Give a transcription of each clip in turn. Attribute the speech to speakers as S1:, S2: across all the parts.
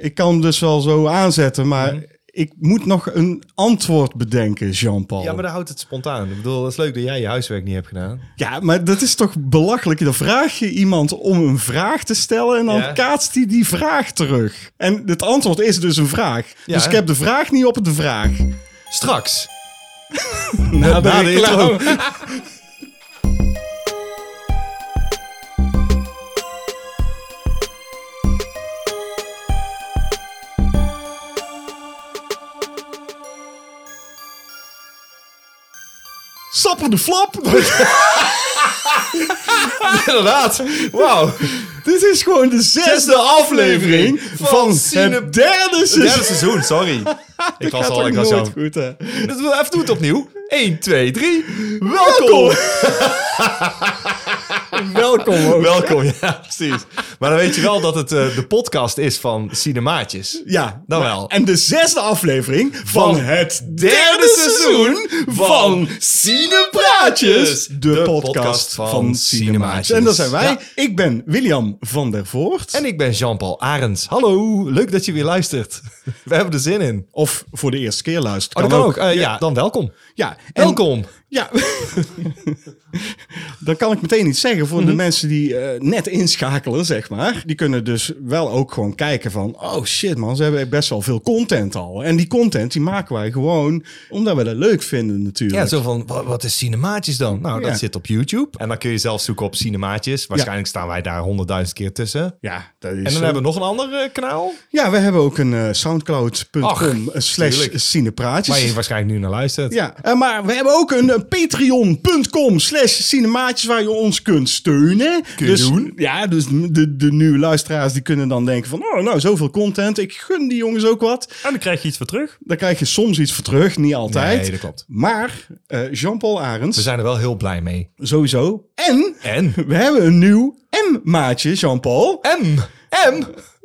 S1: Ik kan hem dus wel zo aanzetten, maar
S2: Mhm.
S1: ik moet nog een antwoord bedenken, Jean-Paul.
S2: Ja, maar dan houdt het spontaan. Ik bedoel, het is leuk dat jij je huiswerk niet hebt gedaan.
S1: dat is toch belachelijk? Dan vraag je iemand om een vraag te stellen en dan
S2: Ja.
S1: kaatst hij die vraag terug. En het antwoord is dus een vraag.
S2: Ja,
S1: dus ik
S2: hè?
S1: heb de vraag niet op de vraag.
S2: Straks.
S1: Nou,
S2: na de intro.
S1: Sapper de flap!
S2: Inderdaad. Wauw.
S1: Dit is gewoon de zesde,
S2: Zesde
S1: aflevering
S2: aflevering
S1: van,
S2: van
S1: het
S2: Cinep-
S1: derde
S2: Derde
S1: seizoen.
S2: seizoen, sorry. Ik was
S1: Gaat
S2: al,
S1: ook
S2: ik was al.
S1: nooit goed, hè?
S2: Dat wil even doen het opnieuw. 1, 2, 3.
S1: Welkom! Welkom ook.
S2: Welkom, ja, precies. Maar dan weet je wel dat het eh, de podcast is van Cinemaatjes.
S1: Ja,
S2: Dan
S1: maar-
S2: Nou wel.
S1: En de zesde aflevering van,
S2: Van
S1: het derde seizoen van Cinepraatjes. De, podcast, van, Cinemaatjes. En dat zijn wij.
S2: Ja.
S1: Ik ben William van der Voort.
S2: En ik ben Jean-Paul Arends. Hallo, leuk dat je weer luistert. We hebben er zin in.
S1: Of voor de eerste keer luisteren.
S2: Oh, dat kan ook. Eh, ja, dan welkom.
S1: Ja, en-
S2: Welkom.
S1: Ja, dan kan ik meteen iets zeggen
S2: Mhm.
S1: voor de mensen die eh, net inschakelen, zeg maar. Die kunnen dus wel ook gewoon kijken van, oh shit man, ze hebben best wel veel content al. En die content, die maken wij gewoon omdat we dat leuk vinden natuurlijk.
S2: Ja, zo van, wa- wat is Cinemaatjes dan? Nou,
S1: Ja.
S2: dat zit op YouTube. En dan kun je zelf zoeken op Cinemaatjes. Waarschijnlijk staan wij daar honderdduizend keer tussen. En
S1: Ja, dat is
S2: dan
S1: zo.
S2: hebben we nog een ander eh, kanaal.
S1: ja, we hebben ook een eh, soundcloud.com
S2: Ach,
S1: eh, slash
S2: tuurlijk. Waar je
S1: cinepraatjes.
S2: waarschijnlijk nu naar luistert.
S1: Ja, eh, maar we hebben ook een eh, patreon.com slash cinemaatjes waar je ons kunt steunen.
S2: Kun je
S1: dus,
S2: doen.
S1: Ja, dus de, de nieuwe luisteraars die kunnen dan denken van, oh nou, zoveel content. Ik gun die jongens ook wat.
S3: En dan krijg je iets voor terug.
S1: Daar krijg je soms iets voor terug, niet altijd.
S2: Nee, dat klopt.
S1: Maar eh, Jean-Paul Arends,
S2: We zijn er wel heel blij mee.
S1: sowieso. En
S2: En?
S1: we hebben een nieuw M-maatje, Jean-Paul.
S2: M. M.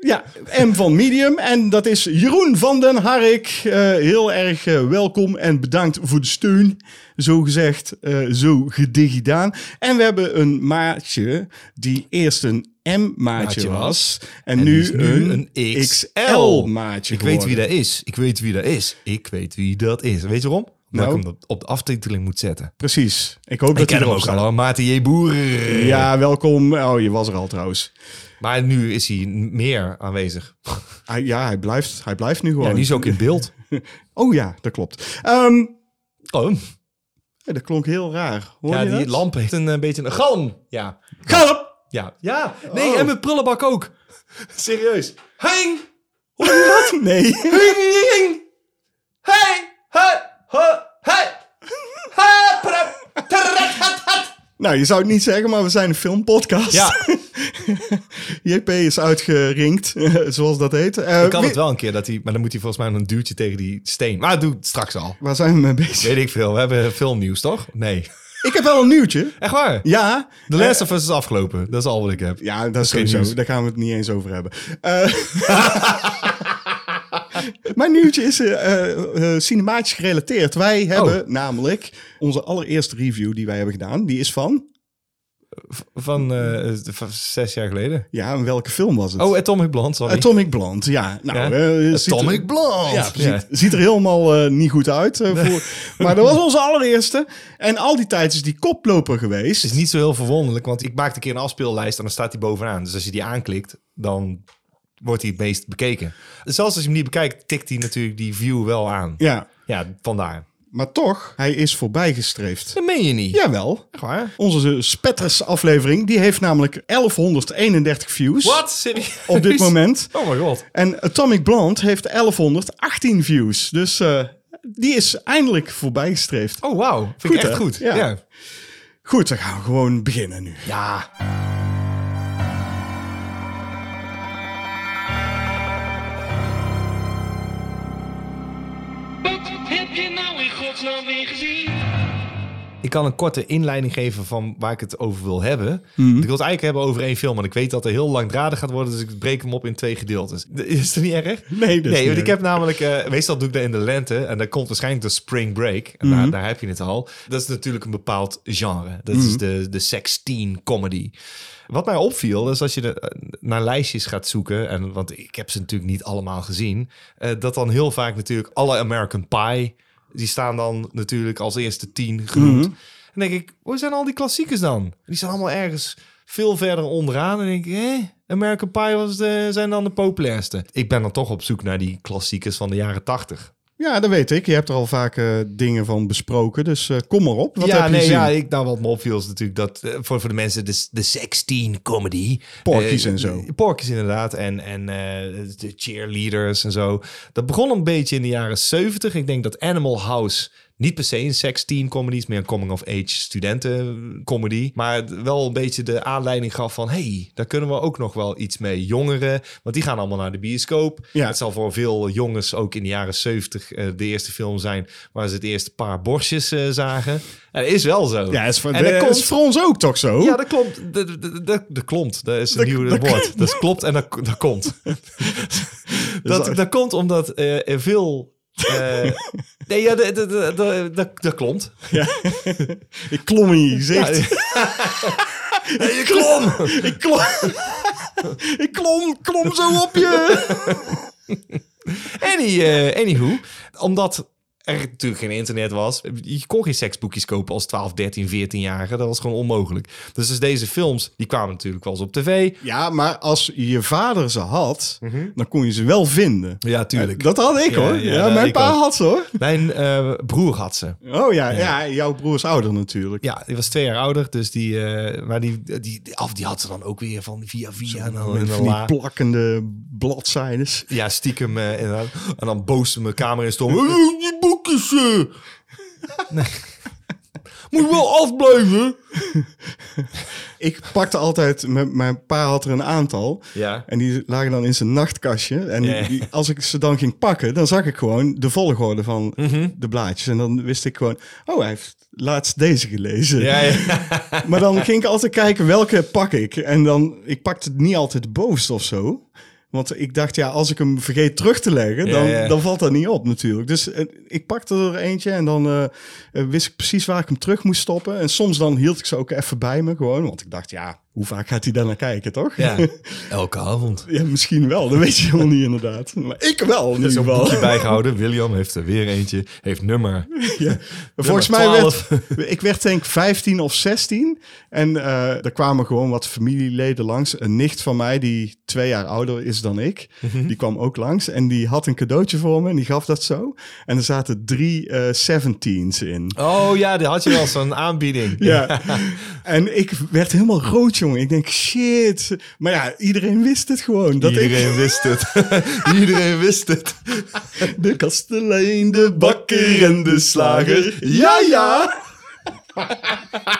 S1: Ja, M van Medium. En dat is Jeroen van den Harik. Eh, heel erg eh, welkom en bedankt voor de steun. Zo gezegd, eh, zo gedigidaan. En we hebben een maatje die eerst een M-maatje
S2: Maatje
S1: was.
S2: was.
S1: En,
S2: En
S1: nu,
S2: die is nu
S1: een,
S2: een
S1: XL-maatje
S2: Ik weet wie dat is. Ik weet wie dat is. Ik weet wie dat is. Weet je waarom? Omdat
S1: Nou?
S2: ik hem op de aftiteling moet zetten.
S1: Precies. Ik hoop dat
S2: ik ken
S1: hij
S2: hem
S1: erop
S2: ook al
S1: staat.
S2: hoor. Maarten J. Boer.
S1: Ja, welkom. Oh, je was er al trouwens.
S2: Maar nu is hij n- meer aanwezig.
S1: Hij, Ah, ja, hij blijft, hij blijft nu gewoon.
S2: Ja, die is ook in beeld.
S1: Oh ja, dat klopt. Ehm,
S2: Oh,
S1: ja, dat klonk heel raar. Hoor
S2: ja,
S1: je
S2: die
S1: dat?
S2: lamp heeft een, eh, beetje een galm. Ja.
S1: Galop!
S2: Ja. Ja. Nee,
S1: Oh.
S2: en mijn prullenbak ook. Serieus. Hang.
S1: Nee.
S2: Hing, hing, hing. Hey. Hey. Hey. Hey. Hey. pra- terrat, hat, hat.
S1: Nou, je zou het niet zeggen, maar we zijn een filmpodcast.
S2: Ja.
S1: JP is uitgerinkt, zoals dat heet. Eh,
S2: Ik kan het
S1: wie-
S2: wel een keer dat hij, maar dan moet hij volgens mij nog een duwtje tegen die steen. Maar dat doe ik straks al.
S1: Waar zijn we mee bezig?
S2: Weet ik veel. We hebben filmnieuws, toch? Nee.
S1: Ik heb wel een nieuwtje.
S2: Echt waar?
S1: Ja.
S2: The
S1: Eh,
S2: Last of Us is afgelopen. Dat is al wat ik heb.
S1: Ja, dat is
S2: geen
S1: sowieso.
S2: nieuws.
S1: Daar gaan we het niet eens over hebben. Eh, Mijn nieuwtje is eh, eh, eh, cinematisch gerelateerd.
S2: Oh.
S1: Wij hebben namelijk onze allereerste review die wij hebben gedaan. Die is van,
S2: Van, eh, van zes jaar geleden.
S1: ja, en welke film was het? Eh,
S2: Oh, Atomic Blonde, sorry.
S1: Atomic Blonde, ja. Nou,
S2: Ja.
S1: eh, ziet er-
S2: Atomic Blonde.
S1: Ja, precies. Ziet, ziet er helemaal eh, niet goed uit. eh, voor, maar dat was onze allereerste. En al die tijd is die koploper geweest.
S2: Het is niet zo heel verwonderlijk, want ik maak een keer een afspeellijst en dan staat die bovenaan. Dus als je die aanklikt, dan wordt die het meest bekeken. Dus zelfs als je hem niet bekijkt, tikt hij natuurlijk die view wel aan.
S1: Ja,
S2: Ja, vandaar.
S1: maar toch, hij is voorbijgestreefd.
S2: Dat meen je niet.
S1: Jawel.
S2: Echt waar?
S1: Onze Spetters aflevering, die heeft namelijk 1131 views.
S2: Wat? Serieus?
S1: Op dit moment.
S2: Oh mijn god.
S1: En Atomic Blonde heeft 1118 views. Dus eh, die is eindelijk voorbijgestreefd.
S2: Oh, wauw. Vind
S1: Goed,
S2: ik echt
S1: hè?
S2: goed.
S1: Ja.
S2: ja.
S1: Goed, dan gaan we gewoon beginnen nu.
S2: Ja.
S4: Wat heb je nou in godsnaam weer gezien?
S2: Ik kan een korte inleiding geven van waar ik het over wil hebben.
S1: Mhm.
S2: Ik wil het eigenlijk hebben over één film, maar ik weet dat er heel langdradig gaat worden, dus ik breek hem op in twee gedeeltes. Is dat niet erg?
S1: Nee, dat is
S2: nee,
S1: niet
S2: want ik
S1: erg.
S2: heb namelijk, eh, meestal doe ik dat in de lente en dat komt waarschijnlijk door Spring Break. En daar, daar heb je het al. Dat is natuurlijk een bepaald genre. Dat is de, de sexteen comedy. Wat mij opviel, is als je de, eh, naar lijstjes gaat zoeken, en, want ik heb ze natuurlijk niet allemaal gezien, eh, dat dan heel vaak natuurlijk alle American Pie, die staan dan natuurlijk als eerste tien genoemd. En dan denk ik, waar zijn al die klassiekers dan? Die zijn allemaal ergens veel verder onderaan. En denk ik, hè? American Pie was de, zijn dan de populairste. Ik ben dan toch op zoek naar die klassiekers van de jaren tachtig.
S1: Ja, dat weet ik. Je hebt er al vaak eh, dingen van besproken, dus eh, kom maar op. Wat
S2: ja,
S1: heb je
S2: nee,
S1: gezien?
S2: ja, ik, nou wat me opviel is natuurlijk dat eh, voor, voor de mensen de, de 16 comedy.
S1: Porky's
S2: Eh,
S1: en zo.
S2: Porky's inderdaad en, en eh, de cheerleaders en zo. Dat begon een beetje in de jaren 70. Ik denk dat Animal House niet per se een 16 comedy is, meer een coming of age studenten eh, comedy. Maar wel een beetje de aanleiding gaf van, hey, daar kunnen we ook nog wel iets mee. Jongeren, want die gaan allemaal naar de bioscoop.
S1: Ja.
S2: Het zal voor veel jongens ook in de jaren 70 eh, de eerste film zijn waar ze het eerste paar borstjes eh, zagen. En dat is wel zo.
S1: Ja, is voor,
S2: en
S1: dat
S2: dat
S1: is voor ons ook toch zo?
S2: ja, dat klopt. Dat, dat, dat, dat klopt. Dat is een
S1: Dat-
S2: nieuw
S1: dat-
S2: woord. Dat klopt en dat, dat komt. dat, dat komt omdat eh, er veel... eh, nee, ja, dat, dat, dat, dat, dat- dat klomt.
S1: Ik klom in je
S2: Ja,
S1: gezicht.
S2: je klom!
S1: Ik klom, ik klom, klom zo op je.
S2: Any, eh, anywho, omdat er natuurlijk geen internet was. Je kon geen seksboekjes kopen als 12, 13, 14-jarige. Dat was gewoon onmogelijk. Dus, dus deze films, die kwamen natuurlijk wel eens op tv.
S1: Ja, maar als je vader ze had, dan kon je ze wel vinden.
S2: Ja,
S1: Dat had ik
S2: Ja,
S1: hoor.
S2: ja,
S1: Mhm. Ja,
S2: dat
S1: mijn
S2: ik
S1: pa
S2: ook.
S1: had ze hoor.
S2: Eh, Mijn eh, broer had ze.
S1: Oh ja, ja. jouw broer is ouder natuurlijk.
S2: Ja, die was twee jaar ouder, dus die, eh, maar die, die, die, af, die had ze dan ook weer van via via en dan
S1: Met
S2: nou, in een
S1: van die
S2: la.
S1: plakkende bladzijdes.
S2: Ja, stiekem eh, inderdaad. En dan boos mijn kamer in storm. "Eh, Die boekjes! eh." Moet je wel afblijven!
S1: Ik pakte altijd, met, mijn pa had er een aantal.
S2: Ja.
S1: En die lagen dan in zijn nachtkastje. En
S2: Ja.
S1: die- als ik ze dan ging pakken, dan zag ik gewoon de volgorde van
S2: Mhm.
S1: de blaadjes. En dan wist ik gewoon, oh, hij heeft laatst deze gelezen.
S2: Ja, ja.
S1: Maar dan ging ik altijd kijken welke pak ik. En dan, ik pakte niet altijd de bovenste of zo. Want ik dacht, ja, als ik hem vergeet terug te leggen,
S2: Ja,
S1: dan,
S2: ja.
S1: dan valt dat niet op natuurlijk. Dus eh, ik pakte er eentje en dan eh, eh, wist ik precies waar ik hem terug moest stoppen. En soms dan hield ik ze ook even bij me gewoon. Want ik dacht, ja, hoe vaak gaat hij daar naar kijken, toch?
S2: ja. Elke avond.
S1: Ja, misschien wel. Dat weet je helemaal niet inderdaad. Maar ik wel in
S2: Er is
S1: ieder
S2: een
S1: geval.
S2: boekje bijgehouden. William heeft er weer eentje. Heeft nummer.
S1: Ja. Volgens mij
S2: 12.
S1: werd ik werd denk ik 15 of 16. En eh er kwamen gewoon wat familieleden langs. Een nicht van mij, die twee jaar ouder is dan ik,
S2: Mhm.
S1: die kwam ook langs. En die had een cadeautje voor me en die gaf dat zo. En er zaten drie eh 17's in.
S2: Oh ja, daar had je wel zo'n aanbieding.
S1: Ja, en ik werd helemaal rood, jongen. Ik denk, shit. Maar ja, iedereen wist het gewoon. Dat
S2: Iedereen wist het. Iedereen wist het.
S1: ik de kastelein, de bakker en de slager. Ja, ja!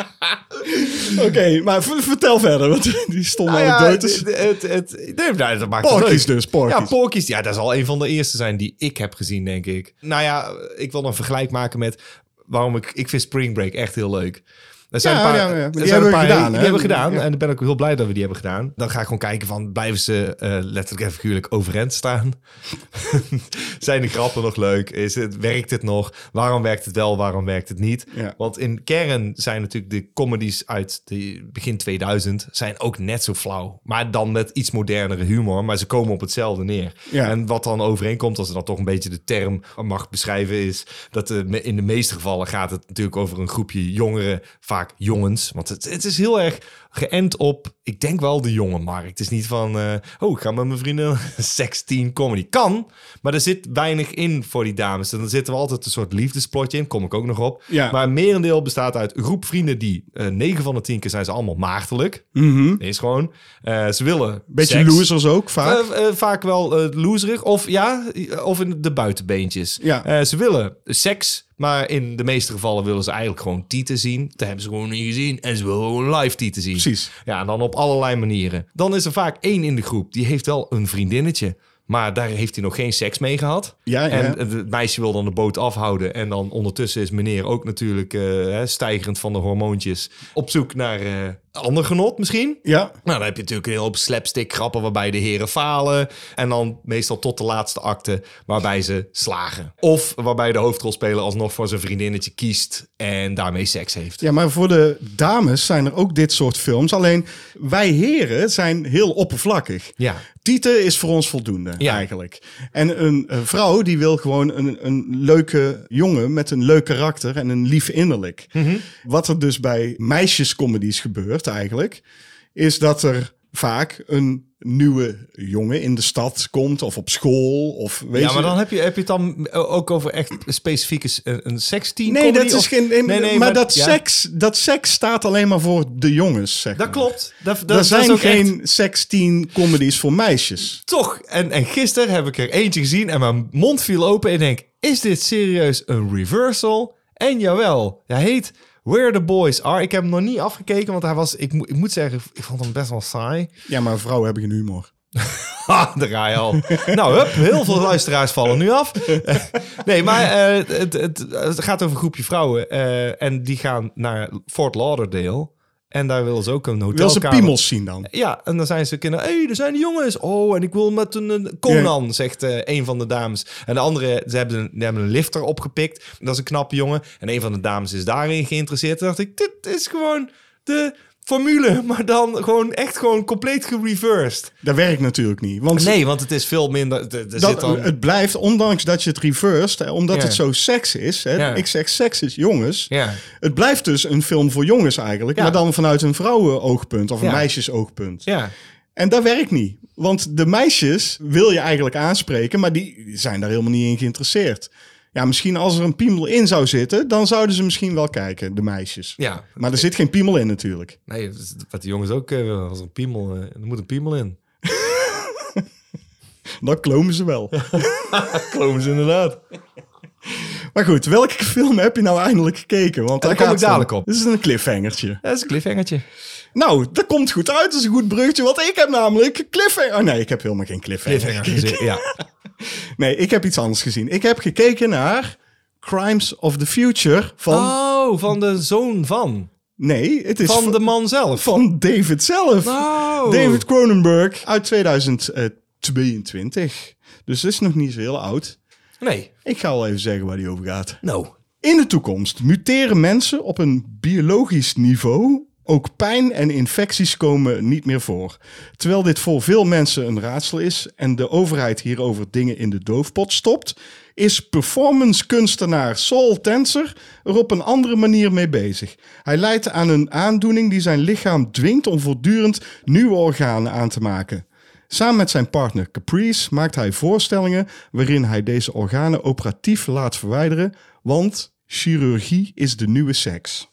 S1: Oké, maar v- vertel verder, want die stomme
S2: Nou ja,
S1: anekdotes.
S2: het- het- het- nee, nou, dat maakt
S1: Porkies
S2: het leuk.
S1: dus, porkies.
S2: Ja, Porkies. Ja, dat zal een van de eerste zijn die ik heb gezien, denk ik. Nou ja, ik wil een vergelijk maken met waarom ik... Ik vind Spring Break echt heel leuk. Er zijn
S1: Ja,
S2: een paar,
S1: ja, ja. Die
S2: er zijn
S1: hebben
S2: een
S1: we
S2: paar-
S1: gedaan, hè?
S2: Die hebben we gedaan.
S1: Ja.
S2: En ik ben ook heel blij dat we die hebben gedaan. Dan ga ik gewoon kijken van, blijven ze eh, letterlijk en figuurlijk overeind staan? zijn de grappen nog leuk? Is het, werkt het nog? Waarom werkt het wel? Waarom werkt het niet?
S1: Ja.
S2: Want in kern zijn natuurlijk de comedies uit de begin 2000 zijn ook net zo flauw. Maar dan met iets modernere humor. Maar ze komen op hetzelfde neer.
S1: Ja.
S2: En wat dan overeenkomt, als ze dan toch een beetje de term mag beschrijven, is dat eh, me- in de meeste gevallen gaat het natuurlijk over een groepje jongeren, vaak jongens. Want het, het is heel erg geënt op, ik denk wel de jonge markt. Het is niet van, eh, oh, ik ga met mijn vrienden sexteen comedy. Kan, maar er zit weinig in voor die dames. En dan zitten we altijd een soort liefdesplotje in, kom ik ook nog op.
S1: Ja.
S2: Maar een merendeel bestaat uit een groep vrienden die, eh 9 van de 10 keer zijn ze allemaal maagdelijk.
S1: Mhm.
S2: Is gewoon, eh, ze willen
S1: Beetje
S2: seks.
S1: losers ook, vaak.
S2: Eh, eh, vaak wel eh, loserig. Of ja, eh, of in de buitenbeentjes.
S1: Ja.
S2: Eh, ze willen seks, maar in de meeste gevallen willen ze eigenlijk gewoon tieten zien. Dat hebben ze gewoon niet gezien. En ze willen gewoon live tieten zien.
S1: Precies.
S2: Ja, en dan op allerlei manieren. Dan is er vaak één in de groep die heeft wel een vriendinnetje. Maar daar heeft hij nog geen seks mee gehad.
S1: Ja, ja.
S2: En het- het meisje wil dan de boot afhouden. En dan ondertussen is meneer ook natuurlijk eh, hè, stijgerend van de hormoontjes. Op zoek naar eh, ander genot misschien.
S1: Ja,
S2: Nou, dan heb je natuurlijk een hele hoop slapstick grappen waarbij de heren falen. En dan meestal tot de laatste acte waarbij ze slagen. Of waarbij de hoofdrolspeler alsnog voor zijn vriendinnetje kiest en daarmee seks heeft.
S1: Ja, maar voor de dames zijn er ook dit soort films. Alleen wij heren zijn heel oppervlakkig.
S2: Ja.
S1: Tieten is voor ons voldoende
S2: Ja.
S1: eigenlijk. En een eh, vrouw die wil gewoon een, een leuke jongen met een leuk karakter en een lief innerlijk.
S2: Mhm.
S1: Wat er dus bij meisjescomedies gebeurt eigenlijk, is dat er vaak een nieuwe jongen in de stad komt of op school of weet
S2: Ja, maar
S1: je-
S2: dan heb je, heb je het dan ook over echt specifieke s- een, een seksteam?
S1: Nee,
S2: comedy
S1: dat is
S2: of-
S1: geen.
S2: Nee, nee,
S1: maar, dat,
S2: ja.
S1: seks, dat seks staat alleen maar voor de jongens. Zeg
S2: Dat
S1: maar.
S2: klopt. Dat, dat,
S1: Er
S2: dat is
S1: zijn
S2: ook geen...
S1: geen sexteen comedies voor meisjes.
S2: toch. En, en gisteren heb ik er eentje gezien en mijn mond viel open. En ik denk, is dit serieus een reversal? En jawel, hij heet Where the Boys Are. Ik heb hem nog niet afgekeken, want hij was, ik, moet- ik moet zeggen, ik vond hem best wel saai.
S1: Ja, maar vrouwen hebben geen humor.
S2: Ha, daar ga je al. nou, hup, heel veel luisteraars vallen nu af. nee, maar eh, het, het, het gaat over een groepje vrouwen. eh, en die gaan naar Fort Lauderdale. En daar willen ze ook een
S1: Wil ze
S2: hotelkamer.
S1: piemels zien dan?
S2: Ja, en dan zijn ze kinderen. Hé, hey, er zijn de jongens. Oh, en ik wil met een een Conan, zegt eh, een van de dames. En de andere, ze hebben een, die hebben een lifter opgepikt. Dat is een knappe jongen. En een van de dames is daarin geïnteresseerd. Toen dacht ik, dit is gewoon de formule. Maar dan gewoon echt gewoon compleet gereversed.
S1: Dat werkt natuurlijk niet. Want
S2: Nee, want het is veel minder... Er, er
S1: dat,
S2: zit dan...
S1: het blijft, ondanks dat je het reversed, hè, omdat
S2: Ja.
S1: het zo seks is. Hè,
S2: Ja.
S1: Ik zeg seks is jongens.
S2: ja.
S1: Het blijft dus een film voor jongens eigenlijk.
S2: Ja.
S1: Maar dan vanuit een vrouwenoogpunt of een
S2: Ja.
S1: meisjesoogpunt.
S2: ja.
S1: En dat werkt niet. Want de meisjes wil je eigenlijk aanspreken, maar die zijn daar helemaal niet in geïnteresseerd. Ja, misschien als er een piemel in zou zitten, dan zouden ze misschien wel kijken, de meisjes.
S2: Ja.
S1: Maar er zit geen piemel in natuurlijk.
S2: Nee, dat is wat de jongens ook eh, willen. Als er een piemel... eh, er moet een piemel in.
S1: Dan klomen ze wel.
S2: Klomen ze inderdaad.
S1: Maar goed, welke film heb je nou eindelijk gekeken? Want
S2: daar
S1: daar
S2: kom
S1: gaat
S2: ik dadelijk
S1: het om.
S2: op.
S1: Dit is een cliffhangertje.
S2: Dat is een cliffhangertje.
S1: Nou, dat komt goed uit. Dat is een goed bruggetje. Want ik heb namelijk een cliffhanger... Oh nee, ik heb helemaal geen cliffhanger.
S2: Cliffhangertje, ja.
S1: Nee, ik heb iets anders gezien. Ik heb gekeken naar Crimes of the Future van...
S2: Oh, van de zoon van.
S1: Nee, het is
S2: Van de man zelf.
S1: van David zelf.
S2: Oh.
S1: David Cronenberg uit 2022. Dus dat is nog niet zo heel oud.
S2: Nee.
S1: Ik ga al even zeggen waar die over gaat.
S2: No.
S1: In de toekomst muteren mensen op een biologisch niveau. Ook pijn en infecties komen niet meer voor. Terwijl dit voor veel mensen een raadsel is en de overheid hierover dingen in de doofpot stopt, is performancekunstenaar Saul Tenser er op een andere manier mee bezig. Hij leidt aan een aandoening die zijn lichaam dwingt om voortdurend nieuwe organen aan te maken. Samen met zijn partner Caprice maakt hij voorstellingen waarin hij deze organen operatief laat verwijderen, want chirurgie is de nieuwe seks.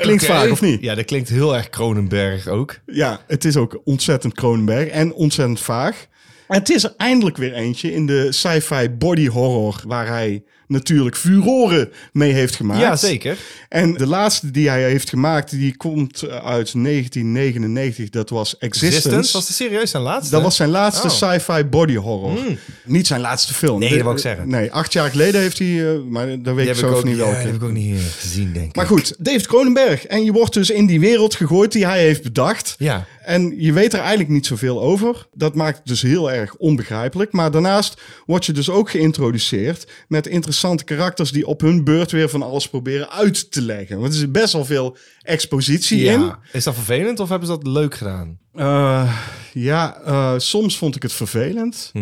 S1: Klinkt
S2: Eh, Oké.
S1: vaag, of niet?
S2: Ja, dat klinkt heel erg Kronenberg ook.
S1: Ja, het is ook ontzettend Kronenberg en ontzettend vaag. En het is er eindelijk weer eentje in de sci-fi body horror waar hij natuurlijk furoren mee heeft gemaakt.
S2: Ja, zeker.
S1: En de laatste die hij heeft gemaakt, die komt uit 1999. Dat was
S2: Resistance
S1: Existence.
S2: was de serieus zijn laatste.
S1: Dat was zijn laatste
S2: Oh. Hmm.
S1: sci-fi body horror. Niet zijn laatste film.
S2: Nee, dat wou
S1: wil
S2: ik zeggen.
S1: Nee, acht jaar geleden heeft hij, eh, maar dat weet
S2: die
S1: ik
S2: heb ik
S1: zelf
S2: ook
S1: niet
S2: niet
S1: welke.
S2: ja, die heb ik ook niet eh, gezien, denk ik.
S1: Maar goed, David Cronenberg. En je wordt dus in die wereld gegooid die hij heeft bedacht.
S2: Ja.
S1: En je weet er eigenlijk niet zoveel over. Dat maakt het dus heel erg onbegrijpelijk. Maar daarnaast word je dus ook geïntroduceerd met interessante karakters die op hun beurt weer van alles proberen uit te leggen. Want er zit best wel veel expositie in.
S2: Ja. Is dat vervelend of hebben ze dat leuk gedaan?
S1: Eh, ja, eh, soms vond ik het vervelend.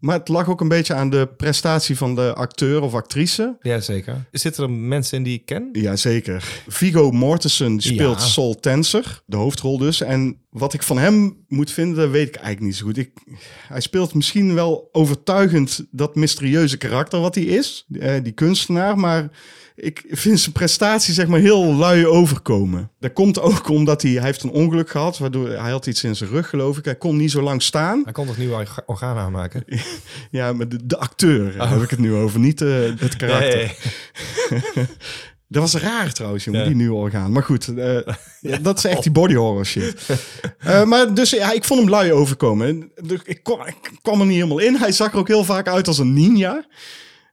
S1: Maar het lag ook een beetje aan de prestatie van de acteur of actrice.
S2: Ja, zeker. Zitten er mensen in die ik ken?
S1: Jazeker. Vigo Mortensen die speelt
S2: Ja.
S1: Sol Tenser, de hoofdrol dus. En wat ik van hem moet vinden, dat weet ik eigenlijk niet zo goed. Ik, hij speelt misschien wel overtuigend dat mysterieuze karakter wat hij is, eh, die kunstenaar. Maar ik vind zijn prestatie zeg maar heel lui overkomen. Dat komt ook omdat hij, hij heeft een ongeluk gehad, waardoor hij had iets in zijn rug geloof ik. Hij kon niet zo lang staan.
S2: Hij kon toch nieuwe orga- organen aanmaken?
S1: Ja, maar de, de acteur daar heb ik het nu over, niet eh, het karakter. Dat was raar trouwens, jongen,
S2: Ja.
S1: die nieuwe orgaan. Maar goed, eh, dat is echt die body horror shit. Eh, maar dus ja, ik vond hem lui overkomen. En de- Ik kwam, ik kwam er niet helemaal in. Hij zag er ook heel vaak uit als een ninja.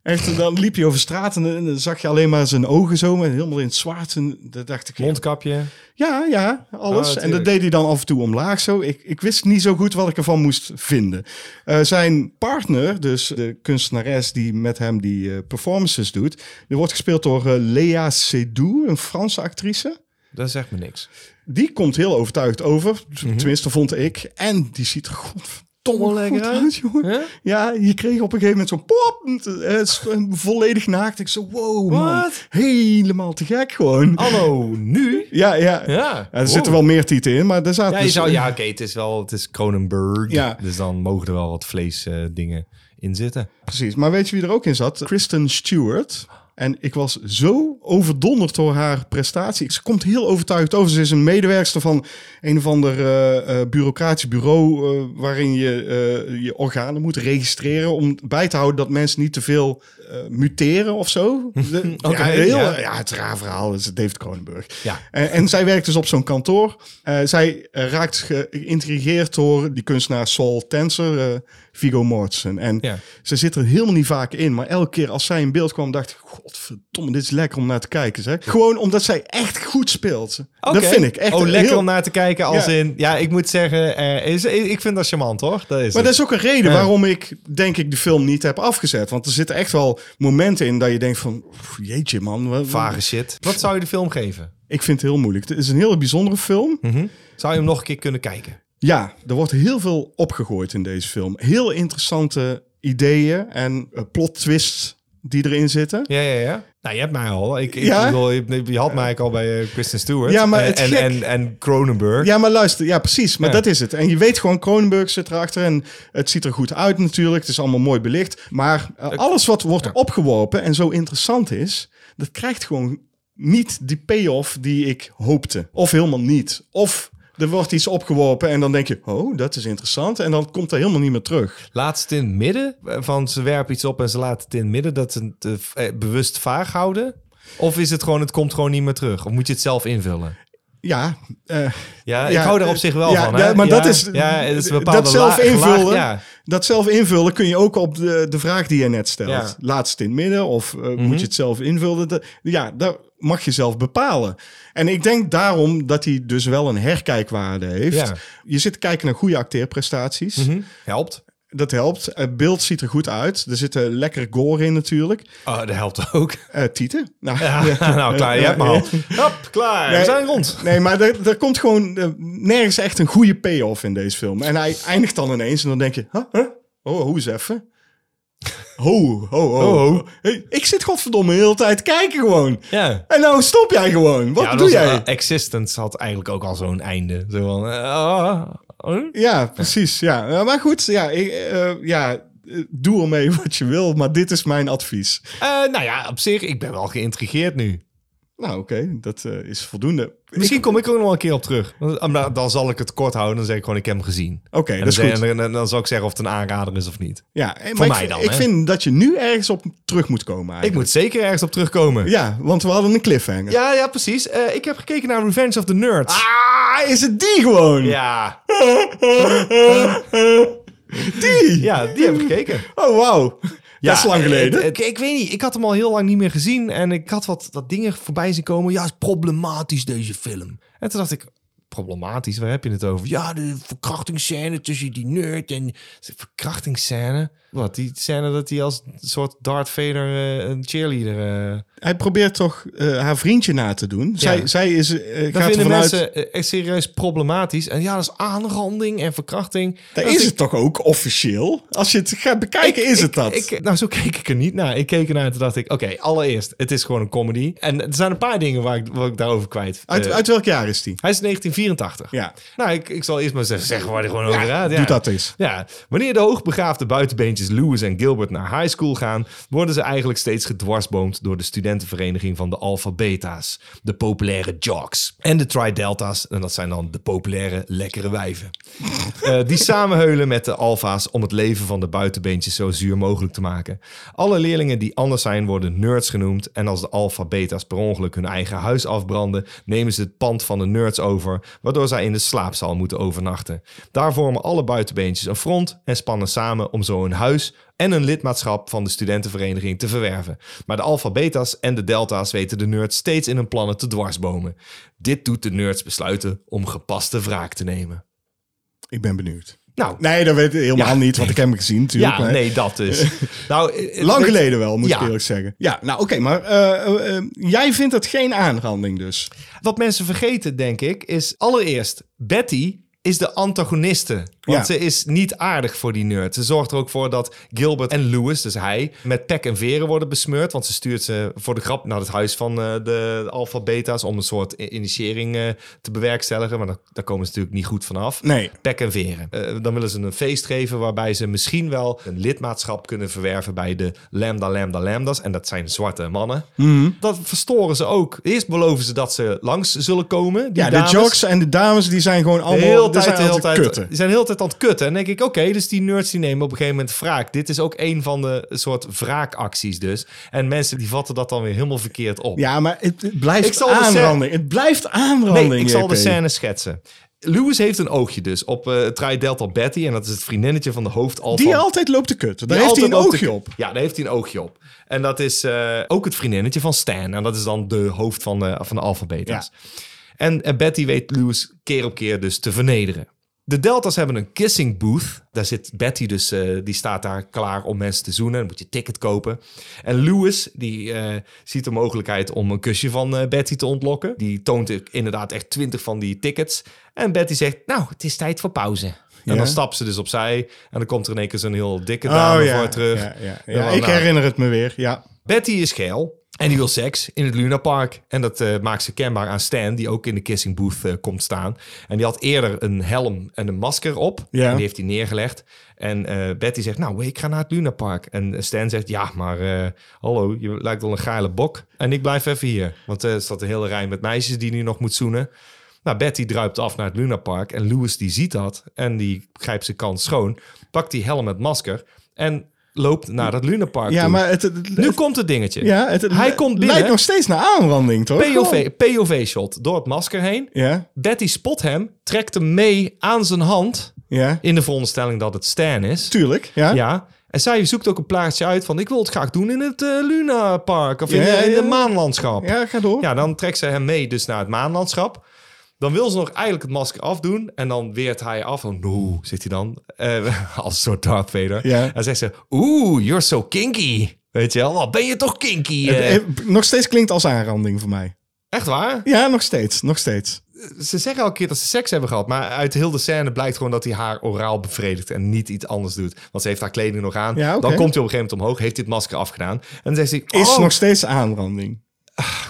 S1: Echt, dan liep hij over straat en, en dan zag je alleen maar zijn ogen zo, maar helemaal in het zwart. En dat dacht ik, ja,
S2: Mondkapje.
S1: ja, ja, alles.
S2: Ah,
S1: en dat
S2: tuurlijk.
S1: deed hij dan af en toe omlaag zo. Ik, ik wist niet zo goed wat ik ervan moest vinden. Eh, zijn partner, dus de kunstenares die met hem die eh, performances doet... die wordt gespeeld door eh, Léa Seydoux, een Franse actrice.
S2: Dat zegt me niks.
S1: Die komt heel overtuigd over, t-
S2: Mhm.
S1: tenminste vond ik. En die ziet er godverdomme
S2: Lekker
S1: lekker
S2: uit.
S1: uit, jongen.
S2: Huh?
S1: Ja, je kreeg op een gegeven moment zo'n pop, eh, s- volledig naakt. Ik zo, wow man,
S2: Wat?
S1: helemaal te gek gewoon.
S2: Hallo, nu?
S1: Ja, ja.
S2: Ja.
S1: Ja, er zitten wel meer tieten in, maar daar zaten
S2: Oh. Ja, je
S1: dus-
S2: zou, ja oké, het is wel, het is Kronenburg.
S1: Ja.
S2: Dus dan mogen er wel wat vleesdingen dingen in zitten.
S1: Precies. Maar weet je wie er ook in zat? Kristen Stewart. En ik was zo overdonderd door haar prestatie. Ze komt heel overtuigd over. Ze is een medewerkster van een of ander eh, eh, bureaucratisch bureau... eh, waarin je eh, je organen moet registreren... om bij te houden dat mensen niet te veel eh, muteren of zo. De-
S2: Oké,
S1: ja, heel,
S2: ja.
S1: ja. het raar verhaal is David Kronenburg.
S2: Ja.
S1: En, en zij werkt dus op zo'n kantoor. Eh, zij eh, raakt geïntrigeerd door die kunstenaar Saul Tenser, eh, Viggo Mortensen. En
S2: Ja.
S1: ze zit er helemaal niet vaak in. Maar elke keer als zij in beeld kwam, dacht ik... Godverdomme, dit is lekker om naar te kijken, zeg. Gewoon omdat zij echt goed speelt.
S2: Oké.
S1: Dat vind ik echt
S2: Oh,
S1: een
S2: lekker
S1: heel-
S2: om naar te kijken als
S1: Ja.
S2: in... Ja, ik moet zeggen, eh, is, ik vind dat charmant, hoor. Dat
S1: Maar
S2: is het.
S1: dat is ook een reden
S2: Ja.
S1: waarom ik, denk ik, de film niet heb afgezet. Want er zitten echt wel momenten in dat je denkt van... "Oef, Jeetje, man. wat-
S2: vage shit. Wat zou je de film geven?
S1: Ik vind het heel moeilijk. Het is een hele bijzondere film.
S2: Mhm. Zou je hem nog een keer kunnen kijken?
S1: Ja, er wordt heel veel opgegooid in deze film. Heel interessante ideeën en eh, plot twists die erin zitten.
S2: Ja, ja, ja. Nou, je hebt mij al. Ik, ik
S1: Ja?
S2: bedoel, je, je had mij eigenlijk al bij eh, Kristen Stewart.
S1: Ja, maar
S2: en,
S1: het
S2: en,
S1: gek-
S2: en, en Cronenberg.
S1: Ja, maar luister, ja, precies. Maar
S2: Ja.
S1: dat is het. En je weet gewoon, Kronenburg zit erachter en het ziet er goed uit natuurlijk. Het is allemaal mooi belicht. Maar eh, alles wat wordt opgeworpen en zo interessant is, dat krijgt gewoon niet die payoff die ik hoopte. Of helemaal niet. Of er wordt iets opgeworpen en dan denk je, oh, dat is interessant. En dan komt er helemaal niet meer terug.
S2: Laatst in het midden. Van ze werpen iets op en ze laten het in het midden. Dat ze het eh, v- eh, bewust vaag houden. Of is het gewoon, het komt gewoon niet meer terug? Of moet je het zelf invullen?
S1: Ja, eh,
S2: Ja,
S1: Ja,
S2: ik hou daar
S1: eh,
S2: op zich wel
S1: ja,
S2: van. Hè?
S1: ja, maar dat is-
S2: ja, het is een bepaalde
S1: dat zelf
S2: la- gelaag-
S1: invullen.
S2: ja.
S1: Dat zelf invullen kun je ook op de, de vraag die je net stelt.
S2: Ja. Mhm.
S1: Laatst in het midden of eh, moet je het zelf invullen? Dat- ja, dat mag je zelf bepalen. En ik denk daarom dat hij dus wel een herkijkwaarde heeft.
S2: Ja.
S1: Je zit te kijken naar goede acteerprestaties.
S2: Hm? Helpt.
S1: Dat helpt. Het beeld ziet er goed uit. Er zitten lekker gore in natuurlijk.
S2: Oh, dat helpt ook.
S1: Eh tieten. Nou,
S2: Ja, nou, klaar. Je hebt me al. Hop, klaar.
S1: Nee.
S2: We zijn rond.
S1: Nee, maar er, er komt gewoon eh, nergens echt een goede payoff in deze film. En hij eindigt dan ineens en dan denk je... Huh? Huh? Oh, hoe is even? Ho, ho, ho.
S2: Ho, ho.
S1: Hey, ik zit godverdomme de hele tijd te kijken gewoon.
S2: Ja.
S1: En nou stop jij gewoon. Wat
S2: Ja,
S1: doe
S2: dat was-
S1: jij?
S2: eh, Existence had eigenlijk ook al zo'n einde. Zo van, eh, ah, ah,
S1: Ja, precies. Ja. Eh, maar goed, ja, ik, eh, ja, eh, doe ermee wat je wil. Maar dit is mijn advies.
S2: eh, nou ja, op zich, ik ben wel geïntrigeerd nu.
S1: Nou, oké, dat eh, is voldoende.
S2: Misschien kom ik er ook nog wel een keer op terug. Dan, dan- dan zal ik het kort houden. Dan zeg ik gewoon, ik heb hem gezien.
S1: Oké,
S2: En
S1: dat is
S2: dan,
S1: goed.
S2: zeg- en dan- dan zal ik zeggen of het een aanrader is of niet.
S1: Ja, eh, maar
S2: Voor
S1: ik,
S2: mij dan,
S1: ik
S2: hè?
S1: vind dat je nu ergens op terug moet komen
S2: Ik
S1: eigenlijk.
S2: moet zeker ergens op terugkomen.
S1: Ja, want we hadden een cliffhanger.
S2: Ja, ja, precies. Eh, ik heb gekeken naar Revenge of the Nerds.
S1: Ah, is het die gewoon?
S2: Ja.
S1: Die?
S2: ja, die heb ik gekeken.
S1: Oh, wauw.
S2: Ja, eh,
S1: dat is lang geleden.
S2: het- het- ik weet niet, ik had hem al heel lang niet meer gezien. En ik had wat, wat dingen voorbij zien komen. Ja, is problematisch deze film. En toen dacht ik, problematisch, waar heb je het over? Ja, de verkrachtingsscène tussen die nerd en... Verkrachtingsscène? Wat, die scène dat hij als soort Darth Vader eh, een cheerleader... eh,
S1: Hij probeert toch eh, haar vriendje na te doen. Zij, zij is, eh,
S2: Dat
S1: gaat
S2: vinden
S1: ervan uit...
S2: mensen eh, echt serieus problematisch. En ja, dat is aanranding en verkrachting.
S1: Daar
S2: Dat
S1: is het toch ook officieel? Als je het gaat bekijken, is het dat.
S2: Ik, nou, zo keek ik er niet naar. Ik keek ernaar en toen dacht ik, oké, allereerst, het is gewoon een comedy. En er zijn een paar dingen waar ik, waar ik daarover kwijt.
S1: uit,
S2: Eh,
S1: uit welk jaar is die?
S2: hij is 1984.
S1: Ja.
S2: Nou, ik, ik zal eerst maar zeggen, zeggen waar hij gewoon over gaat. Ja.
S1: doe dat eens.
S2: Ja. Wanneer de hoogbegaafde buitenbeentjes Lewis en Gilbert naar high school gaan, worden ze eigenlijk steeds gedwarsboomd door de studentenvereniging van de Alpha Beta's, de populaire jocks. En de Tri-Delta's, en dat zijn dan de populaire lekkere wijven. Eh, die samenheulen met de alfa's om het leven van de buitenbeentjes zo zuur mogelijk te maken. Alle leerlingen die anders zijn worden nerds genoemd. En als de alfa beta's per ongeluk hun eigen huis afbranden, nemen ze het pand van de nerds over, waardoor zij in de slaapzaal moeten overnachten. Daar vormen alle buitenbeentjes een front en spannen samen om zo hun huis en een lidmaatschap van de studentenvereniging te verwerven. Maar de alfa beta's en de delta's weten de nerds steeds in hun plannen te dwarsbomen. Dit doet de nerds besluiten om gepaste wraak te nemen.
S1: Ik ben benieuwd.
S2: Nou,
S1: Nee, dat weet ik helemaal
S2: Ja.
S1: niet, want ik heb hem gezien natuurlijk.
S2: Ja,
S1: maar-
S2: nee, dat dus. nou, eh,
S1: Lang
S2: weet-
S1: geleden wel, moet
S2: Ja.
S1: ik eerlijk zeggen. Ja, nou oké, maar eh, eh, eh, jij vindt het geen aanranding dus.
S2: Wat mensen vergeten, denk ik, is allereerst Betty is de antagoniste. Want
S1: Ja.
S2: ze is niet aardig voor die nerd. Ze zorgt er ook voor dat Gilbert en Lewis, dus hij, met pek en veren worden besmeurd. Want ze stuurt ze voor de grap naar het huis van eh, de alfa beta's om een soort i- initiëring eh, te bewerkstelligen. Maar daar, daar komen ze natuurlijk niet goed vanaf.
S1: Nee.
S2: Pek en veren. Eh, dan willen ze een feest geven waarbij ze misschien wel een lidmaatschap kunnen verwerven bij de Lambda Lambda Lambdas. En dat zijn zwarte mannen.
S1: Mhm.
S2: Dat verstoren ze ook. Eerst beloven ze dat ze langs zullen komen. Die
S1: Ja,
S2: dames.
S1: de jocks en de dames, die zijn gewoon
S2: De
S1: allemaal...
S2: hele
S1: Heel
S2: tijd, de hele tijd,
S1: kutten.
S2: die zijn de hele tijd aan het kutten. En dan denk ik, oké, dus die nerds die nemen op een gegeven moment wraak. Dit is ook een van de soort wraakacties dus. En mensen die vatten dat dan weer helemaal verkeerd op.
S1: Ja, maar het, het blijft
S2: Ik zal de
S1: aanranding. Het blijft aanranding.
S2: Nee, ik zal de
S1: JP.
S2: scène schetsen. Lewis heeft een oogje dus op eh Tri Delta Betty. En dat is het vriendinnetje van de hoofdalfa.
S1: Die altijd loopt te kutten. Daar
S2: Die
S1: heeft hij een
S2: altijd loopt te-
S1: oogje op.
S2: Ja, daar heeft hij een oogje op. En dat is eh, ook het vriendinnetje van Stan. En dat is dan de hoofd van de, van de alfabeta's. En, en Betty weet Lewis keer op keer dus te vernederen. De Deltas hebben een kissing booth. Daar zit Betty dus, eh, die staat daar klaar om mensen te zoenen. Dan moet je ticket kopen. En Lewis, die eh, ziet de mogelijkheid om een kusje van eh, Betty te ontlokken. Die toont er inderdaad echt twintig van die tickets. En Betty zegt, nou, het is tijd voor pauze. En
S1: Ja.
S2: dan stapt ze dus opzij. En dan komt er in één keer zo'n heel dikke dame voor
S1: Oh
S2: terug.
S1: Ja, ja, ja.
S2: Dan wel,
S1: ik
S2: nou,
S1: herinner het me weer. Ja.
S2: Betty is geil en die wil seks in het Luna Park. En dat eh, maakt ze kenbaar aan Stan, die ook in de kissing booth eh, komt staan. En die had eerder een helm en een masker op.
S1: Ja.
S2: En die heeft hij neergelegd. En eh, Betty zegt, nou, ik ga naar het Luna Park. En eh, Stan zegt, ja, maar eh, hallo, je lijkt wel een geile bok. En ik blijf even hier. Want eh, er staat een hele rij met meisjes die nu nog moet zoenen. Nou, Betty druipt af naar het Luna Park. En Louis die ziet dat. En die grijpt zijn kans schoon. Pakt die helm met masker. En loopt naar dat Luna Park
S1: Ja,
S2: toe.
S1: maar het, het, het-
S2: Nu komt het dingetje.
S1: ja, Oh, het, het
S2: Hij komt binnen.
S1: lijkt nog steeds naar aanranding, toch? Gewoon.
S2: POV, POV-shot door het masker heen.
S1: Ja,
S2: Betty spot hem, trekt hem mee aan zijn hand.
S1: ja.
S2: In de veronderstelling dat het Stan is.
S1: Tuurlijk, ja.
S2: Ja. En zij zoekt ook een plaatsje uit van... ik wil het graag doen in het eh, Luna Park of in,
S1: Ja,
S2: de- in
S1: ja.
S2: de maanlandschap.
S1: Ja, ga door.
S2: Ja, dan trekt ze hem mee dus naar het maanlandschap. Dan wil ze nog eigenlijk het masker afdoen. En dan weert hij af. van no, zit hij dan. eh, als een soort Darth Vader.
S1: Ja.
S2: En zegt ze, oeh, you're so kinky. Weet je wel, wat ben je toch kinky.
S1: Het-
S2: eh.
S1: het- nog steeds klinkt als aanranding voor mij.
S2: Echt waar?
S1: Ja, nog steeds, nog steeds.
S2: Ze zeggen elke keer dat ze seks hebben gehad. Maar uit heel de scène blijkt gewoon dat hij haar oraal bevredigt. En niet iets anders doet. Want ze heeft haar kleding nog aan.
S1: Ja, oké.
S2: Dan komt hij op een gegeven moment omhoog. Heeft dit masker afgedaan. En dan zegt hij,
S1: Is
S2: oh,
S1: nog steeds aanranding.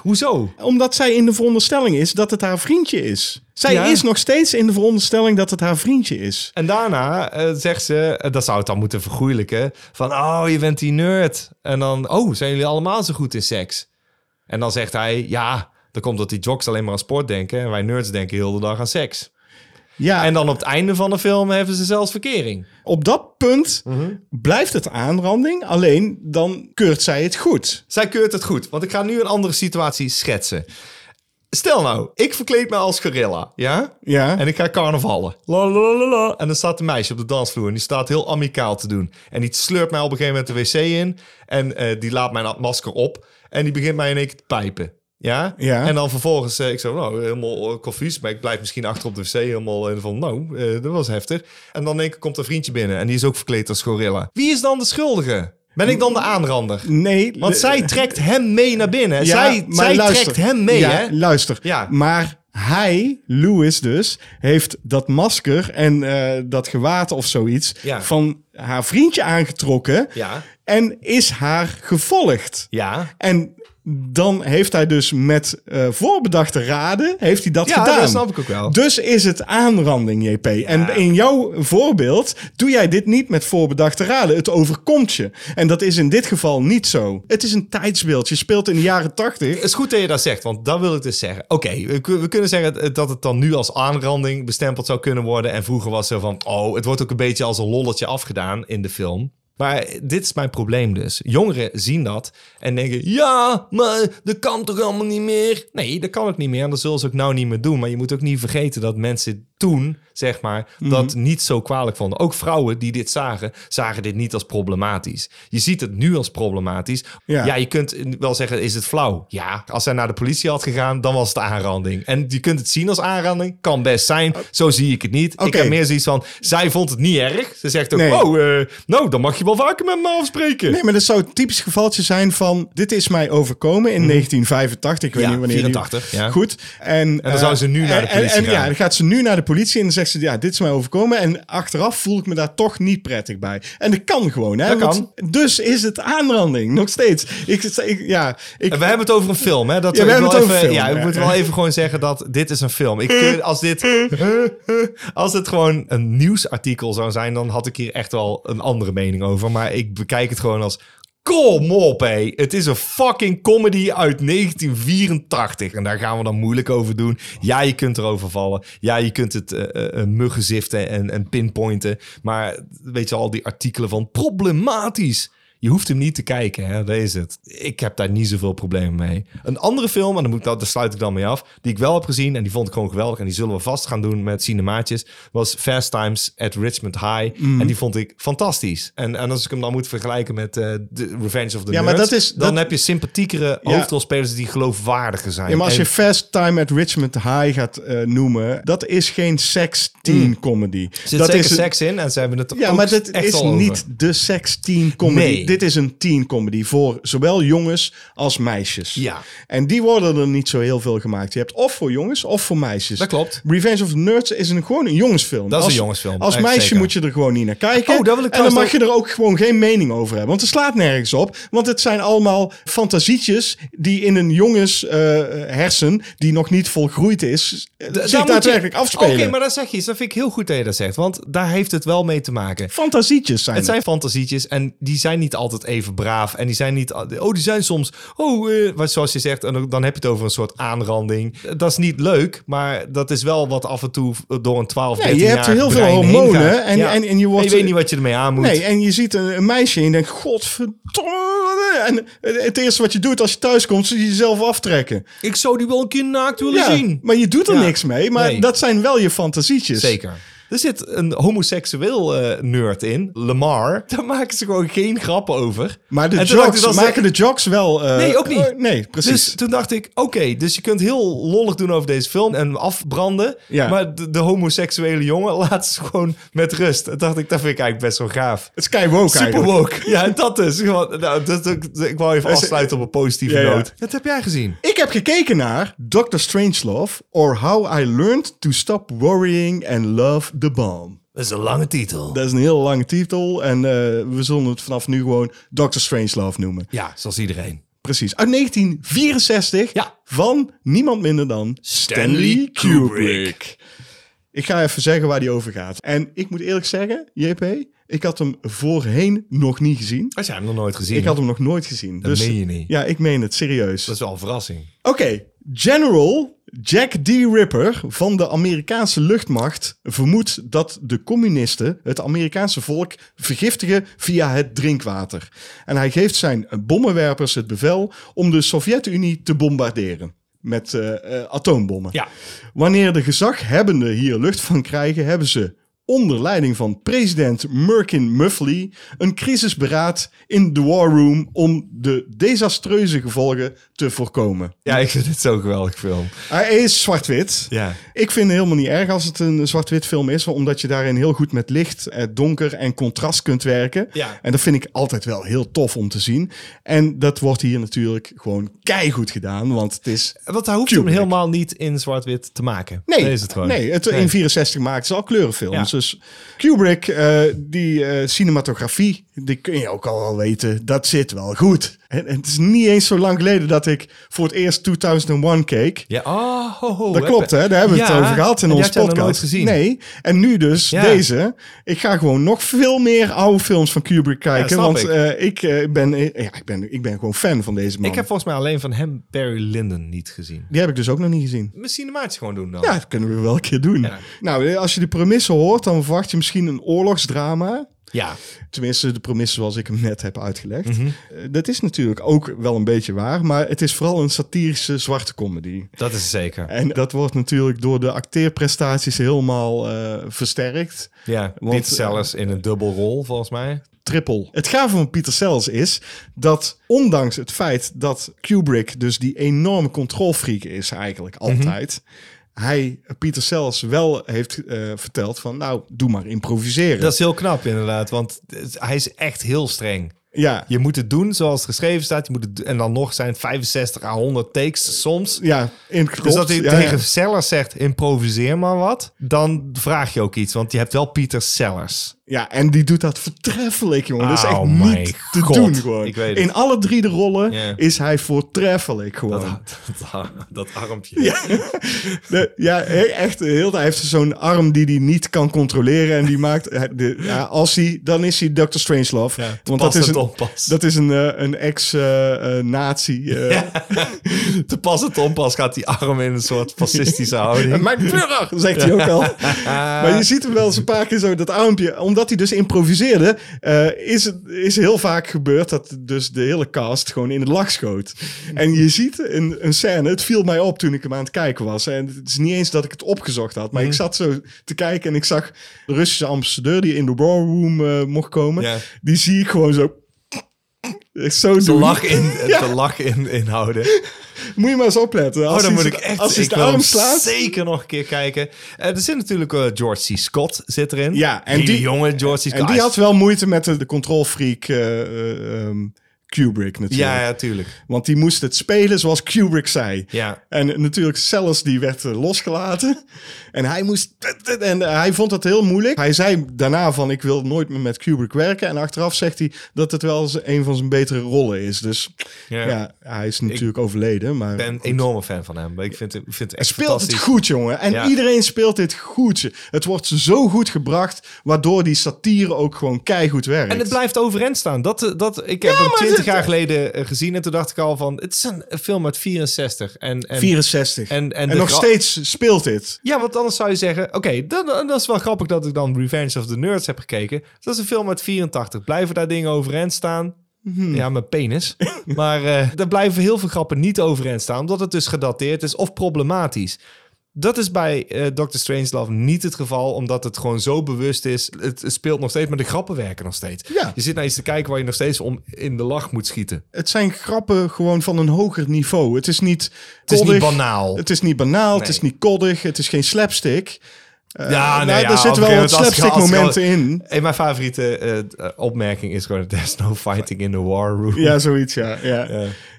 S2: hoezo?
S1: Omdat zij in de veronderstelling is dat het haar vriendje is. Zij
S2: Ja.
S1: is nog steeds in de veronderstelling dat het haar vriendje is.
S2: En daarna eh, zegt ze, eh, dat zou het dan moeten vergoeilijken, van oh, je bent die nerd. En dan, oh, zijn jullie allemaal zo goed in seks? En dan zegt hij, ja, dan komt dat die jocks alleen maar aan sport denken en wij nerds denken heel de dag aan seks.
S1: Ja,
S2: En
S1: en
S2: dan op het einde van de film hebben ze zelfs verkering.
S1: op dat punt blijft het aanranding. Alleen dan keurt zij het goed.
S2: Zij keurt het goed, want ik ga nu een andere situatie schetsen. Stel nou, ik verkleed me als gorilla, ja?
S1: Ja.
S2: En ik ga carnavallen. La, la, la, la. En dan staat een meisje op de dansvloer en die staat heel amicaal te doen. En die sleurt mij op een gegeven moment de wc in en eh, die laat mijn masker op. En die begint mij in één keer te pijpen. Ja?
S1: Ja.
S2: En dan vervolgens, eh, ik zo, nou, helemaal eh, confuus. Maar ik blijf misschien achter op de wc helemaal in van, nou, eh, dat was heftig. En dan in één keer komt een vriendje binnen en die is ook verkleed als gorilla. Wie is dan de schuldige? Ben ik dan de aanrander?
S1: Nee,
S2: Want
S1: de-
S2: zij trekt hem mee naar binnen.
S1: Ja,
S2: zij
S1: maar
S2: zij
S1: luister.
S2: trekt hem mee,
S1: ja,
S2: hè?
S1: Luister,
S2: Ja.
S1: maar hij, Louis dus, heeft dat masker en eh, dat gewaad of zoiets
S2: Ja.
S1: van haar vriendje aangetrokken
S2: Ja.
S1: en is haar gevolgd.
S2: Ja.
S1: En dan heeft hij dus met eh, voorbedachte raden, heeft hij dat
S2: Ja,
S1: gedaan.
S2: dat snap ik ook wel.
S1: Dus is het aanranding, JP. En in jouw voorbeeld doe jij dit niet met voorbedachte raden. Het overkomt je. En dat is in dit geval niet zo. Het is een tijdsbeeld. Je speelt in de jaren tachtig.
S2: Het is goed dat je dat zegt, want dat wil ik dus zeggen. Oké, we, kun- we kunnen zeggen dat het dan nu als aanranding bestempeld zou kunnen worden. En vroeger was er van, oh, het wordt ook een beetje als een lolletje afgedaan in de film. Maar dit is mijn probleem dus. Jongeren zien dat en denken, ja, maar dat kan toch allemaal niet meer? Nee, dat kan ook niet meer en dat zullen ze ook nou niet meer doen. Maar je moet ook niet vergeten dat mensen toen, zeg maar, dat niet zo kwalijk vonden. Ook vrouwen die dit zagen, zagen dit niet als problematisch. Je ziet het nu als problematisch.
S1: Ja.
S2: ja je kunt wel zeggen, is het flauw? Ja, als hij naar de politie had gegaan, dan was het aanranding. En je kunt het zien als aanranding, kan best zijn. Zo zie ik het niet. Ik
S1: Oh. Oké.
S2: heb meer zoiets van, zij vond het niet erg. Ze zegt ook,
S1: Nee.
S2: oh, eh, nou, dan mag je wel vaker met me afspreken.
S1: Nee, maar dat zou een typisch gevaltje zijn van... dit is mij overkomen in 1985. Ik weet
S2: Mhm. Ja,
S1: niet wanneer die-
S2: 84, ja.
S1: Goed. En, en
S2: dan zou ze nu naar de politie
S1: en, en, Ja,
S2: gaan.
S1: dan gaat ze nu naar de politie en dan zegt ze... ja, dit is mij overkomen. En achteraf voel ik me daar toch niet prettig bij. En dat kan gewoon, hè?
S2: Dat
S1: want Dus is het aanranding, nog steeds. Ik, ik, ja, ik,
S2: En we hebben het over een film, hè? Dat
S1: Ja, we
S2: ik
S1: hebben
S2: wel
S1: het over
S2: even-
S1: een film,
S2: Ja, ik
S1: ja.
S2: moet wel even gewoon zeggen dat dit is een film. Ik, keur- als, dit, als dit gewoon een nieuwsartikel zou zijn, dan had ik hier echt wel een andere mening over. Maar ik bekijk het gewoon als... Kom op, hé. Het is een fucking comedy uit 1984. En daar gaan we dan moeilijk over doen. Ja, je kunt erover vallen. Ja, je kunt het eh, eh, eh, muggen ziften en, en pinpointen. Maar weet je, al die artikelen van problematisch. Je hoeft hem niet te kijken, hè? dat is het. Ik heb daar niet zoveel problemen mee. Een andere film, en daar, moet ik, dan- daar sluit ik dan mee af... die ik wel heb gezien en die vond ik gewoon geweldig... en die zullen we vast gaan doen met cinemaatjes... was Fast Times at Richmond High.
S1: Mhm.
S2: En die vond ik fantastisch. En, en als ik hem dan moet vergelijken met eh, de Revenge of the
S1: Ja, maar
S2: Nerds...
S1: dat is-
S2: dan
S1: dat-
S2: heb je sympathiekere
S1: Ja.
S2: hoofdrolspelers... die geloofwaardiger zijn.
S1: Ja, maar als
S2: En-
S1: je Fast Time at Richmond High gaat eh, noemen, dat is geen sex teen
S2: Mm.
S1: comedy.
S2: er zit
S1: dat
S2: zeker
S1: is een-
S2: seks in en ze hebben het
S1: Ja,
S2: ook
S1: maar dit
S2: echt
S1: is
S2: al over.
S1: niet de sex teen comedy.
S2: Nee.
S1: Dit is een teen comedy voor zowel jongens als meisjes.
S2: Ja.
S1: En die worden er niet zo heel veel gemaakt. Je hebt of voor jongens of voor meisjes.
S2: Dat klopt.
S1: Revenge of the Nerds is een, gewoon een jongensfilm.
S2: Dat is
S1: Als-
S2: een jongensfilm,
S1: Als
S2: echt
S1: meisje
S2: zeker.
S1: moet je er gewoon niet naar kijken.
S2: Oh, dat wil ik
S1: en dan
S2: trouwens
S1: mag je er ook gewoon geen mening over hebben. Want het slaat nergens op. Want het zijn allemaal fantasietjes die in een jongens eh, hersen, die nog niet volgroeid is, eh,
S2: Da- daar
S1: zich
S2: moet je-
S1: daadwerkelijk afspelen.
S2: Oké, maar dat zeg je iets. Dat vind ik heel goed dat je dat zegt. Want daar heeft het wel mee te maken.
S1: Fantasietjes zijn
S2: Het zijn fantasietjes en die zijn niet altijd even braaf. En die zijn niet... al- Oh, die zijn soms... Oh, eh, wat- zoals je zegt, en dan- dan heb je het over een soort aanranding. Dat is niet leuk, maar dat is wel wat af en toe door een 12,
S1: Nee,
S2: 13
S1: je hebt heel veel hormonen en- en- en je wordt-
S2: weet niet wat je ermee aan moet.
S1: Nee, en je ziet een, een meisje en je denkt, godverdomme. En het het eerste wat je doet als je thuis komt, is jezelf aftrekken.
S2: Ik zou die wel een keer naakt willen
S1: Ja,
S2: zien.
S1: maar je doet er
S2: Ja.
S1: niks mee. Maar
S2: Nee.
S1: dat zijn wel je fantasietjes.
S2: Zeker. Er zit een homoseksueel eh, nerd in, Lamar. Daar maken ze gewoon geen grappen over.
S1: Maar de
S2: En toen dacht
S1: jocks,
S2: ik, dat is-
S1: maken de jocks wel... eh,
S2: Nee, ook niet.
S1: eh, nee, precies.
S2: Dus toen dacht ik, oké, dus je kunt heel lollig doen over deze film en hem afbranden.
S1: Ja.
S2: Maar de, de homoseksuele jongen laat ze gewoon met rust. Dat dacht ik, dat vind ik eigenlijk best wel gaaf.
S1: het is kei woke
S2: Super
S1: eigenlijk.
S2: woke. Ja, dat is. Gewoon, nou, dat, dat- ik wou even afsluiten op een positieve
S1: Ja, ja.
S2: noot. Dat heb jij gezien.
S1: Ik heb gekeken naar Dr. Strangelove... or How I Learned to Stop Worrying and Love the Bomb.
S2: Dat is een lange titel.
S1: Dat is een heel lange titel. En eh, we zullen het vanaf nu gewoon Dr. Strangelove noemen.
S2: Ja, zoals iedereen.
S1: Precies, uit 1964
S2: Ja.
S1: van niemand minder dan Stanley Kubrick. Ik ga even zeggen waar die over gaat. En ik moet eerlijk zeggen, JP, ik had hem voorheen nog niet gezien.
S2: Als jij hem nog nooit gezien
S1: Ik had hem nog nooit gezien. Dat
S2: meen je niet.
S1: Ja, ik meen het, serieus.
S2: Dat is wel een verrassing.
S1: Oké, General Jack D. Ripper van de Amerikaanse luchtmacht vermoedt dat de communisten het Amerikaanse volk vergiftigen via het drinkwater. En hij geeft zijn bommenwerpers het bevel om de Sovjet-Unie te bombarderen met eh, eh, atoombommen.
S2: Ja.
S1: Wanneer de gezaghebbenden hier lucht van krijgen, hebben ze onder leiding van president Merkin Muffley een crisisberaad in de War Room om de desastreuze gevolgen te voorkomen.
S2: Ja, ik vind het zo'n geweldig film.
S1: Hij is zwart-wit.
S2: Ja.
S1: Ik vind het helemaal niet erg als het een zwart-wit film is, omdat je daarin heel goed met licht, eh, donker en contrast kunt werken.
S2: Ja.
S1: En dat vind ik altijd wel heel tof om te zien. En dat wordt hier natuurlijk gewoon keigoed gedaan, want het is
S2: Want hij hoeft
S1: Kubrick.
S2: hem helemaal niet in zwart-wit te maken.
S1: Nee,
S2: Dat is het gewoon.
S1: nee het, in 64 maakten ze al kleurenfilms.
S2: Ja.
S1: Dus Kubrick, eh, die eh, cinematografie, die kun je ook al wel weten, dat zit wel goed. En, en het is niet eens zo lang geleden dat ik voor het eerst 2001 keek.
S2: Ja, oh, ho, ho.
S1: Dat klopt, hè? Daar hebben we
S2: Ja,
S1: het over gehad in
S2: en jij
S1: onze
S2: hebt hem nog
S1: podcast.
S2: nooit gezien.
S1: Nee. En nu dus
S2: Ja.
S1: deze. Ik ga gewoon nog veel meer oude films van Kubrick kijken.
S2: snap
S1: want
S2: ik.
S1: eh, ik, eh, ben, eh, ja, ik, ben, ik ben gewoon fan van deze man.
S2: Ik heb volgens mij alleen van hem Barry Lyndon niet gezien.
S1: Die heb ik dus ook nog niet gezien.
S2: Misschien de maatjes gewoon doen dan.
S1: Ja, dat kunnen we wel een keer doen.
S2: Ja.
S1: Nou, eh, als je de premisse hoort, dan verwacht je misschien een oorlogsdrama.
S2: Ja.
S1: Tenminste, de premisse zoals ik hem net heb uitgelegd.
S2: Mhm.
S1: Eh, Dat is natuurlijk ook wel een beetje waar, maar het is vooral een satirische zwarte comedy.
S2: dat is zeker.
S1: En dat wordt natuurlijk door de acteerprestaties helemaal eh, versterkt.
S2: Ja,
S1: Want,
S2: Niet zelfs in een dubbelrol volgens mij.
S1: Triple. Het gave van Pieter Sells is dat ondanks het feit dat Kubrick dus die enorme controlfreak is eigenlijk
S2: Mhm.
S1: altijd... Hij, Pieter Sells, wel heeft eh, verteld van nou, doe maar improviseren.
S2: Dat is heel knap inderdaad, want hij is echt heel streng.
S1: ja.
S2: Je moet het doen zoals het geschreven staat. Je moet het, do- en dan nog zijn het 65 à 100 takes soms.
S1: Ja, in
S2: Dus dat hij tegen Sellers zegt, improviseer maar wat. Dan vraag je ook iets, want je hebt wel Pieter Sellers.
S1: Ja, en die doet dat vertreffelijk, jongen. dat is echt
S2: Oh my
S1: niet te
S2: God.
S1: doen, gewoon.
S2: Ik weet het.
S1: In alle drie de rollen
S2: Ja.
S1: is hij voortreffelijk, gewoon.
S2: Dat, armpje. Ja.
S1: De- ja, he- echt, heel, hij heeft zo'n arm die hij niet kan controleren. En die maakt, hij- de, ja, als hij, dan is hij Dr. Strangelove.
S2: Ja,
S1: Want dat
S2: past
S1: is
S2: en
S1: een,
S2: onpast.
S1: dat is een, eh, een eh, ex-nazi.
S2: Te pas en te onpas gaat die arm in een soort fascistische houding. Eh,
S1: Mijn Führer, zegt hij ook al. Maar je ziet hem wel eens een paar keer zo dat armpje. Omdat hij dus improviseerde, eh, is, het, is heel vaak gebeurd dat dus de hele cast gewoon in het lach schoot. En je ziet een, een scène, het viel mij op toen ik hem aan het kijken was. En het is niet eens dat ik het opgezocht had,
S2: Mhm.
S1: maar ik zat zo te kijken en ik zag de Russische ambassadeur die in de War Room eh, mocht komen.
S2: Ja.
S1: Die zie ik gewoon zo... Zo
S2: Te
S1: doen.
S2: lach in, te lach in, inhouden.
S1: Moet je maar eens opletten.
S2: Oh,
S1: Als
S2: dan
S1: hij
S2: moet ik
S1: z-
S2: echt.
S1: Als hij
S2: ik
S1: de
S2: wil
S1: arm
S2: hem
S1: slaat...
S2: zeker nog een keer kijken. Eh, er zit natuurlijk eh, George C. Scott zit erin.
S1: Ja, en
S2: Hele
S1: die-
S2: jonge George C. Scott.
S1: En die had wel moeite met de, de controlfreak eh, eh, ehm, Kubrick natuurlijk.
S2: Ja, ja, tuurlijk.
S1: Want die moest het spelen zoals Kubrick zei.
S2: Ja.
S1: En natuurlijk Sellers die werd eh, losgelaten. En hij moest... En hij vond dat heel moeilijk. Hij zei daarna van ik wil nooit meer met Kubrick werken. En achteraf zegt hij dat het wel eens een van zijn betere rollen is. Dus ja,
S2: Ja.
S1: hij is natuurlijk overleden. Maar
S2: Ik ben een enorme fan van hem. Ik vind, ik vind het echt
S1: speelt het
S2: fantastisch.
S1: goed, jongen. En
S2: Ja.
S1: iedereen speelt dit goed. Het wordt zo goed gebracht, waardoor die satire ook gewoon keigoed werkt.
S2: En het blijft overeind staan. Dat, eh, dat, ik heb hem
S1: maar
S2: 20
S1: dit-
S2: jaar geleden eh, gezien en toen dacht ik al van... Het is een film uit 64. En, en,
S1: 64.
S2: En- en de
S1: nog
S2: gra-
S1: steeds speelt dit.
S2: Ja, want anders zou je zeggen... Oké, dat, dat is wel grappig dat ik dan Revenge of the Nerds heb gekeken. Dat is een film uit 84. Blijven daar dingen overeind staan? Ja, mijn penis. maar eh daar blijven heel veel grappen niet overeind staan... omdat het dus gedateerd is of problematisch. Dat is bij eh Dr. Strangelove niet het geval, omdat het gewoon zo bewust is. Het speelt nog steeds, maar de grappen werken nog steeds.
S1: Ja.
S2: Je zit naar iets te kijken waar je nog steeds om in de lach moet schieten.
S1: Het zijn grappen gewoon van een hoger niveau. Het is niet
S2: Het is
S1: koddig.
S2: niet banaal.
S1: Het is niet banaal. Het
S2: Nee.
S1: is niet koddig. Het is geen slapstick.
S2: ja,
S1: nou,
S2: nee, ja,
S1: er
S2: op
S1: zitten wel wat
S2: een gegeven moment als-
S1: slapstick
S2: als-
S1: momenten in.
S2: Een van mijn favoriete eh, eh, opmerking is gewoon... There's no fighting in the war room.
S1: Ja, zoiets, ja. Ja,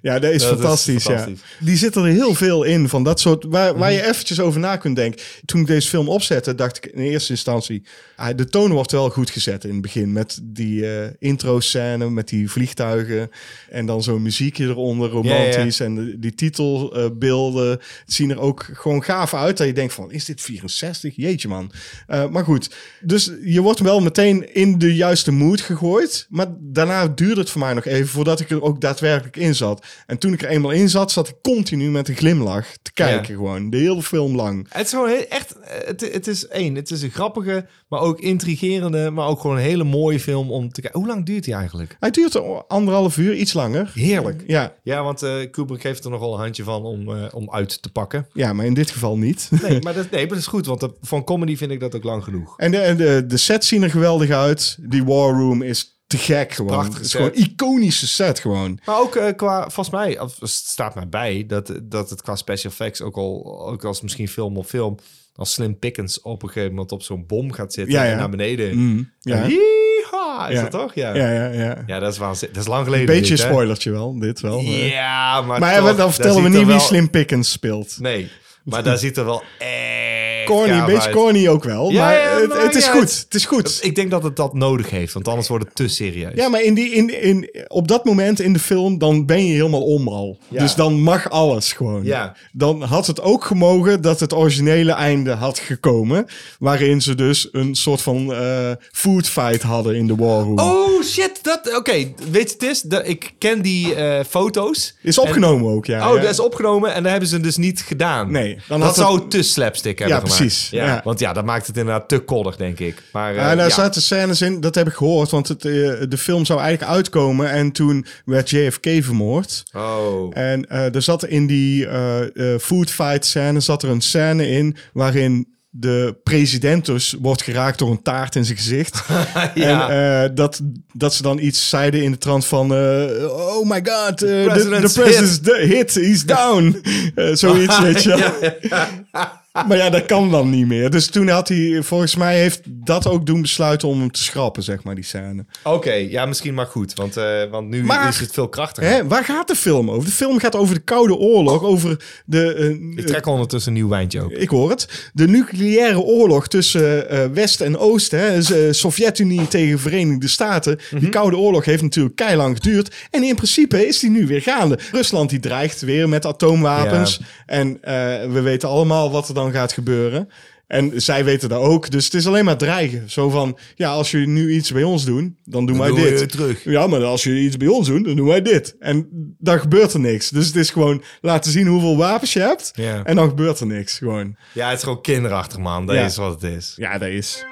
S1: ja. dat is
S2: Dat is
S1: fantastisch,
S2: fantastisch. Mhm.
S1: Ja. Die zitten er heel veel in van dat soort... Waar, waar je eventjes over na kunt denken. Toen ik deze film opzette, dacht ik in eerste instantie... ah, de toon wordt wel goed gezet in het begin. Met die eh intro-scène, met die vliegtuigen. En dan zo'n muziekje eronder, romantisch. En de- die titelbeelden zien er ook gewoon gaaf uit. Dat je denkt van, is dit 64? Jeetje, man. Eh, maar goed, dus je wordt wel meteen in de juiste mood gegooid. Maar daarna duurde het voor mij nog even voordat ik er ook daadwerkelijk in zat. En toen ik er eenmaal in zat, zat ik continu met een glimlach te kijken gewoon. De hele film lang.
S2: Het is gewoon heel- echt... eh, Het, het is één, het is een grappige, maar ook intrigerende... maar ook gewoon een hele mooie film om te kijken. Hoe lang duurt die eigenlijk?
S1: Hij duurt anderhalf uur, iets langer.
S2: Heerlijk.
S1: Ja,
S2: Ja, want eh Kubrick heeft er nogal een handje van om, eh, om uit te pakken.
S1: ja, maar in dit geval niet.
S2: Nee, maar dat, nee, maar dat is goed, want dat- van comedy vind ik dat ook lang genoeg.
S1: En de, en de, de sets zien er geweldig uit. Die War Room is te gek gewoon.
S2: Prachtige
S1: het is
S2: set.
S1: gewoon een iconische set gewoon.
S2: Maar ook eh, qua, volgens mij, of, het staat mij bij dat, dat het qua special effects, ook al ook als misschien film op film, als Slim Pickens op een gegeven moment op zo'n bom gaat zitten
S1: Ja, ja.
S2: en naar beneden.
S1: ja.
S2: En yeehaw, is
S1: Ja.
S2: dat toch? Mm. Ja. ja.
S1: Ja, ja, ja.
S2: dat is waanzinnig. Dat is lang geleden.
S1: Beetje
S2: dit, hè?
S1: spoilertje wel, dit wel.
S2: Ja, maar,
S1: Maar
S2: toch,
S1: dan
S2: daar
S1: vertellen we
S2: ziet
S1: niet
S2: er
S1: wie
S2: wel-
S1: Slim Pickens speelt.
S2: Nee, maar daar ziet er wel echt
S1: corny, een
S2: gaaf
S1: beetje
S2: uit.
S1: corny ook wel.
S2: Ja,
S1: maar
S2: ja,
S1: het,
S2: maakt
S1: het is
S2: niet
S1: goed,
S2: uit.
S1: het is goed.
S2: Ik denk dat het dat nodig heeft, want anders wordt het te serieus.
S1: Ja, maar in die, in, in, op dat moment in de film, dan ben je helemaal om al.
S2: Ja.
S1: Dus dan mag alles gewoon.
S2: Ja.
S1: Dan had het ook gemogen dat het originele einde had gekomen. Waarin ze dus een soort van eh food fight hadden in de war room.
S2: Oh shit, dat. Oké, weet je het is? Dat, ik ken die eh, foto's.
S1: Is opgenomen ook, ja.
S2: En- oh,
S1: ja.
S2: dat is opgenomen en dat hebben ze dus niet gedaan.
S1: Nee, dan
S2: dat
S1: had het-
S2: zou te slapstick hebben
S1: Ja,
S2: gemaakt.
S1: precies,
S2: Ja,
S1: ja.
S2: Want ja, dat maakt het inderdaad te koddig, denk ik. Maar, eh,
S1: Ja, nou, en daar
S2: ja.
S1: zaten scènes in, dat heb ik gehoord, want het, eh, de film zou eigenlijk uitkomen en toen werd JFK vermoord.
S2: Oh.
S1: En eh, er zat in die eh, eh, food fight scène zat er een scène in waarin de president dus wordt geraakt door een taart in zijn gezicht.
S2: ja.
S1: En eh, dat, dat ze dan iets zeiden in de trant van... eh, oh my god, eh, the the,
S2: president's
S1: president's d- hit, he's down. Eh, zoiets, weet je wel. Maar ja, dat kan dan niet meer. Dus toen had hij, volgens mij heeft dat ook doen besluiten om hem te schrappen, zeg maar, die scène.
S2: Oh. Oké, ja, misschien maar goed. Want, eh, want nu
S1: Maar-
S2: is het veel krachtiger.
S1: Hè, waar gaat de film over? De film gaat over de Koude Oorlog, over de... eh,
S2: Ik trek ondertussen een nieuw wijntje ook.
S1: ik hoor het. De nucleaire oorlog tussen eh, West en Oost, hè, dus, eh, Sovjet-Unie tegen Verenigde Staten. Die
S2: Mhm.
S1: Koude Oorlog heeft natuurlijk keilang geduurd. En in principe is die nu weer gaande. Rusland die dreigt weer met atoomwapens.
S2: Ja.
S1: En eh, we weten allemaal wat er dan gaat gebeuren. En zij weten dat ook. Dus het is alleen maar dreigen. Zo van, ja, als jullie nu iets bij ons doen, dan doen wij
S2: doen we
S1: dit.
S2: het terug.
S1: Ja, maar als jullie iets bij ons doen, dan doen wij dit. En dan gebeurt er niks. Dus het is gewoon laten zien hoeveel wapens je hebt.
S2: Ja.
S1: En dan gebeurt er niks, gewoon.
S2: Ja, het is gewoon kinderachtig, man. Dat
S1: Ja.
S2: is wat het is.
S1: Ja, dat is.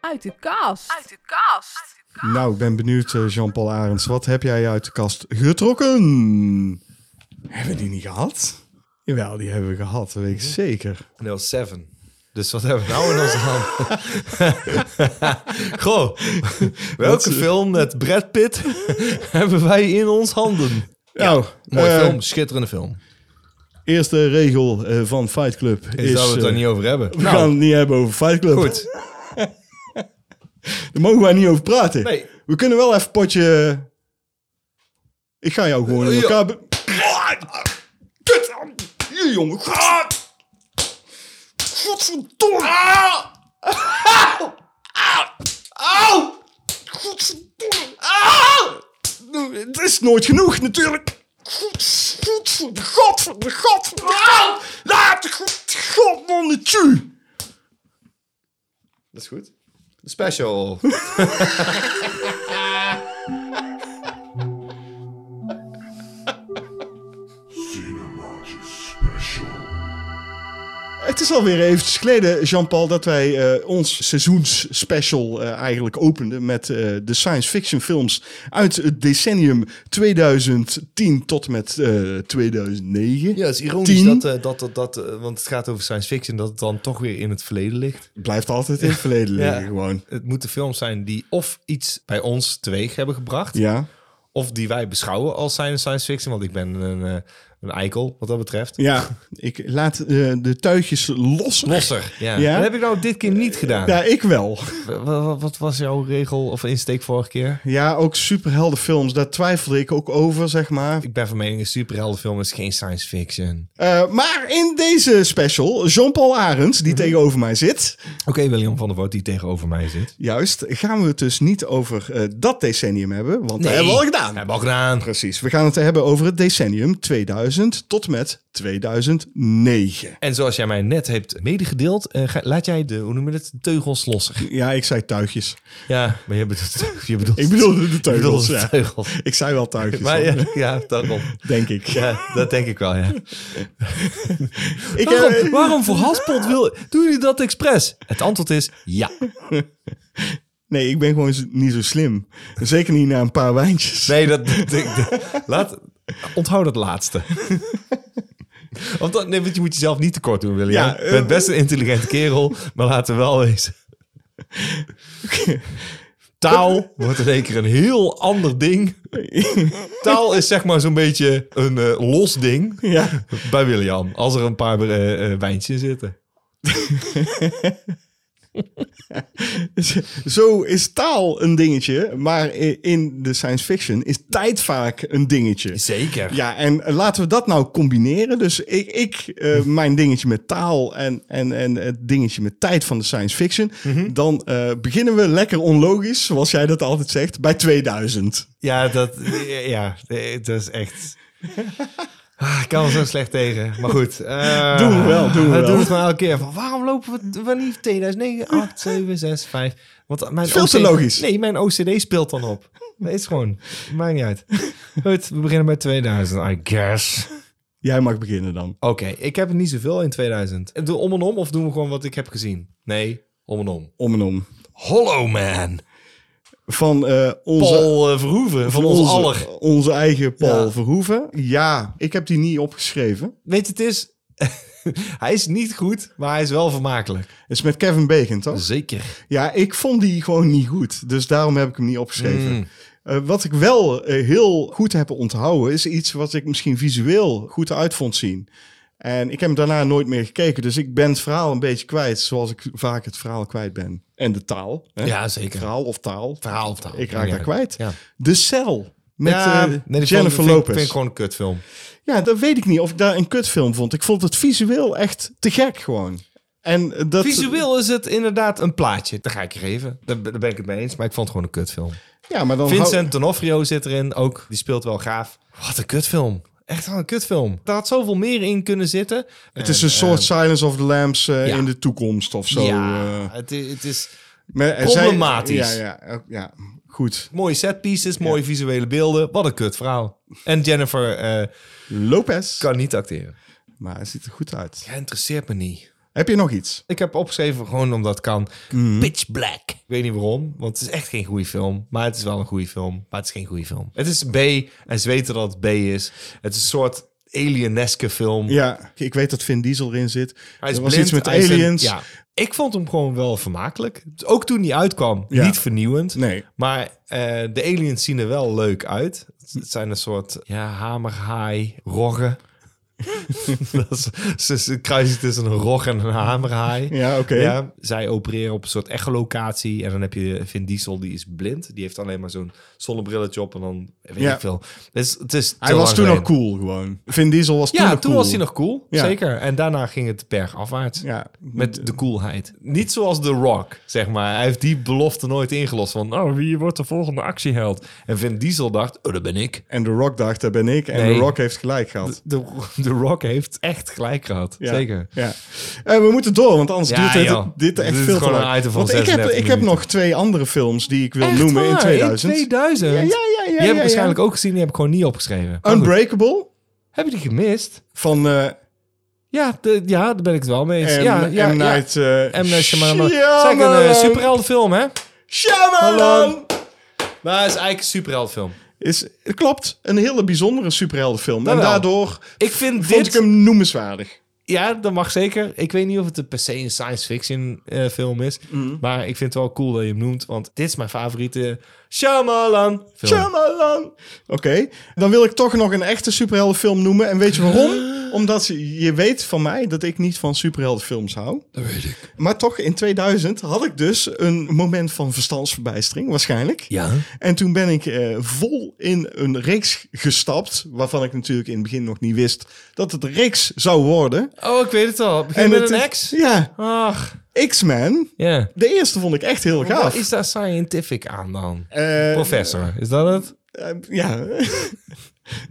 S3: Uit de kast.
S1: Nou, ik ben benieuwd, eh, Jean-Paul Arends. Wat heb jij uit de kast getrokken? Hebben we die niet gehad? Jawel, die hebben we gehad, dat weet ik zeker.
S2: Dat was Seven. Dus wat hebben we nou in onze hand? Goh, welke
S1: eh,
S2: film met Brad Pitt hebben wij in ons handen?
S1: Nou,
S2: Mooie
S1: eh,
S2: film, schitterende film.
S1: Eerste regel eh, van Fight Club is...
S2: Is, dat we het
S1: eh,
S2: daar niet over hebben? Nou,
S1: we gaan het niet hebben over Nou. Fight Club.
S2: goed.
S1: Daar mogen wij niet over praten.
S2: Nee.
S1: We kunnen wel even potje... Ik ga jou gewoon in
S2: Ja.
S1: elkaar... be- Kut! Hier, jongen. Godverdomme!
S2: Au!
S1: Godverdomme. Ah! Het is nooit genoeg, natuurlijk. Gods- Godver, godver, godver. Ah! Laat god, godmonnetje.
S2: Dat is goed. Special.
S1: Het is alweer eventjes geleden, Jean-Paul, dat wij eh, ons seizoensspecial eh, eigenlijk openden met eh, de science fiction films uit het decennium 2010 tot en met eh, 2009.
S2: Ja, het is ironisch
S1: Tien.
S2: dat, eh, dat, dat, dat eh, want het gaat over science fiction, dat het dan toch weer in het verleden ligt.
S1: Het blijft altijd in het verleden liggen,
S2: Ja.
S1: gewoon.
S2: Het moeten films zijn die of iets bij ons teweeg hebben gebracht,
S1: Ja.
S2: of die wij beschouwen als zijn science fiction, want ik ben een, eh, een eikel wat dat betreft.
S1: Ja, ik laat eh, de tuigjes los.
S2: Losser, ja.
S1: Ja?
S2: Dat heb ik nou dit keer niet gedaan.
S1: Ja, ik wel.
S2: Wa- wa- wa- Wat was jouw regel of insteek vorige keer?
S1: Ja, ook superheldenfilms, daar twijfelde ik ook over, zeg maar.
S2: Ik ben van mening, een superheldenfilm is geen science fiction.
S1: Eh, maar in deze special, Jean-Paul Arends,
S2: Mhm.
S1: die tegenover mij zit...
S2: Oké, William van der Voort, die tegenover mij zit.
S1: Juist, gaan we het dus niet over eh, dat decennium hebben, want dat hebben we al gedaan.
S2: Hebben we al gedaan.
S1: Precies, we gaan het hebben over het decennium 2000 tot met 2009.
S2: En zoals jij mij net hebt medegedeeld, eh, ga- laat jij de, hoe noem je het, teugels losser.
S1: Ja, ik zei tuigjes.
S2: Ja, maar je bedoelt... Je bedoelt
S1: Ik bedoelde de
S2: je bedoelt
S1: teugels,
S2: de
S1: ja.
S2: teugels.
S1: Ik zei wel tuigjes,
S2: Maar
S1: hoor,
S2: ja, ja, daarom.
S1: denk ik.
S2: Ja, dat denk ik wel, ja.
S1: ik
S2: Waarom,
S1: eh,
S2: waarom voor Haspelt wil... Doen jullie dat expres? Het antwoord is ja.
S1: nee, ik ben gewoon z- niet zo slim. Zeker niet na een paar wijntjes.
S2: Nee, dat... dat- dat- laat, onthoud het laatste. Want, dan, nee, want je moet jezelf niet tekort doen, William.
S1: Ja,
S2: je bent best een intelligente kerel, maar laten we wel wezen. Taal wordt in één keer een heel ander ding. Taal is zeg maar zo'n beetje een eh, los ding
S1: ja.
S2: bij William. Als er een paar eh eh, wijntjes in zitten.
S1: Zo is taal een dingetje, maar i- in de science fiction is tijd vaak een dingetje.
S2: Zeker.
S1: Ja, en laten we dat nou combineren. Dus ik, ik eh,
S2: Mhm.
S1: mijn dingetje met taal en, en, en het dingetje met tijd van de science fiction.
S2: Mhm.
S1: Dan eh, beginnen we lekker onlogisch, zoals jij dat altijd zegt, bij 2000.
S2: Ja, dat, ja, dat is echt... Ah, ik kan er zo slecht tegen. Maar goed. eh,
S1: Doen we wel, doen we wel.
S2: Doen het maar elke keer. Van, waarom lopen we wanneer 2009, 8, 7, 6, 5? Want mijn
S1: Veel te
S2: OCD
S1: logisch.
S2: Nee, mijn OCD speelt dan op. Dat is gewoon. Maakt niet uit. Goed, we beginnen bij 2000, I guess.
S1: Jij mag beginnen dan.
S2: Oké, ik heb er niet zoveel in 2000. Doe om en om of doen we gewoon wat ik heb gezien? Nee, om en om.
S1: Om en om.
S2: Hollow Man.
S1: Van eh, onze...
S2: Paul eh, Verhoeven, van ons aller.
S1: Onze eigen Paul
S2: Ja.
S1: Verhoeven. Ja, ik heb die niet opgeschreven.
S2: Weet je, het is... hij is niet goed, maar hij is wel vermakelijk.
S1: Het is met Kevin Bacon, toch?
S2: Zeker.
S1: Ja, ik vond die gewoon niet goed. Dus daarom heb ik hem niet opgeschreven.
S2: Mm.
S1: Eh, wat ik wel eh, heel goed heb onthouden, is iets wat ik misschien visueel goed uit vond zien. En ik heb hem daarna nooit meer gekeken. Dus ik ben het verhaal een beetje kwijt, zoals ik vaak het verhaal kwijt ben. En de taal. Hè?
S2: Ja, zeker.
S1: Verhaal of taal.
S2: Verhaal of taal.
S1: Ik raak daar
S2: Ja.
S1: kwijt.
S2: Ja.
S1: De Cel. Met eh,
S2: nee, die
S1: Jennifer
S2: vond- vind,
S1: Lopez.
S2: vind ik gewoon een kutfilm.
S1: Ja, dat weet ik niet of ik daar een kutfilm vond. Ik vond het visueel echt te gek gewoon. En eh, dat,
S2: Visueel is het inderdaad een plaatje. Daar ga ik je geven. Daar, ben- daar ben ik het mee eens, maar ik vond het gewoon een kutfilm.
S1: Ja, maar dan hou-
S2: Vincent D'Onofrio zit erin ook. Die speelt wel gaaf. Wat een kutfilm. Echt wel een kutfilm. Daar had zoveel meer in kunnen zitten.
S1: het is een soort Silence of the Lambs eh,
S2: ehm, ja.
S1: in de toekomst of zo.
S2: ja,
S1: eh.
S2: het, i- het is
S1: Maar er zijn-
S2: Problematisch.
S1: ja, ja, ja, ja, goed.
S2: mooie set pieces, mooie visuele beelden. Wat een kut verhaal. En Jennifer eh,
S1: Lopez.
S2: kan niet acteren.
S1: Maar hij ziet er goed uit.
S2: Ja, interesseert me niet.
S1: Heb je nog iets?
S2: Ik heb opgeschreven gewoon omdat het kan. Pitch Black. Ik weet niet waarom, want het is echt geen goede film. Maar het is wel een goede film. Maar het is geen goede film. Het is B en ze weten dat het B is. Het is een soort alieneske film.
S1: Ja, ik weet dat Vin Diesel erin zit.
S2: Hij is
S1: er was
S2: blind,
S1: iets met
S2: hij is een-
S1: aliens.
S2: ja. Ik vond hem gewoon wel vermakelijk. Ook toen hij uitkwam,
S1: Ja.
S2: niet vernieuwend.
S1: Nee.
S2: Maar eh, de aliens zien er wel leuk uit. Het zijn een soort ja, hamerhaai, roggen. dat is, is- is een kruising tussen een rog en een hamerhaai.
S1: Ja, oké.
S2: Ja, zij opereren op een soort echolocatie. En dan heb je Vin Diesel, die is blind. Die heeft alleen maar zo'n zonnebrilletje op. En dan weet
S1: Ja.
S2: ik veel. Het is, het is te
S1: Hij
S2: lang
S1: was toen
S2: geleden.
S1: al cool gewoon. Vin Diesel was toen
S2: Ja,
S1: al
S2: toen
S1: cool.
S2: was hij nog cool.
S1: Ja.
S2: Zeker. En daarna ging het bergafwaarts.
S1: Ja.
S2: Met de coolheid. Niet zoals The Rock, zeg maar. Hij heeft die belofte nooit ingelost. Van, oh, wie wordt de volgende actieheld? En Vin Diesel dacht, oh, dat ben ik.
S1: En The Rock dacht, daar ben ik. En
S2: Nee.
S1: The Rock heeft gelijk gehad.
S2: De, de Rock heeft echt gelijk gehad.
S1: Ja,
S2: Zeker.
S1: Ja. Eh, we moeten door, want anders
S2: Ja,
S1: duurt dit,
S2: joh.
S1: dit
S2: Dit
S1: echt
S2: is
S1: veel te
S2: gewoon
S1: lang.
S2: een item van
S1: Want ik heb,
S2: 36
S1: ik heb
S2: minuten.
S1: nog twee andere films die ik wil
S2: Echt
S1: noemen in
S2: waar,
S1: 2000.
S2: In 2000?
S1: Ja, ja, ja, ja,
S2: Die
S1: ja,
S2: heb ik
S1: ja.
S2: waarschijnlijk ook gezien. Die heb ik gewoon niet opgeschreven. Maar Oh, goed.
S1: Unbreakable
S2: Heb je die gemist?
S1: van eh
S2: Ja, de- ja, daar ben ik het wel mee eens.
S1: M,
S2: ja, ja,
S1: M. Night
S2: Ja.
S1: eh,
S2: M. Night Shyamalan.
S1: Shyamalan.
S2: Zeg, een eh, superheldenfilm, hè?
S1: Shyamalan!
S2: Maar het is eigenlijk een superheldenfilm.
S1: Is, het klopt, een hele bijzondere superheldenfilm. En
S2: Jawel.
S1: daardoor
S2: Ik vind
S1: vond
S2: dit...
S1: ik hem noemenswaardig.
S2: Ja, dat mag zeker. Ik weet niet of het een per se een science fiction eh, film is.
S1: Mhm.
S2: Maar ik vind het wel cool dat je hem noemt. Want dit is mijn favoriete Shyamalan film.
S1: Shyamalan! Oké, dan wil ik toch nog een echte superheldenfilm noemen. En weet je waarom? Omdat je je weet van mij dat ik niet van superheldenfilms hou.
S2: dat weet ik.
S1: Maar toch, in 2000 had ik dus een moment van verstandsverbijstering, waarschijnlijk.
S2: Ja.
S1: En toen ben ik eh, vol in een reeks gestapt, waarvan ik natuurlijk in het begin nog niet wist dat het een reeks zou worden.
S2: Oh, ik weet het al. Begin met
S1: het
S2: een
S1: is-
S2: X.
S1: Ja,
S2: Ach,
S1: X-Men.
S2: ja.
S1: De eerste vond ik echt heel
S2: Wat
S1: gaaf.
S2: Oh, is daar scientific aan dan?
S1: Eh,
S2: Professor, is dat het?
S1: eh, ja,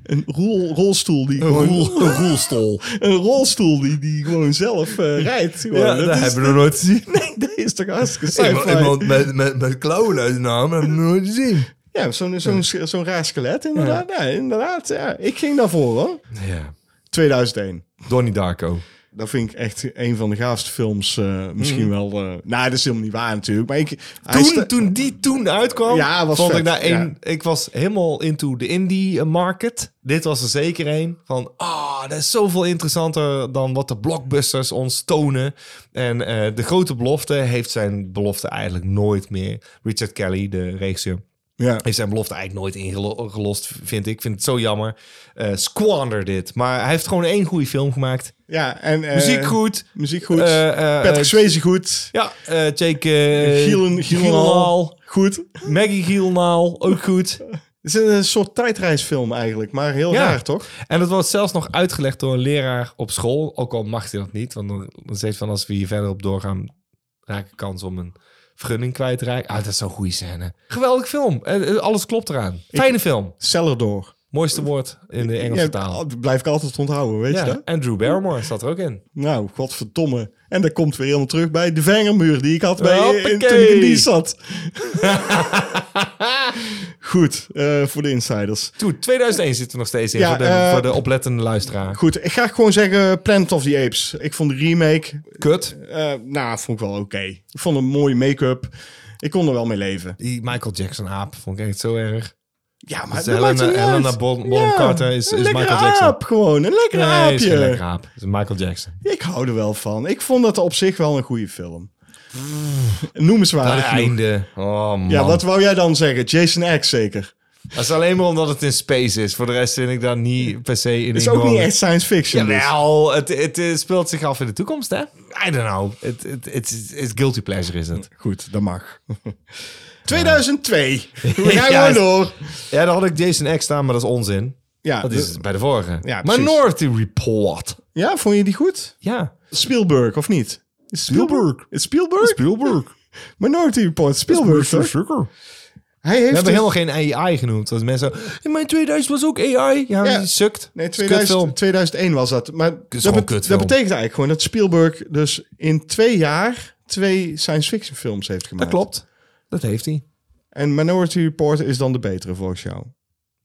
S1: een roel, rolstoel die gewoon...
S2: een roelstol.
S1: Een rolstoel die, die gewoon zelf eh, rijdt. Gewoon,
S2: Ja, dat,
S1: is,
S2: hebben we nog nooit gezien.
S1: Nee, dat is toch hartstikke sci-fi.
S2: met, met, met klauwen uit de naam hebben we nooit gezien.
S1: Ja, zo'n zo'n zo'n raar skelet inderdaad. Ja, inderdaad. Ja. Ik ging daarvoor hoor.
S2: Ja.
S1: 2001.
S2: Donnie Darko.
S1: Dat vind ik echt een van de gaafste films. eh, misschien wel. eh nou, dat is helemaal niet waar natuurlijk. Maar ik, hij
S2: Toen,
S1: sta-
S2: toen die toen uitkwam,
S1: Ja, was
S2: vond
S1: vet,
S2: ik daar
S1: ja.
S2: één. Ik was helemaal into de indie eh, market. Dit was er zeker één van. Ah, dat is zoveel interessanter dan wat de blockbusters ons tonen. En eh, de grote belofte heeft zijn belofte eigenlijk nooit meer. Richard Kelly, de regisseur.
S1: Ja.
S2: Heeft zijn belofte eigenlijk nooit ingelost, vind ik. Ik vind het zo jammer. Eh squander dit. Maar hij heeft gewoon één goede film gemaakt.
S1: ja en, eh,
S2: Muziek goed.
S1: Muziek goed.
S2: Eh, eh,
S1: Patrick
S2: eh,
S1: Swayze goed.
S2: Ja, eh, Jake eh,
S1: Gielen,
S2: Gyllenhaal.
S1: Gielenal. Goed.
S2: Maggie Gyllenhaal, ook goed.
S1: Het is een soort tijdreisfilm eigenlijk, maar heel
S2: Ja.
S1: raar toch?
S2: En dat wordt zelfs nog uitgelegd door een leraar op school. Ook al mag hij dat niet. Want dan dan zegt van als we hier verder op doorgaan, raak ik kans om een vergunning kwijt te raken. Ah, dat is zo'n goede scène. Geweldig film. Eh, eh, Alles klopt eraan. Fijne film.
S1: Cellador.
S2: Mooiste woord in de Engelse
S1: Ja,
S2: taal.
S1: Dat blijf ik altijd onthouden, weet je
S2: Ja,
S1: dat?
S2: en Drew Barrymore staat er ook in.
S1: Nou, godverdomme. En dat komt weer helemaal terug bij de vengermuur die ik had bij, eh, in, toen ik
S2: Hoppakee.
S1: in die zat. Goed, eh, voor de insiders.
S2: Toen, 2001 zitten we nog steeds in
S1: Ja,
S2: voor, de,
S1: eh,
S2: voor de oplettende luisteraar.
S1: Goed, ik ga gewoon zeggen Planet of the Apes. Ik vond de remake,
S2: Kut.
S1: eh, nou, vond ik wel oké. Ik vond een mooie make-up. Ik kon er wel mee leven.
S2: Die Michael Jackson aap vond ik echt zo erg.
S1: Ja, maar
S2: Dus
S1: dat maakt
S2: Helena,
S1: er niet uit.
S2: Helena Bon- Bonham
S1: Ja,
S2: Carter is,
S1: een
S2: is
S1: lekkere
S2: Michael Jackson.
S1: aap gewoon, een lekker
S2: Nee, is
S1: aapje.
S2: geen lekker aap. Is Michael Jackson.
S1: Ik hou er wel van. Ik vond dat op zich wel een goede film. Noemenswaardig genoeg.
S2: Mm. einde. Oh man.
S1: Ja, wat wou jij dan zeggen? Jason X zeker.
S2: Dat is alleen maar omdat het in space is. Voor de rest vind ik dat niet per se in
S1: Het is ook niet echt science fiction. dus.
S2: Jawel, het, het, eh, speelt zich af in de toekomst, hè? I don't know. Het het- het is het is guilty pleasure, is het.
S1: Goed, dat mag. 2002. We gaan
S2: Ja,
S1: gewoon door.
S2: Ja, daar had ik Jason X staan, maar dat is onzin.
S1: Ja,
S2: Dat is
S1: de-
S2: bij de vorige.
S1: Ja, precies.
S2: Minority Report.
S1: ja, vond je die goed?
S2: Ja.
S1: Spielberg, of niet? Is Spielberg. Is Spielberg?
S2: Spielberg.
S1: Minority Report, Spielberg. toch?
S2: Zucker.
S1: Hij heeft
S2: We hebben
S1: het-
S2: helemaal geen AI genoemd. Dat mensen zo, in mijn 2000 was ook AI. Ja,
S1: Ja.
S2: die sukt.
S1: Nee,
S2: Het is een kutfilm.
S1: 2000, 2001 was dat. Maar dat,
S2: gewoon
S1: bet- dat
S2: kutfilm.
S1: betekent eigenlijk gewoon dat Spielberg dus in twee jaar twee science fiction films heeft gemaakt.
S2: Dat klopt. Dat heeft hij.
S1: En Minority Report is dan de betere volgens jou.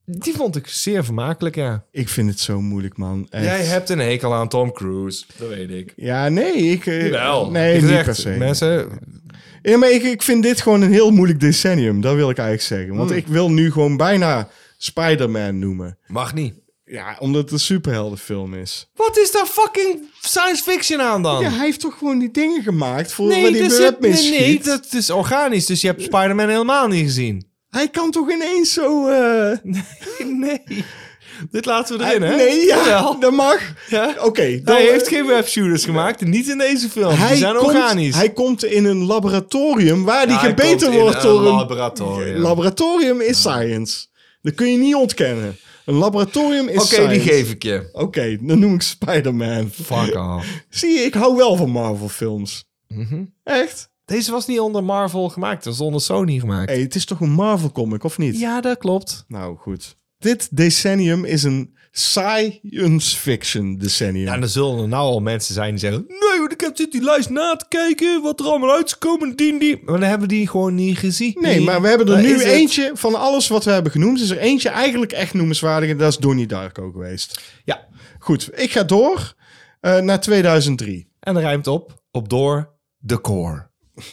S2: Die vond ik zeer vermakelijk, ja.
S1: Ik vind het zo moeilijk, man. Echt.
S2: Jij hebt een hekel aan Tom Cruise. Dat weet ik.
S1: Ja, nee, ik... eh,
S2: Wel.
S1: Nee,
S2: ik
S1: niet
S2: zeg,
S1: per se.
S2: Mensen,
S1: Ja, maar ik, ik vind dit gewoon een heel moeilijk decennium. Dat wil ik eigenlijk zeggen. Want
S2: Hmm.
S1: ik wil nu gewoon bijna Spider-Man noemen.
S2: mag niet.
S1: Ja, omdat het een superheldenfilm is.
S2: Wat is daar fucking science fiction aan dan?
S1: Ja, hij heeft toch gewoon die dingen gemaakt voor waar
S2: Oh. nee,
S1: die
S2: dat is,
S1: web
S2: nee,
S1: mis
S2: nee, dat is organisch. Dus je hebt Spider-Man helemaal niet gezien.
S1: Hij kan toch ineens zo... eh,
S2: Nee. Dit laten we
S1: hij-
S2: erin, hè?
S1: nee, ja,
S2: Jawel.
S1: dat mag.
S2: Ja.
S1: Oké. dan- eh,
S2: Hij heeft geen webshooters gemaakt. Niet in deze film.
S1: Hij
S2: Die zijn
S1: komt,
S2: organisch.
S1: Hij komt in een laboratorium waar die gebeten wordt door een... Een laboratorium is science. Dat kun je niet ontkennen. Een laboratorium is
S2: Oké,
S1: science.
S2: die geef ik je.
S1: Oké, dan noem ik Spider-Man.
S2: Fuck off.
S1: Zie je, ik hou wel van Marvel-films.
S2: Mhm.
S1: Echt?
S2: Deze was niet onder Marvel gemaakt. Dat was onder Sony gemaakt.
S1: hey, het is toch een Marvel-comic, of niet?
S2: Ja, dat klopt.
S1: Nou, goed. Dit decennium is een science fiction decennium.
S2: Ja, en er zullen er nou al mensen zijn die zeggen... Nee, want ik heb dit die lijst na te kijken. Wat er allemaal uit is gekomen, dien die. Maar dan hebben we die gewoon niet gezien.
S1: nee, maar we hebben er
S2: Daar
S1: nu
S2: is het.
S1: eentje... Van alles wat we hebben genoemd, is er eentje eigenlijk echt noemenswaardig. En dat is Donnie Darko geweest.
S2: Ja,
S1: Goed, ik ga door eh, naar 2003.
S2: en dat ruimt op. Op door de core.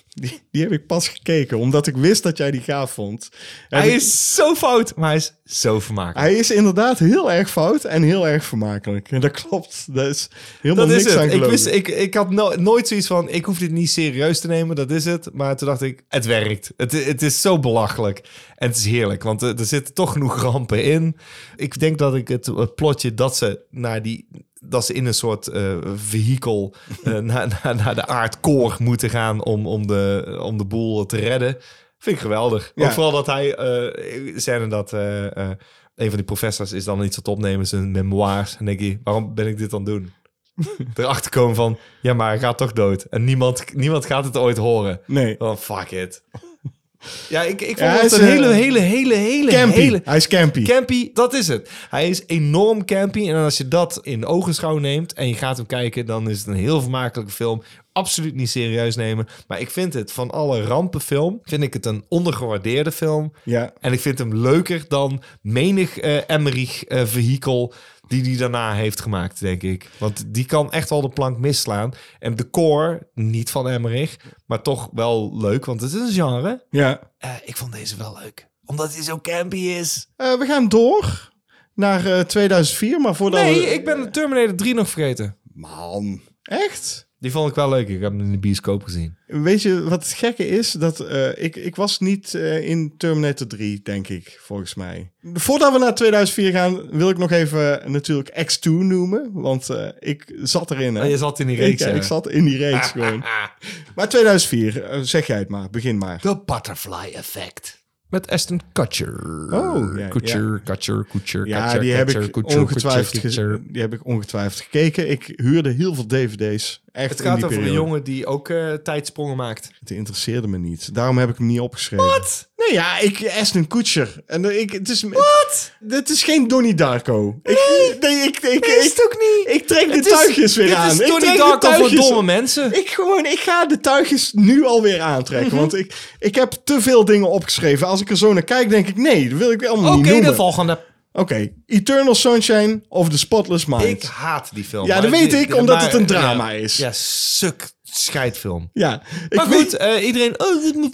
S1: Die, die heb ik pas gekeken, omdat ik wist dat jij die gaaf vond. En
S2: Hij
S1: ik-
S2: is zo fout, maar hij is zo vermakelijk.
S1: hij is inderdaad heel erg fout en heel erg vermakelijk. En dat klopt. Daar is helemaal
S2: Dat is
S1: niks aan
S2: het. Ik,
S1: gelogen.
S2: wist, ik, ik had no- nooit zoiets van... Ik hoef dit niet serieus te nemen, dat is het. Maar toen dacht ik, het werkt. Het, het is zo belachelijk. En het is heerlijk, want eh, er zitten toch genoeg rampen in. Ik denk dat ik het, het plotje dat ze naar die... Dat ze in een soort eh vehikel eh, naar, naar, naar de aardkoor moeten gaan om, om, de, om de boel te redden. Vind ik geweldig.
S1: Ja.
S2: Ook vooral dat hij... eh scène dat... eh, eh, een van die professors is dan iets aan het opnemen, zijn memoirs. En denk je, waarom ben ik dit aan het doen? erachter komen van... Ja, maar hij gaat toch dood. En niemand, niemand gaat het ooit horen.
S1: Nee.
S2: Oh, fuck it. Ja, ik, ik
S1: Ja, hij
S2: vond het
S1: is,
S2: een
S1: eh,
S2: hele, hele, hele, hele,
S1: Campy.
S2: hele...
S1: Hij is campy.
S2: Campy, dat is het. Hij is enorm campy. En als je dat in ogenschouw neemt en je gaat hem kijken... dan is het een heel vermakelijke film. Absoluut niet serieus nemen. Maar ik vind het van alle rampenfilm... vind ik het een ondergewaardeerde film.
S1: ja.
S2: En ik vind hem leuker dan menig eh Emmerich eh, vehikel die hij daarna heeft gemaakt, denk ik. Want die kan echt wel de plank misslaan. En de core, niet van Emmerich, maar toch wel leuk, want het is een genre.
S1: ja.
S2: Eh, ik vond deze wel leuk. Omdat hij zo campy is.
S1: Eh, we gaan door naar eh, 2004, maar voordat
S2: Nee,
S1: we...
S2: ik ben de Terminator 3 nog vergeten.
S1: Man. Echt?
S2: Die vond ik wel leuk. Ik heb hem in de bioscoop gezien.
S1: Weet je wat het gekke is? Dat, eh, ik, ik was niet eh, in Terminator 3, denk ik, volgens mij. Voordat we naar 2004 gaan, wil ik nog even eh, natuurlijk X2 noemen. Want eh, ik zat erin. Hè?
S2: Oh, je zat in die
S1: ik, eh,
S2: reeks.
S1: ik
S2: hè?
S1: zat in die reeks gewoon. Maar 2004, eh, zeg jij het maar. Begin maar.
S2: The Butterfly Effect. Met Aston Kutcher.
S1: Oh, ja,
S2: Kutcher, Kutcher, Kutcher,
S1: Ja,
S2: Kutcher,
S1: die, heb
S2: Kutcher,
S1: ik
S2: Kutcher,
S1: ongetwijfeld
S2: Kutcher, Kutcher.
S1: ge- die heb ik ongetwijfeld gekeken. Ik huurde heel veel dvd's. Echt
S2: Het
S1: in
S2: gaat
S1: die
S2: over een
S1: periode.
S2: jongen die ook eh, tijdsprongen maakt.
S1: Het interesseerde me niet. Daarom heb ik hem niet opgeschreven. Wat? Nee, ja, ik Aston Kutcher. En eh, ik, het is... Wat? Dit is geen Donnie Darko. Ik, nee, ik, ik, ik,
S2: ook niet.
S1: ik trek de
S2: Het
S1: tuigjes weer
S2: dit
S1: aan.
S2: is
S1: ik
S2: Donnie
S1: trek de
S2: Darko voor
S1: tuigjes-
S2: domme mensen.
S1: Ik gewoon, ik ga de tuigjes nu alweer aantrekken.
S2: Mhm.
S1: Want ik, ik heb te veel dingen opgeschreven. Als ik er zo naar kijk, denk ik, nee, dat wil ik allemaal
S2: Oké,
S1: niet noemen.
S2: de volgende.
S1: Oké, Eternal Sunshine of the Spotless Mind.
S2: Ik haat die film.
S1: Ja, dat
S2: Maar
S1: weet
S2: dit-
S1: ik, omdat
S2: maar-
S1: het een drama
S2: ja.
S1: is.
S2: Ja, suk scheidfilm.
S1: ja, ik,
S2: Maar
S1: weet-
S2: goed, eh, iedereen... Oh, dit moet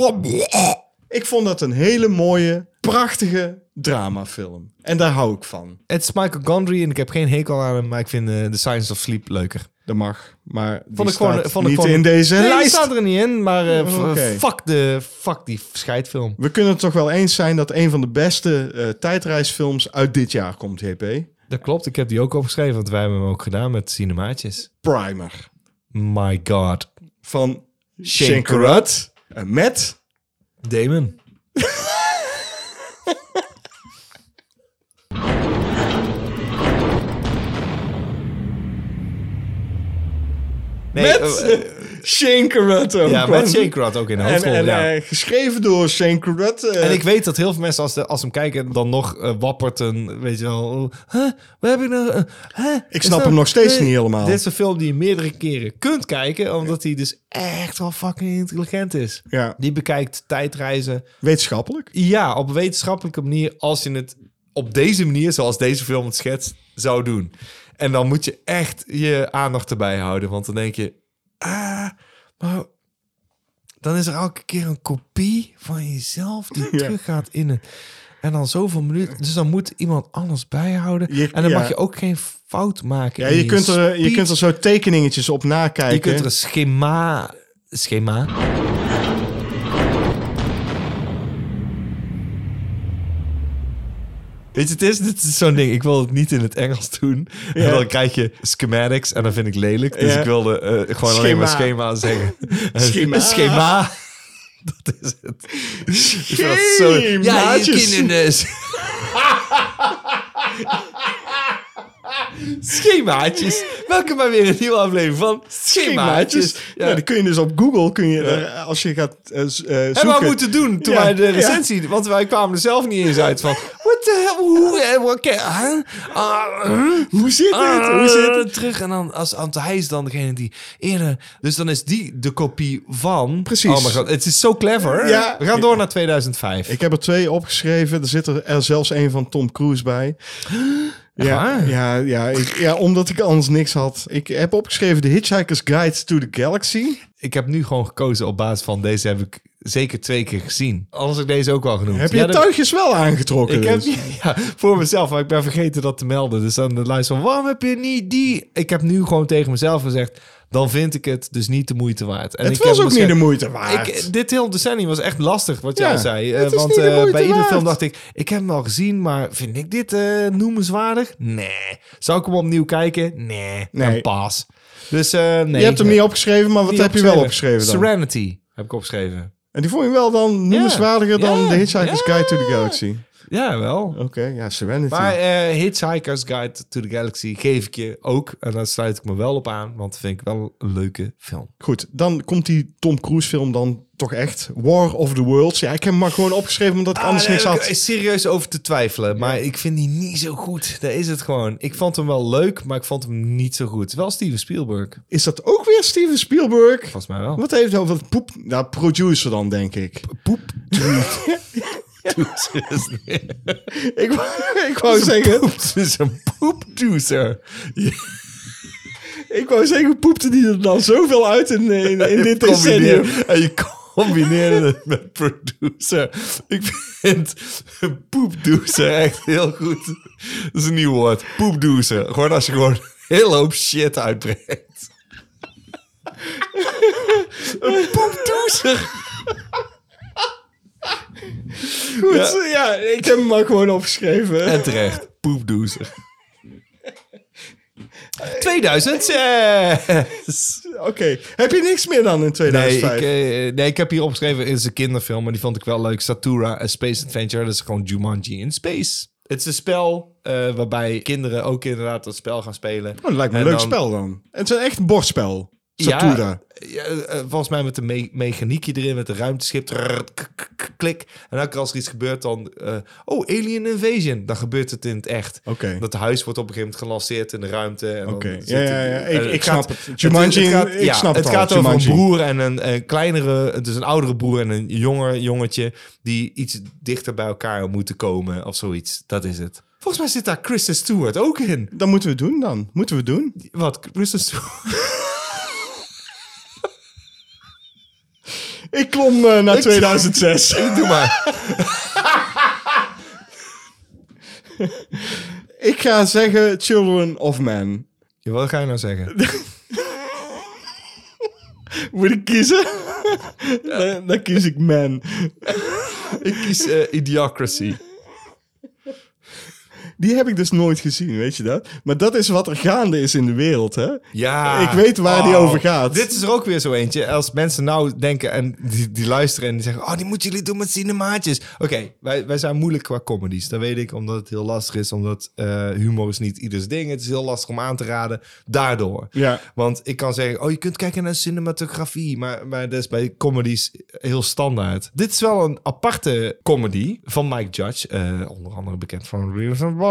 S2: wel-
S1: ik vond dat een hele mooie, prachtige dramafilm. En daar hou ik van.
S2: Het is Michael Gondry en ik heb geen hekel aan hem, maar ik vind eh, The Science of Sleep leuker.
S1: Dat mag, maar die
S2: Vond ik gewoon,
S1: staat
S2: vond ik
S1: niet
S2: gewoon,
S1: in deze
S2: nee, die
S1: lijst.
S2: staat er niet in, maar eh, f-
S1: Oké.
S2: fuck, de, fuck die scheidfilm.
S1: We kunnen het toch wel eens zijn dat een van de beste eh, tijdreisfilms uit dit jaar komt, JP.
S2: Dat klopt, ik heb die ook opgeschreven, want wij hebben hem ook gedaan met cinemaatjes.
S1: Primer
S2: My god.
S1: van
S2: Shane
S1: Shane Carruth. En met...
S2: Damon. nee,
S1: met
S2: eh, eh,
S1: Shane Carruth ook.
S2: ja,
S1: gewoon.
S2: met Shane Carruth ook in de
S1: En,
S2: hoofdrol.
S1: en
S2: ja.
S1: eh, geschreven door Shane Carruth. eh,
S2: En ik weet dat heel veel mensen, als, de, als ze hem kijken, dan nog eh, wappert een, weet je wel, oh, huh, wat heb ik nou? eh, huh? Is
S1: snap
S2: dat-
S1: hem nog steeds
S2: nee,
S1: niet helemaal.
S2: Dit is een film die je meerdere keren kunt kijken, omdat hij dus echt wel fucking intelligent is.
S1: Ja.
S2: Die bekijkt tijdreizen,
S1: Wetenschappelijk.
S2: ja, op een wetenschappelijke manier, als je het op deze manier, zoals deze film het schetst, zou doen. En dan moet je echt je aandacht erbij houden, want dan denk je, ah, maar dan is er elke keer een kopie van jezelf die teruggaat in een. En dan zoveel minuten. Dus dan moet iemand anders bijhouden.
S1: Je-
S2: en dan
S1: ja.
S2: mag je ook geen fout maken.
S1: Ja,
S2: in
S1: je, kunt er, je
S2: speech.
S1: kunt er zo tekeningetjes op nakijken.
S2: Je kunt er een schema... Schema? Weet je, het is, dit is zo'n ding. Ik wil het niet in het Engels doen.
S1: Ja.
S2: En dan krijg je schematics en dat vind ik lelijk. Dus
S1: Ja.
S2: ik wilde eh, gewoon alleen maar schema zeggen.
S1: Schema.
S2: Een schema. Dat is het. Ik vind dat zo- Ja, je
S1: Schemaatjes.
S2: kinderen dus. Schemaatjes. Welkom bij weer een nieuwe aflevering van Schemaatjes.
S1: schemaatjes.
S2: Ja.
S1: Ja. die kun je dus op Google, kun je, er, als je gaat eh, z- eh,
S2: hebben we
S1: zoeken.
S2: al moeten doen toen
S1: Ja,
S2: wij de
S1: ja.
S2: recensie... Want wij kwamen er zelf niet eens uit van... What the hell? Hoe? eh, What can, huh? Ah, huh?
S1: Hoe zit dit?
S2: Ah,
S1: Hoe zit het?
S2: Terug en dan als want hij is dan degene die eerder. Dus dan is die de kopie van.
S1: Precies.
S2: Oh mijn god, het is zo clever.
S1: Ja.
S2: We gaan door naar 2005.
S1: Ik heb er twee opgeschreven. Er zit er, er zelfs een van Tom Cruise bij. Ja,
S2: waar?
S1: ja, ja, ik, ja, omdat ik anders niks had. Ik heb opgeschreven The Hitchhiker's Guide to the Galaxy.
S2: Ik heb nu gewoon gekozen op basis van deze heb ik zeker twee keer gezien. Anders heb ik deze ook wel genoemd.
S1: Heb je
S2: Ja,
S1: je
S2: dat-
S1: tuigjes wel aangetrokken?
S2: Ik heb
S1: dus?
S2: ja, voor mezelf, maar ik ben vergeten dat te melden. Dus aan de lijst van waarom heb je niet die? Ik heb nu gewoon tegen mezelf gezegd, dan vind ik het dus niet de moeite waard. En
S1: Het
S2: ik
S1: was
S2: heb
S1: ook niet de
S2: waarschijn-
S1: moeite waard.
S2: Ik, dit heel decennium was echt lastig, wat jij
S1: Ja,
S2: zei.
S1: het
S2: Eh,
S1: is
S2: want
S1: niet de
S2: eh,
S1: moeite
S2: bij iedere
S1: waard.
S2: film dacht ik, ik heb hem al gezien, maar vind ik dit eh, noemenswaardig? Nee. Zou ik hem opnieuw kijken? Nee.
S1: Nee.
S2: Een pas. Dus eh, nee.
S1: je hebt hem niet opgeschreven, maar wat
S2: Niet
S1: heb je wel opgeschreven dan?
S2: Serenity heb ik opgeschreven.
S1: En die vond je wel dan noemenswaardiger dan
S2: Ja.
S1: The Hitchhiker's
S2: Ja.
S1: Guide to the Galaxy.
S2: Ja, wel.
S1: Oké, ja, Serenity.
S2: Maar eh, Hitchhiker's Guide to the Galaxy geef ik je ook. En daar sluit ik me wel op aan, want dat vind ik wel een leuke film.
S1: Goed, dan komt die Tom Cruise film dan toch echt. War of the Worlds. Ja, ik heb hem maar gewoon opgeschreven omdat ik
S2: Ah,
S1: anders niks
S2: had.
S1: had.
S2: Ik is serieus over te twijfelen, maar ik vind die niet zo goed. Daar is het gewoon. Ik vond hem wel leuk, maar ik vond hem niet zo goed. Wel Steven Spielberg,
S1: Is dat ook weer Steven Spielberg?
S2: volgens mij wel.
S1: Wat heeft hij over poep? Nou, producer dan, denk ik.
S2: Poep. Producer.
S1: Ik, wou- ik wou zeggen,
S2: Het is een poepducer.
S1: ik wou zeggen, poepte die er dan zoveel uit in, eh, in, in dit decennium?
S2: combineer, en je combineerde het met producer. Ik vind poepdoezer echt heel goed. Dat is een nieuw woord. Poepdoezer. Gewoon als je gewoon een hele hoop shit uitbrengt. Een poeptoeter.
S1: Goed, eh, ja. ik heb hem maar gewoon opgeschreven.
S2: En terecht, poepdoezer. eh. 2006!
S1: Oké, heb je niks meer dan in Oh,
S2: Nee ik,
S1: 2005?
S2: eh, nee, ik heb hier opgeschreven, het is een kinderfilm, maar die vond ik wel leuk. Satura, A Space Adventure, dat is gewoon Jumanji in Space. Het is een spel eh, waarbij kinderen ook inderdaad dat spel gaan spelen.
S1: Oh, dat lijkt me een
S2: En
S1: leuk
S2: dan-
S1: spel dan. Het is een echt bordspel. Satura.
S2: Ja, ja, eh, volgens mij met een me- mechaniekje erin, met een ruimteschip. Trrr, k- k- k- klik. En elke keer als er iets gebeurt, dan... eh, oh, Alien Invasion. Dan gebeurt het in het echt.
S1: Oké.
S2: Dat huis wordt op een gegeven moment gelanceerd in de ruimte. en dan
S1: Oké, ja,
S2: zit
S1: ja,
S2: het-
S1: ja.
S2: en
S1: Ik, ik
S2: gaat-
S1: snap het. Jumanji,
S2: het gaat,
S1: ik
S2: ja,
S1: snap het,
S2: het
S1: al.
S2: gaat over
S1: Jumanji.
S2: een broer en een, een kleinere, dus een oudere broer en een jonger jongetje die iets dichter bij elkaar moeten komen of zoiets. Dat is het. Volgens mij zit daar Kristen Stewart ook in.
S1: Dan moeten we het doen dan. Moeten we het doen?
S2: Wat? Kristen Stewart?
S1: Ik klom eh, naar 2006.
S2: Doe maar.
S1: ik ga zeggen Children of Man.
S2: Ja, wat ga je nou zeggen?
S1: Moet ik kiezen? dan, dan kies ik Man.
S2: Ik kies eh, Idiocracy.
S1: Die heb ik dus nooit gezien, weet je dat? Maar dat is wat er gaande is in de wereld, hè?
S2: Ja. Oh.
S1: Ik weet waar die over gaat.
S2: Dit is er ook weer zo eentje. Als mensen nou denken en die, die luisteren en die zeggen... Oh, die moeten jullie doen met cinemaatjes. Oké, wij, wij zijn moeilijk qua comedies. Dat weet ik, omdat het heel lastig is. Omdat eh, humor is niet ieders ding. Het is heel lastig om aan te raden. Daardoor.
S1: Ja.
S2: Want ik kan zeggen... Oh, je kunt kijken naar cinematografie. Maar, maar dat is bij comedies heel standaard. Dit is wel een aparte comedy van Mike Judge. eh, onder andere bekend van Reels and Robert.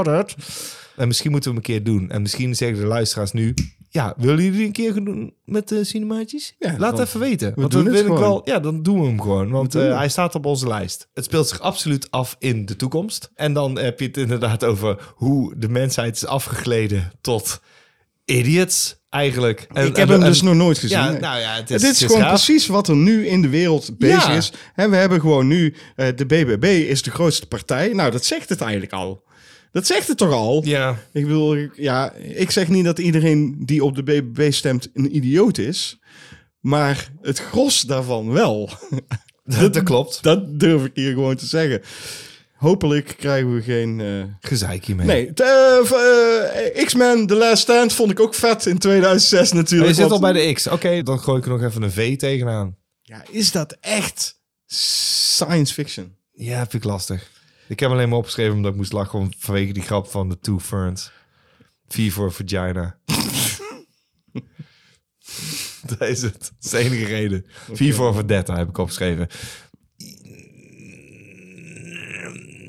S2: En misschien moeten we hem een keer doen. En misschien zeggen de luisteraars nu... Ja, willen jullie een keer gaan doen met de cinemaatjes?
S1: Ja,
S2: Laat
S1: dan-
S2: even weten. want
S1: doen
S2: dan
S1: het
S2: wil ik
S1: gewoon.
S2: wel. Ja, dan doen we hem gewoon. Want
S1: doen
S2: eh,
S1: het.
S2: hij staat op onze lijst. Het speelt zich absoluut af in de toekomst. En dan heb je het inderdaad over hoe de mensheid is afgegleden tot idiots, eigenlijk. En-
S1: ik heb
S2: en-
S1: hem
S2: en-
S1: dus nog nooit gezien.
S2: Ja,
S1: nee.
S2: nou ja, het
S1: Dit
S2: is,
S1: is,
S2: het is
S1: gewoon
S2: gaaf.
S1: precies wat er nu in de wereld bezig
S2: Ja.
S1: is. En we hebben gewoon nu, eh, de BBB is de grootste partij. Nou, dat zegt het eigenlijk al. Dat zegt het toch al?
S2: Ja,
S1: Ik bedoel, ik- ja, ik zeg niet dat iedereen die op de BBB stemt een idioot is. Maar het gros daarvan wel.
S2: dat, dat klopt.
S1: Dat durf ik hier gewoon te zeggen. Hopelijk krijgen we geen... eh,
S2: Gezeik hiermee.
S1: Nee, t- eh, v- eh, X-Men The Last Stand vond ik ook vet in 2006
S2: Oh,
S1: natuurlijk.
S2: je zit al
S1: want-
S2: bij de X. Oké, dan gooi ik er nog even een V tegenaan.
S1: Ja, is dat echt science fiction?
S2: Ja, vind ik lastig. Ik heb hem alleen maar opgeschreven omdat ik moest lachen om- vanwege die grap van de two ferns. V voor vagina. dat is het. Dat is de enige reden. V voor Vendetta heb ik opgeschreven.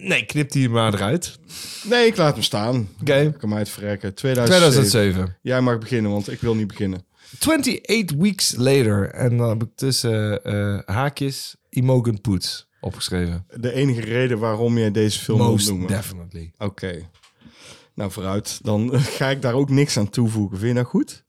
S2: Nee, knip die maar eruit.
S1: Nee, ik laat hem staan.
S2: Oké.
S1: Ik kan mij het verrekken. 2007.
S2: 2007.
S1: Jij mag beginnen, want ik wil niet beginnen.
S2: 28 weeks later. En dan heb ik tussen eh, haakjes Imogen Poets opgeschreven.
S1: De enige reden waarom jij deze film wil
S2: Most
S1: noemen.
S2: definitely.
S1: Oké. Nou, vooruit. Dan eh, ga ik daar ook niks aan toevoegen. Vind je dat goed?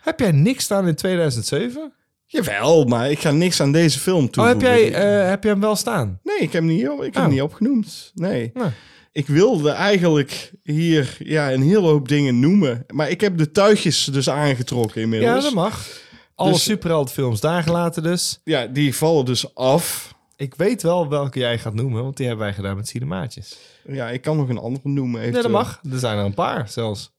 S2: Heb jij niks staan in 2007?
S1: Jawel, maar ik ga niks aan deze film
S2: Oh, heb
S1: toevoegen.
S2: jij, eh, heb jij hem wel staan?
S1: Nee, ik heb hem niet, op- ik heb hem
S2: Oh.
S1: niet opgenoemd. Nee.
S2: Nou.
S1: Ik wilde eigenlijk hier ja, een hele hoop dingen noemen. Maar ik heb de tuigjes dus aangetrokken inmiddels.
S2: Ja, dat mag. Alle
S1: Dus-
S2: superheldfilms daar gelaten dus.
S1: Ja, die vallen dus af.
S2: Ik weet wel welke jij gaat noemen, want die hebben wij gedaan met cinemaatjes.
S1: Ja, ik kan nog een andere noemen.
S2: Nee, dat
S1: eventueel.
S2: mag. Er zijn er een paar zelfs.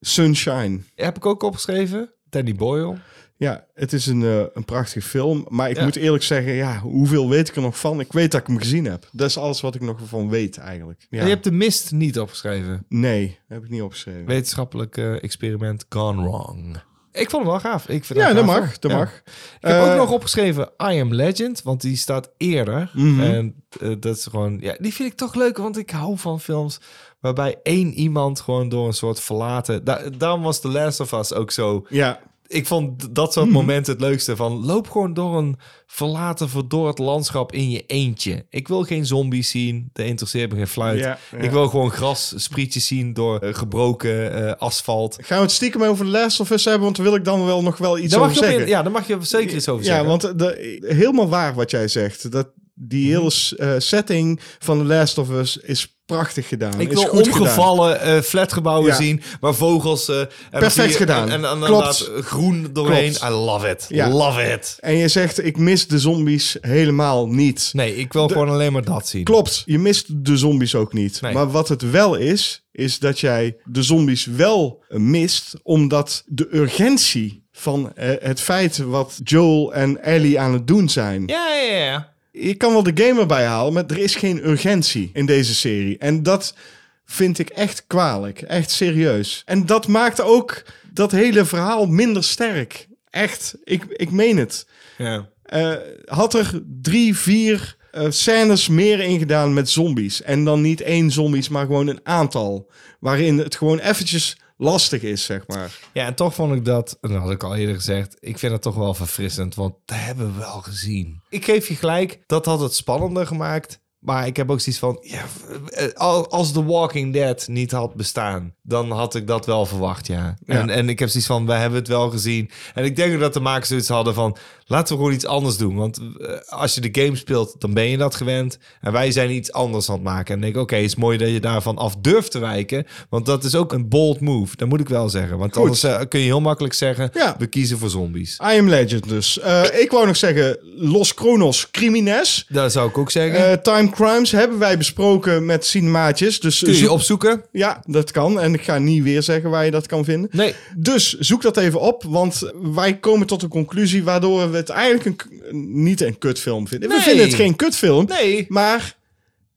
S1: Sunshine.
S2: Heb ik ook opgeschreven. Danny Boyle.
S1: Ja, het is een, eh, een prachtige film. Maar ik
S2: Ja.
S1: moet eerlijk zeggen, ja, hoeveel weet ik er nog van? Ik weet dat ik hem gezien heb. Dat is alles wat ik nog van weet eigenlijk. Ja.
S2: En je hebt de mist niet opgeschreven.
S1: Nee, dat heb ik niet opgeschreven.
S2: Wetenschappelijk eh, experiment gone wrong. Ik vond hem wel gaaf. Ik vind
S1: Ja,
S2: hem
S1: dat
S2: gaaf,
S1: mag. Dat
S2: Ja.
S1: mag.
S2: Ik heb
S1: Eh,
S2: ook nog opgeschreven I Am Legend, want die staat eerder.
S1: Mhm.
S2: En eh, dat is gewoon, ja, die vind ik toch leuk, want ik hou van films waarbij één iemand gewoon door een soort verlaten. Da- daarom was The Last of Us ook zo.
S1: Ja,
S2: Ik vond d- dat
S1: Mhm.
S2: soort momenten het leukste van loop gewoon door een verlaten, verdord landschap in je eentje. Ik wil geen zombies zien, dat interesseert me geen fluit.
S1: Ja, ja.
S2: Ik wil gewoon gras, sprietjes zien door eh, gebroken eh, asfalt.
S1: gaan we het stiekem over The Last of Us hebben? Want daar wil ik dan wel nog wel iets
S2: Daar
S1: over
S2: mag, je op
S1: zeggen.
S2: in, ja, daar mag je zeker iets over
S1: Ja, eh,
S2: zeggen.
S1: want de, helemaal waar wat jij zegt. Dat, die
S2: Mhm.
S1: hele s- eh, setting van The Last of Us is prachtig gedaan.
S2: Ik
S1: is
S2: wil
S1: goed gedaan.
S2: omgevallen eh, flatgebouwen
S1: Ja.
S2: zien waar vogels... eh, en dan
S1: Perfect
S2: zie je-
S1: gedaan.
S2: En, en, en
S1: Klopt.
S2: inderdaad groen doorheen.
S1: Klopt.
S2: I love it.
S1: Ja.
S2: Love it.
S1: En je zegt, ik mis de zombies helemaal niet.
S2: Nee, ik wil gewoon alleen maar dat zien.
S1: Klopt, je mist de zombies ook niet.
S2: Nee.
S1: Maar wat het wel is, is dat jij de zombies wel mist, omdat de urgentie van eh, het feit wat Joel en Ellie aan het doen zijn.
S2: Ja, ja, ja.
S1: Je kan wel de game erbij halen, maar er is geen urgentie in deze serie. En dat vind ik echt kwalijk, echt serieus. En dat maakt ook dat hele verhaal minder sterk. Echt, ik, ik meen het.
S2: ja.
S1: Eh, had er drie, vier eh, scènes meer ingedaan met zombies. En dan niet één zombies, maar gewoon een aantal. Waarin het gewoon eventjes lastig is, zeg maar.
S2: Ja, en toch vond ik dat, en dat had ik al eerder gezegd, ik vind dat toch wel verfrissend, want dat hebben we wel gezien. Ik geef je gelijk, dat had het spannender gemaakt. Maar ik heb ook zoiets van, ja, eh, al- als The Walking Dead niet had bestaan, dan had ik dat wel verwacht, ja. En, en ik heb zoiets van, we hebben het wel gezien. En ik denk ook dat de makers zoiets hadden van, laten we gewoon iets anders doen. Want eh, als je de game speelt, dan ben je dat gewend. En wij zijn iets anders aan het maken. En ik denk, oké, het is mooi dat je daarvan af durft te wijken. Want dat is ook een bold move, dat moet ik wel zeggen. Want anders eh, kun je heel makkelijk zeggen,
S1: Ja.
S2: we kiezen voor zombies.
S1: I am Legend dus. Eh, ik wou nog zeggen, Los Kronos, Crimines.
S2: Dat zou ik ook zeggen.
S1: Eh, Time Crimes hebben wij besproken met cinemaatjes. Dus
S2: kun je
S1: zoek-
S2: je opzoeken?
S1: Ja, dat kan. En ik ga niet weer zeggen waar je dat kan vinden.
S2: Nee.
S1: Dus zoek dat even op, want wij komen tot een conclusie waardoor we het eigenlijk een, k- niet een kutfilm vinden.
S2: Nee.
S1: We vinden het geen kutfilm,
S2: Nee,
S1: maar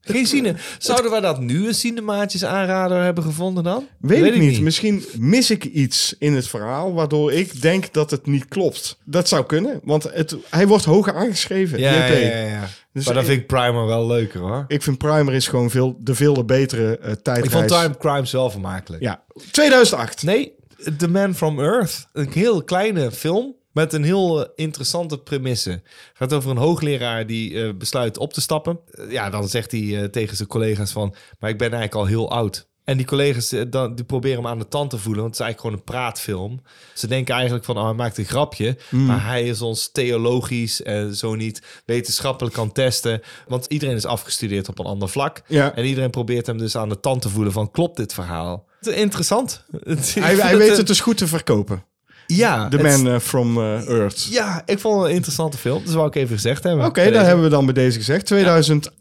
S2: geen zin. Zouden wij dat nu een cinemaatjes aanrader hebben gevonden dan?
S1: weet, ik niet. Misschien mis ik iets in het verhaal waardoor ik denk dat het niet klopt. Dat zou kunnen, want het, hij wordt hoger aangeschreven.
S2: Ja,
S1: JP.
S2: ja, ja, ja.
S1: Dus
S2: maar dat
S1: ik-
S2: vind ik Primer wel leuker hoor.
S1: Ik vind Primer is gewoon veel, de veel betere eh tijdreis.
S2: Ik vond Time Crimes wel vermakelijk.
S1: Ja, 2008.
S2: Nee, The Man from Earth. Een heel kleine film met een heel eh, interessante premisse. Het gaat over een hoogleraar die eh, besluit op te stappen. Eh, ja, dan zegt hij eh, tegen zijn collega's van... maar ik ben eigenlijk al heel oud. En die collega's eh, dan, die proberen hem aan de tand te voelen... want het is eigenlijk gewoon een praatfilm. Ze denken eigenlijk van, oh, hij maakt een grapje... maar hij is ons theologisch en zo niet wetenschappelijk kan testen... want iedereen is afgestudeerd op een ander vlak.
S1: Ja.
S2: En iedereen probeert hem dus aan de tand te voelen van... klopt dit verhaal? Het is Interessant.
S1: Hij, hij weet het dus goed te verkopen.
S2: eh, Ja,
S1: The
S2: het-
S1: Man eh, from eh, Earth.
S2: Ja, ik vond het een interessante film. Dat wou ik even gezegd hebben.
S1: Oké, daar hebben we dan bij deze gezegd.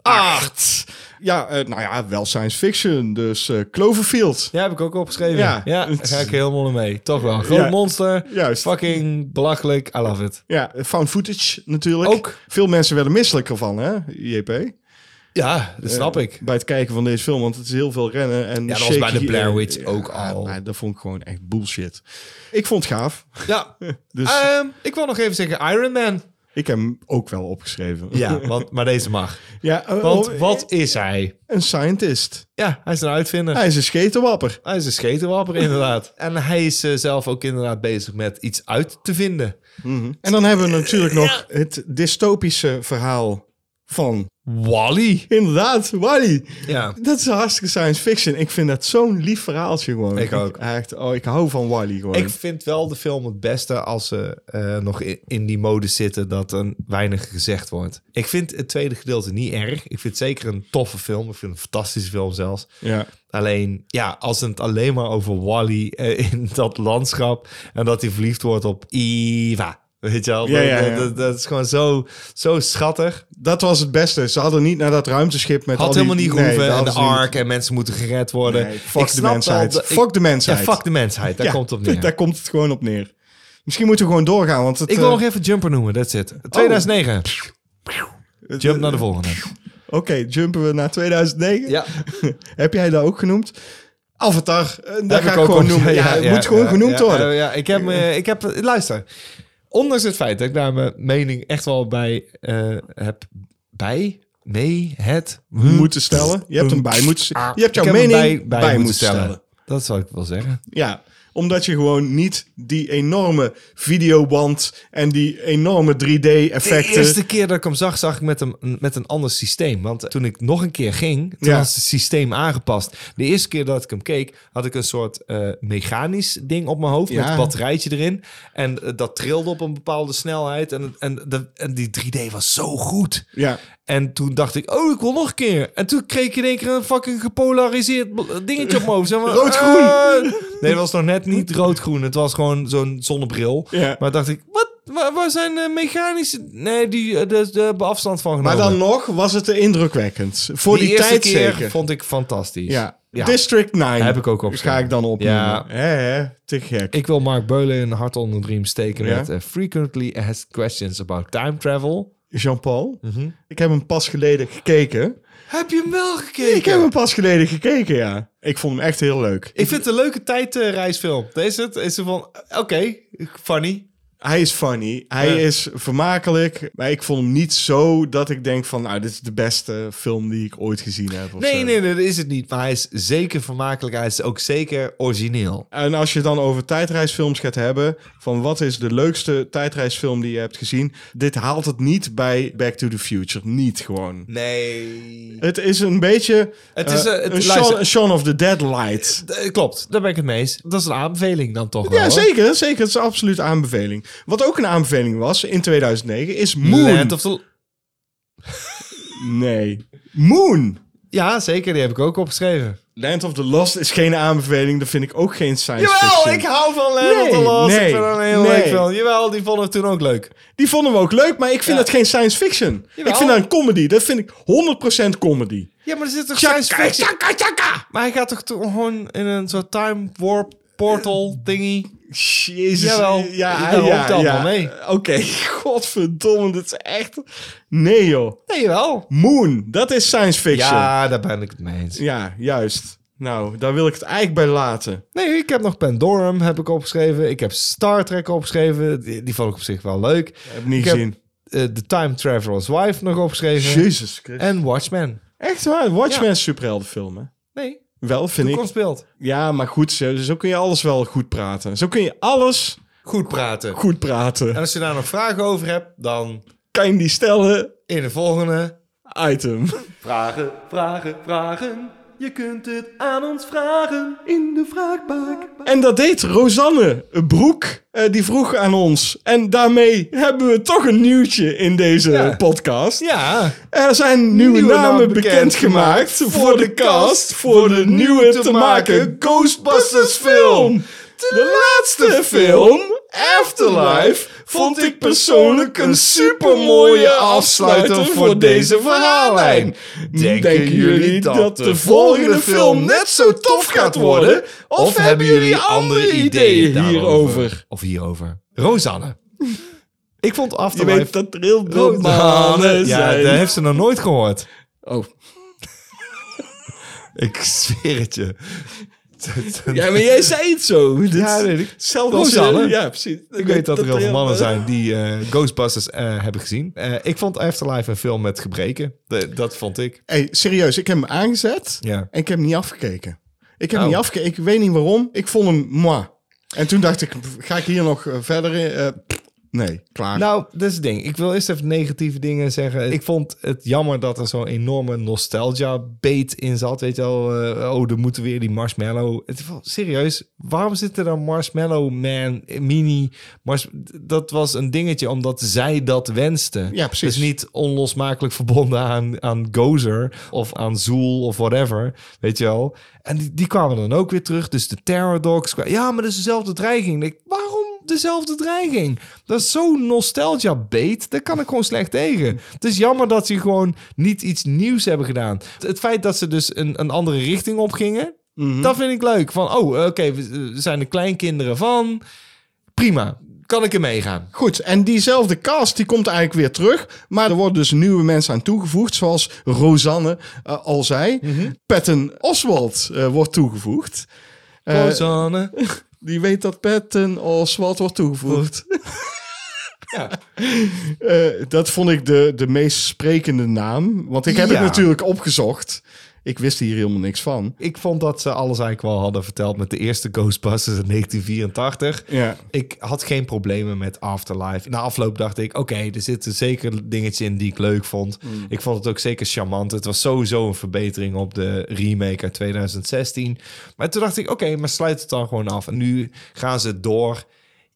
S1: 2008. Ja, eh, nou ja, wel science fiction. Dus eh, Cloverfield.
S2: Ja, heb ik ook opgeschreven. Ja,
S1: Ja.
S2: daar ga ik helemaal mee. Toch wel. Groot
S1: Ja.
S2: monster.
S1: Juist.
S2: Fucking belachelijk. I love it.
S1: Ja, found footage natuurlijk.
S2: Ook.
S1: Veel mensen werden misselijk ervan, hè, JP?
S2: Ja, dat snap ik.
S1: Bij het kijken van deze film, want het is heel veel rennen. En
S2: Ja, dat was bij
S1: shaky-
S2: de Blair Witch
S1: Ja,
S2: ook al.
S1: maar dat vond ik gewoon echt bullshit. Ik vond het gaaf.
S2: Ja.
S1: Dus
S2: Ehm, ik wil nog even zeggen Iron Man.
S1: ik heb hem ook wel opgeschreven.
S2: Ja, want, maar deze mag.
S1: ja eh,
S2: Want
S1: oh,
S2: wat is hij?
S1: Een scientist.
S2: Ja, hij is een uitvinder.
S1: Hij is een schetenwapper.
S2: Hij is een schetenwapper inderdaad. En hij is eh, zelf ook inderdaad bezig met iets uit te vinden.
S1: En dan hebben we natuurlijk nog het dystopische verhaal van...
S2: Wally.
S1: Inderdaad, Wally.
S2: Ja.
S1: Dat is hartstikke science fiction. Ik vind dat zo'n lief verhaaltje gewoon.
S2: Ik ook.
S1: Echt, oh, ik hou van Wally gewoon.
S2: Ik vind wel de film het beste als ze eh, nog i- in die mode zitten dat er weinig gezegd wordt. Ik vind het tweede gedeelte niet erg. Ik vind het zeker een toffe film. Ik vind het een fantastische film zelfs.
S1: ja.
S2: Alleen, ja, als het alleen maar over Wally eh, in dat landschap en dat hij verliefd wordt op Eva. Weet je wel?
S1: Ja, ja, ja.
S2: Dat, dat- dat is gewoon zo, zo schattig.
S1: Dat was het beste. Ze hadden niet naar dat ruimteschip met al
S2: Had
S1: die...
S2: helemaal niet
S1: Nee,
S2: gehoeven.
S1: dat
S2: en de
S1: hadden ze niet.
S2: ark en mensen moeten gered worden.
S1: Nee, fuck
S2: Ik
S1: de
S2: snap wel
S1: mensheid.
S2: dat- ik-
S1: fuck de
S2: ja,
S1: mensheid.
S2: fuck de mensheid. Daar
S1: Ja,
S2: komt het op neer.
S1: Daar komt het gewoon op neer. Misschien moeten we gewoon doorgaan, want het...
S2: Ik wil
S1: eh,
S2: nog even Jumper noemen, dat zit. 2009.
S1: het-
S2: Jump naar de volgende.
S1: Oké, jumpen we naar 2009.
S2: Ja.
S1: Heb jij dat ook genoemd? Avatar. eh, Dat ga
S2: ik
S1: ik
S2: ook
S1: gewoon
S2: op-
S1: noemen. Ja, het moet gewoon
S2: ja,
S1: genoemd
S2: ja,
S1: worden.
S2: Ja, ja, ik heb, me- ik heb, luister. Ondanks het feit dat ik daar mijn mening echt wel bij eh, heb, bij, mee, het,
S1: moeten stellen. Je hebt hem bij moeten...
S2: Ah,
S1: Je hebt jouw
S2: ik heb hem
S1: mening
S2: bij, bij moeten stellen.
S1: stellen.
S2: Dat zou ik wel zeggen.
S1: Ja, omdat je gewoon niet die enorme videoband en die enorme
S2: De
S1: 3D-effecten.
S2: eerste keer dat ik hem zag, zag ik met een, met een ander systeem. Want toen ik nog een keer ging, toen
S1: Ja.
S2: was het systeem aangepast. De eerste keer dat ik hem keek, had ik een soort eh, mechanisch ding op mijn hoofd met
S1: Ja.
S2: een batterijtje erin. En eh, dat trilde op een bepaalde snelheid. En, en, de- en die 3D was zo goed.
S1: Ja,
S2: En toen dacht ik, oh, ik wil nog een keer. En toen kreeg ik in één keer een fucking gepolariseerd bl- dingetje op mijn hoofd. Zeg maar,
S1: Rood-groen.
S2: eh, nee, het was nog net niet rood-groen. Het was gewoon zo'n zonnebril.
S1: Ja.
S2: Maar dacht ik, wat? Waar, waar zijn de mechanische... Nee, die, eh, de, de afstand van
S1: Maar
S2: genomen.
S1: dan nog was het eh, indrukwekkend. Voor die,
S2: eerste
S1: tijd
S2: keer
S1: zeker.
S2: vond ik fantastisch.
S1: Ja.
S2: Ja.
S1: District 9.
S2: Heb ik ook opstaan.
S1: Ga ik dan opnemen.
S2: Ja.
S1: Hè, hè, te gek.
S2: Ik wil Mark Beulen een hart onder de riem steken
S1: Ja.
S2: met eh, frequently asked questions about time travel.
S1: Jean-Paul,
S2: Mhm.
S1: ik heb hem pas geleden gekeken.
S2: Heb je hem wel gekeken?
S1: Ik heb hem pas geleden gekeken, ja. Ik vond hem echt heel leuk.
S2: Ik vind het een leuke tijdreisfilm. Deze het is er van, oké, funny.
S1: Hij is funny. Hij
S2: Ja.
S1: is vermakelijk. Maar ik vond hem niet zo dat ik denk van... Nou, dit is de beste film die ik ooit gezien heb. of
S2: Nee,
S1: zo.
S2: nee, nee, dat is het niet. Maar hij is zeker vermakelijk. Hij is ook zeker origineel.
S1: En als je het dan over tijdreisfilms gaat hebben, van wat is de leukste tijdreisfilm die je hebt gezien? Dit haalt het niet bij Back to the Future. Niet gewoon.
S2: Nee.
S1: Het is een beetje
S2: Het is,
S1: eh,
S2: eh, het-
S1: een,
S2: luister.
S1: Shaun, een Shaun of the Dead light.
S2: Eh, Klopt, daar ben ik het mee eens. Dat is een aanbeveling dan toch wel,
S1: Ja,
S2: hoor.
S1: zeker, zeker. Het is absoluut een aanbeveling. Wat ook een aanbeveling was in 2009 is Moon.
S2: Land of the...
S1: Nee. Moon.
S2: Ja, zeker, die heb ik ook opgeschreven.
S1: Land of the Lost is geen aanbeveling. Dat vind ik ook geen science
S2: Jawel,
S1: fiction.
S2: ik hou van Land
S1: Nee,
S2: of the Lost.
S1: nee,
S2: ik vind dat een heel
S1: nee.
S2: leuk film. Jawel, die vonden we toen ook leuk.
S1: Die vonden we ook leuk, maar ik vind dat geen science fiction.
S2: Jawel.
S1: Ik vind dat een comedy. Dat vind ik 100% comedy.
S2: Ja, maar er zit toch
S1: Tjaka,
S2: science fiction...
S1: tjaka, tjaka.
S2: Maar hij gaat toch to- gewoon in een soort time warp portal dingy?
S1: Jezus.
S2: Jawel.
S1: Ja,
S2: Jawel,
S1: ja,
S2: tel
S1: ja.
S2: maar mee.
S1: Oké, godverdomme. Dat is echt... Nee, joh.
S2: Nee, wel.
S1: Moon, dat is science fiction.
S2: Ja, daar ben ik het mee eens.
S1: Ja, juist. Nou, daar wil ik het eigenlijk bij laten.
S2: Nee, ik heb nog Pandorum heb ik opgeschreven. Ik heb Star Trek opgeschreven. Die, die vond ik op zich wel leuk. Ik
S1: Heb niet
S2: heb
S1: gezien.
S2: eh, The Time Traveler's Wife nog opgeschreven.
S1: Jezus Christus.
S2: En Watchmen.
S1: Echt waar, Watchmen
S2: Ja.
S1: is superheldenfilm, hè?
S2: Nee,
S1: Wel, vind ik.
S2: toekomstbeeld.
S1: Ja, maar goed, zo, zo kun je alles wel goed praten. Zo kun je alles
S2: Goed praten.
S1: goed praten.
S2: En als je daar nog vragen over hebt, dan
S1: Kan je die stellen?
S2: in de volgende.
S1: Item.
S3: Vragen, vragen, vragen. Je kunt het aan ons vragen in de vraagbak.
S1: En dat deed Rosanne Broek. eh, die vroeg aan ons. En daarmee hebben we toch een nieuwtje in deze
S2: Ja.
S1: podcast.
S2: Ja.
S1: Er zijn nieuwe,
S2: Nieuwe
S1: namen
S2: namen bekendgemaakt
S1: bekendgemaakt voor de cast. Voor de nieuwe te maken Ghostbusters film. De laatste film, Afterlife, vond ik persoonlijk een supermooie afsluiter voor deze verhaallijn. Denken jullie dat de volgende film net zo tof gaat worden? Of hebben jullie andere ideeën hierover?
S2: Of hierover. Rosanne. Ik vond
S1: Je
S2: Afterlife...
S1: weet dat er heel veel banen
S2: Ja,
S1: zijn.
S2: dat heeft ze nog nooit gehoord.
S1: Oh.
S2: Ik zweer het je.
S1: Ja, maar jij zei het zo. Dit
S2: Ja,
S1: is
S2: weet ik.
S1: Hetzelfde als
S2: Rosanne.
S1: je- Ja, precies.
S2: Ik weet dat er heel veel mannen zijn die eh, Ghostbusters eh, hebben gezien. Eh, ik vond Afterlife een film met gebreken. De- dat vond ik.
S1: Hey, serieus, ik heb hem aangezet
S2: Ja.
S1: en ik heb hem niet afgekeken. Ik heb hem
S2: Oh.
S1: niet afgekeken, ik weet niet waarom. Ik vond hem moi. En toen dacht ik, ga ik hier nog eh, verder in? Eh, nee, klaar.
S2: Nou, dat is het ding. Ik wil eerst even negatieve dingen zeggen. Ik vond het jammer dat er zo'n enorme nostalgia-beet in zat. Weet je wel, eh, oh, er moeten weer die marshmallow. Het, is wel- serieus, waarom zit er dan marshmallow man, eh, mini? Mars, dat was een dingetje omdat zij dat wenste.
S1: Ja, precies.
S2: Dus niet onlosmakelijk verbonden aan, aan Gozer of aan Zool of whatever. Weet je wel. En die, die kwamen dan ook weer terug. Dus de Terror Dogs. kwa- Ja, maar dat is dezelfde dreiging. Ik, waarom dezelfde dreiging? Dat is zo'n nostalgia-beet. Daar kan ik gewoon slecht tegen. Het is jammer dat ze gewoon niet iets nieuws hebben gedaan. Het- Het feit dat ze dus een, een andere richting opgingen.
S1: Mhm.
S2: Dat vind ik leuk. Van, oh, oké, we we zijn de kleinkinderen van. Prima, kan ik er meegaan.
S1: Goed, en diezelfde cast die komt eigenlijk weer terug. Maar er worden dus nieuwe mensen aan toegevoegd. Zoals Rosanne eh, al zei.
S2: Mhm.
S1: Patton Oswald eh, wordt toegevoegd. Eh,
S2: Rosanne.
S1: die weet dat Patton Oswald wordt toegevoegd.
S2: Ja.
S1: Eh, dat vond ik de, de meest sprekende naam. Want ik heb
S2: Ja.
S1: het natuurlijk opgezocht. Ik wist hier helemaal niks van.
S2: Ik vond dat ze alles eigenlijk wel hadden verteld met de eerste Ghostbusters in 1984.
S1: Ja.
S2: Ik had geen problemen met Afterlife. Na afloop dacht ik, oké, er zitten zeker dingetjes in die ik leuk vond. Ik vond het ook zeker charmant. Het was sowieso een verbetering op de remake uit 2016. Maar toen dacht ik, oké, maar sluit het dan gewoon af. En nu gaan ze door.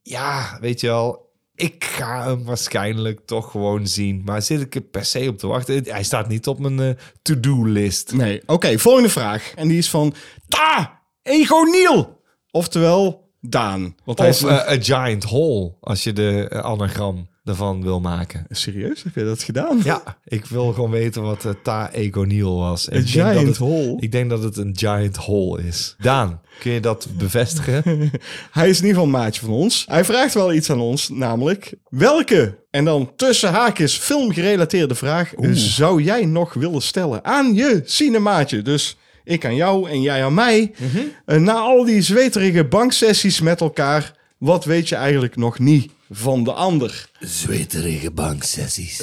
S2: Ja, weet je wel. Ik ga hem waarschijnlijk toch gewoon zien. Maar zit ik er per se op te wachten? Hij staat niet op mijn eh, to-do-list.
S1: Nee, oké, volgende vraag. En die is van Ta Egoniel. Oftewel Daan. Want hij
S2: Of
S1: is...
S2: eh, A Giant Hole, als je de eh, anagram daarvan wil maken.
S1: Serieus, heb je dat gedaan?
S2: Ja, ik wil gewoon weten wat eh, Ta Egoniel was.
S1: Een
S2: Ik denk dat
S1: giant
S2: het-
S1: hole.
S2: Ik denk dat het een giant hole is. Daan, kun je dat bevestigen?
S1: Hij is in ieder geval een maatje van ons. Hij vraagt wel iets aan ons, namelijk welke, en dan tussen haakjes filmgerelateerde vraag, zou jij nog willen stellen aan je cinemaatje? Dus ik aan jou en jij aan mij.
S2: Mhm.
S1: Eh, Na al die zweterige banksessies met elkaar, wat weet je eigenlijk nog niet van de ander?
S4: Zweterige banksessies.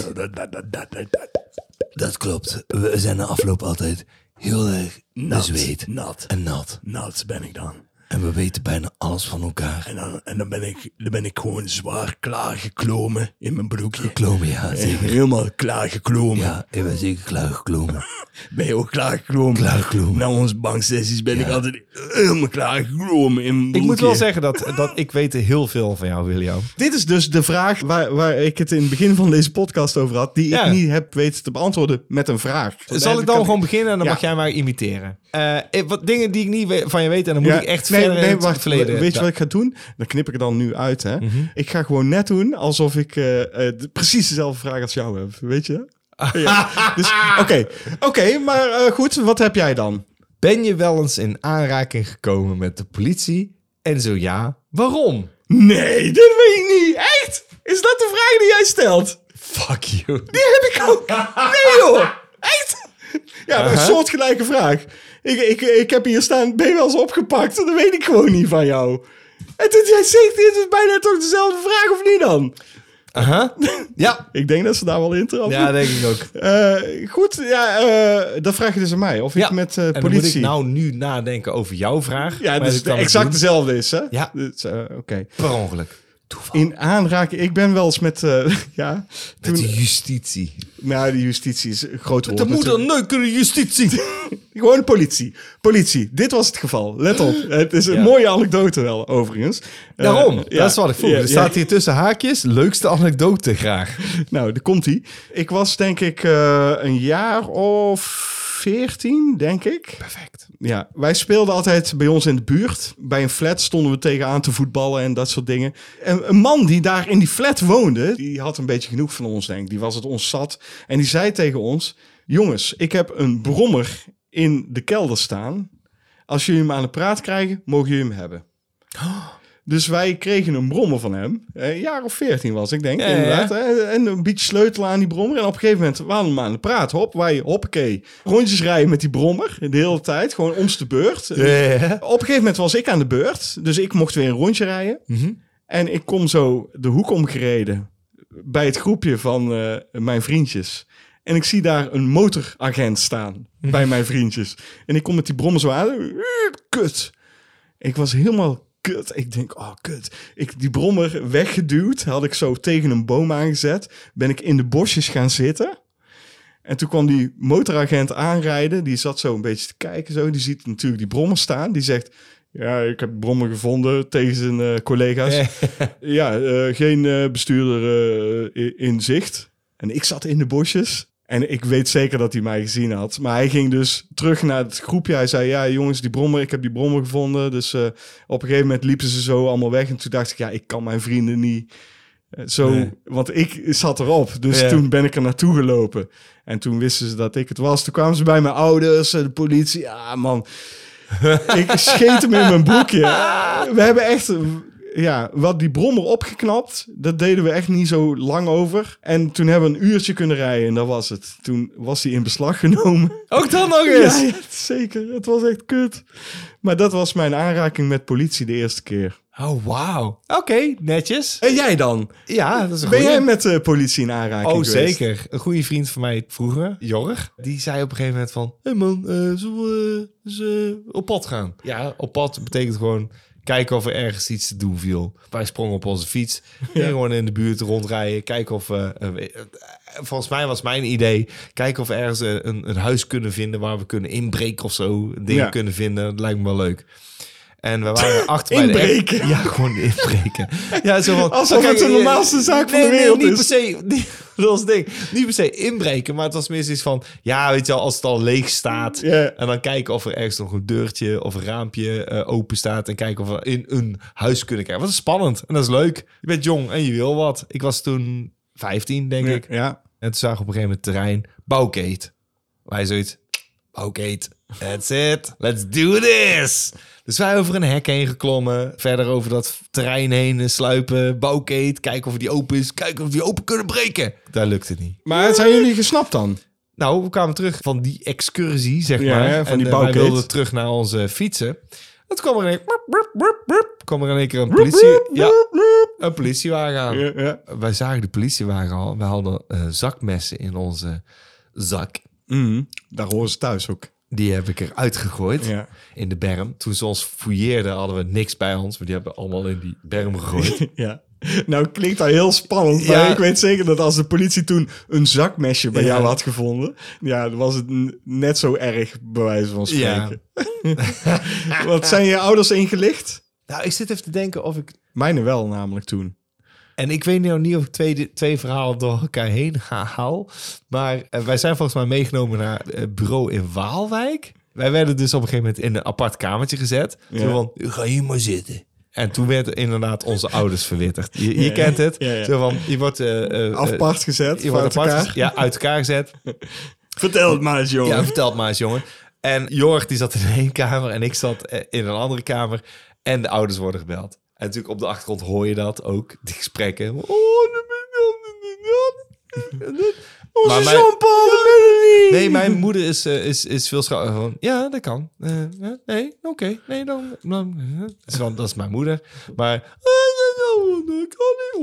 S4: Dat klopt. We zijn na afloop altijd heel erg nat, bezweet. Nat. En nat. Nat ben ik dan. En we weten bijna alles van elkaar. En dan, en dan, ben, ik, dan ben ik gewoon zwaar klaargeklomen in mijn broekje. Geklomen, ja. Zeker. Helemaal klaargeklomen. Ja, ik ben zeker klaargeklomen. Ben je ook klaargeklomen? Klaargeklomen. Na onze banksessies ben ik altijd helemaal klaargeklomen in mijn
S2: ik
S4: broekje.
S2: moet wel zeggen dat, dat ik weet heel veel van jou, William.
S1: Dit is dus de vraag waar, waar ik het in het begin van deze podcast over had, die
S2: Ja.
S1: ik niet heb weten te beantwoorden met een vraag.
S2: Zal ik dan
S1: Kan-
S2: gewoon beginnen en dan
S1: Ja.
S2: mag jij mij imiteren? Eh, eh, wat dingen die ik niet we- van je weet en dan moet
S1: Ja,
S2: ik echt
S1: nee,
S2: verder in
S1: nee,
S2: het
S1: wacht,
S2: verleden. Mhm.
S1: Weet je wat ik ga doen? Dan knip ik er dan nu uit, hè? Ik ga gewoon net doen alsof ik eh, eh, de- precies dezelfde vraag als jou heb, weet je? Ja. Dus, Oké, Oké, maar eh, goed, wat heb jij dan?
S2: Ben je wel eens in aanraking gekomen met de politie? En zo ja, waarom?
S1: Nee, dit weet ik niet. Echt? Is dat de vraag die jij stelt?
S2: Fuck you.
S1: Die heb ik ook. Nee, joh. Echt? Ja, maar een
S2: Aha.
S1: soortgelijke vraag. Ik, ik, ik heb hier staan, ben je wel eens opgepakt? Dat weet ik gewoon niet van jou. En toen jij zegt, dit is bijna toch dezelfde vraag of niet dan?
S2: Aha. Ja.
S1: Ik denk dat ze daar wel in trappen.
S2: Ja, denk ik ook.
S1: Eh, goed, ja, eh, dat vraag je dus aan mij. Of ik met eh,
S2: en dan
S1: politie.
S2: moet ik nou nu nadenken over jouw vraag.
S1: ja,
S2: maar
S1: dus
S2: dat
S1: het
S2: ik dan
S1: exact
S2: doe
S1: dezelfde is, hè?
S2: Ja.
S1: Dus, eh, Oké.
S2: Per ongeluk.
S1: In aanraking, ik ben wel eens met, eh, ja, toen,
S2: Met de justitie.
S1: nou, de justitie is een groot woord.
S2: De moeder
S1: natuurlijk.
S2: neuken de justitie.
S1: Gewoon politie. Politie, dit was het geval. Let op. Het is een
S2: Ja.
S1: mooie anekdote wel, overigens. Eh,
S2: Daarom,
S1: ja.
S2: dat is wat ik voel.
S1: Ja,
S2: er
S1: ja.
S2: staat hier tussen haakjes, leukste anekdote graag.
S1: Nou, daar komt hij. Ik was denk ik eh, een jaar of veertien, denk ik.
S2: Perfect.
S1: Ja, wij speelden altijd bij ons in de buurt. Bij een flat stonden we tegenaan te voetballen en dat soort dingen. En een man die daar in die flat woonde, die had een beetje genoeg van ons, denk ik. Die was het ons zat. En die zei tegen ons: Jongens, ik heb een brommer in de kelder staan. Als jullie hem aan de praat krijgen, mogen jullie hem hebben. Dus wij kregen een brommer van hem. Eh, Een jaar of veertien was, ik denk.
S2: Ja, ja, ja.
S1: inderdaad. Eh, En een beetje sleutelen aan die brommer. En op een gegeven moment waren we hem aan de praat. Hop, wij, hoppakee. Rondjes rijden met die brommer. De hele tijd. Gewoon om de beurt.
S2: Ja.
S1: Op een gegeven moment was ik aan de beurt. Dus ik mocht weer een rondje rijden. En ik kom zo de hoek omgereden. Bij het groepje van eh, mijn vriendjes. En ik zie daar een motoragent staan. Bij mijn vriendjes. En ik kom met die brommer zo aan. Kut. Ik was helemaal kut. Ik denk, oh kut. Ik die brommer weggeduwd, had ik zo tegen een boom aangezet. Ben ik in de bosjes gaan zitten. En toen kwam die motoragent aanrijden. Die zat zo een beetje te kijken. Zo. Die ziet natuurlijk die brommer staan. Die zegt, ja, ik heb de brommer gevonden tegen zijn eh, collega's. Ja, eh, geen eh, bestuurder eh, i- in zicht. En ik zat in de bosjes. En ik weet zeker dat hij mij gezien had. Maar hij ging dus terug naar het groepje. Hij zei, ja jongens, die brommer, ik heb die brommer gevonden. Dus eh, op een gegeven moment liepen ze zo allemaal weg. En toen dacht ik, ja, ik kan mijn vrienden niet... eh, Zo,
S2: Nee.
S1: want ik zat erop. Dus
S2: Ja.
S1: toen ben ik er naartoe gelopen. En toen wisten ze dat ik het was. Toen kwamen ze bij mijn ouders, eh, de politie. Ah, man. ik scheet hem in mijn broekje. We hebben echt... Ja, wat die brommer opgeknapt, dat deden we echt niet zo lang over. En toen hebben we een uurtje kunnen rijden en dat was het. Toen was hij in beslag genomen.
S2: Ook dan nog
S1: Ja,
S2: eens.
S1: ja, zeker. Het was echt kut. Maar dat was mijn aanraking met politie de eerste keer.
S2: Oh, wauw. Oké, netjes.
S1: En jij dan?
S2: Ja, dat is een
S1: Ben
S2: goeie.
S1: jij met de politie in aanraking
S2: Oh,
S1: geweest?
S2: zeker. Een goede vriend van mij vroeger, Jorg, die zei op een gegeven moment van... Hé hey man, eh, zullen we eh, eens, eh, op pad gaan? Ja, op pad betekent gewoon kijken of er ergens iets te doen viel. Wij sprongen op onze fiets, gingen gewoon in de buurt rondrijden, kijken of... eh, eh, we- eh, volgens mij was mijn idee, kijken of we ergens eh, een, een huis kunnen vinden waar we kunnen inbreken of zo. Dingen
S1: Ja.
S2: kunnen vinden, dat lijkt me wel leuk. En we waren achter bij de...
S1: Inbreken.
S2: act- Ja, gewoon inbreken. Ja, zo van,
S1: Alsof
S2: oké,
S1: het de
S2: eh,
S1: normaalste zaak van
S2: nee,
S1: de wereld
S2: nee, niet
S1: is.
S2: Per se, niet- dat was het ding. Niet per se inbreken, maar het was meer iets van... Ja, weet je wel, als het al leeg staat...
S1: Ja.
S2: En dan kijken of er ergens nog een deurtje of een raampje eh, open staat. En kijken of we in een huis kunnen kijken. Wat is spannend en dat is leuk. Je bent jong en je wil wat. Ik was toen 15, denk ik.
S1: Ja.
S2: En toen zagen we op een gegeven moment terrein. Bouwgate. Wij zoiets. Bouwgate. That's it. Let's do this. Dus wij over een hek heen geklommen. Verder over dat terrein heen eh, sluipen. Bouwgate. Kijken of die open is. Kijken of die open kunnen breken. Daar lukt het niet.
S1: Maar zijn jullie gesnapt dan?
S2: Nou, we kwamen terug van die excursie, zeg
S1: Ja,
S2: maar.
S1: hè, van
S2: en
S1: die
S2: eh,
S1: bouwkit.
S2: wij wilden terug naar onze fietsen. En toen kwam er een, kwam er in één keer een, politie, ja, een politiewagen aan.
S1: Ja, ja.
S2: Wij zagen de politiewagen al. We hadden eh, zakmessen in onze zak.
S1: Mhm. Daar horen ze thuis ook.
S2: Die heb ik eruit gegooid
S1: Ja.
S2: in de berm. Toen ze ons fouilleerden, hadden we niks bij ons. Maar die hebben we allemaal in die berm gegooid.
S1: Ja. Nou klinkt dat heel spannend, maar
S2: Ja.
S1: ik weet zeker dat als de politie toen een zakmesje bij
S2: Ja.
S1: jou had gevonden, ja, dan was het n- net zo erg, bij wijze van spreken. Wat zijn je ouders ingelicht?
S2: nou, ik zit even te denken of ik...
S1: Mijne wel, namelijk toen.
S2: En ik weet nou niet of ik twee, twee verhalen door elkaar heen ga- haal. Maar eh, wij zijn volgens mij meegenomen naar het bureau in Waalwijk. Wij werden dus op een gegeven moment in een apart kamertje gezet. Zo van,
S4: Ga hier maar zitten.
S2: en toen werden inderdaad onze ouders verwittigd. Je, je kent het.
S1: Ja, ja.
S2: Zo van, je wordt... eh, eh, eh,
S1: Apart gezet,
S2: je
S1: van
S2: wordt apart
S1: elkaar.
S2: gezet- ja, uit elkaar gezet.
S1: Vertel het maar eens, jongen.
S2: Ja, vertel het maar eens, jongen. En Jorg die zat in één kamer en ik zat eh, in een andere kamer. En de ouders worden gebeld. En natuurlijk op de achtergrond hoor je dat ook, die gesprekken. Oh, dat ben ik Onze
S1: Jean-Paul
S2: Nee, mijn moeder is, eh, is, is veel schouder van, ja, dat kan. Eh, eh, nee, oké, nee, dan... dan eh. Dus van, dat is mijn moeder. Maar... eh, dat kan niet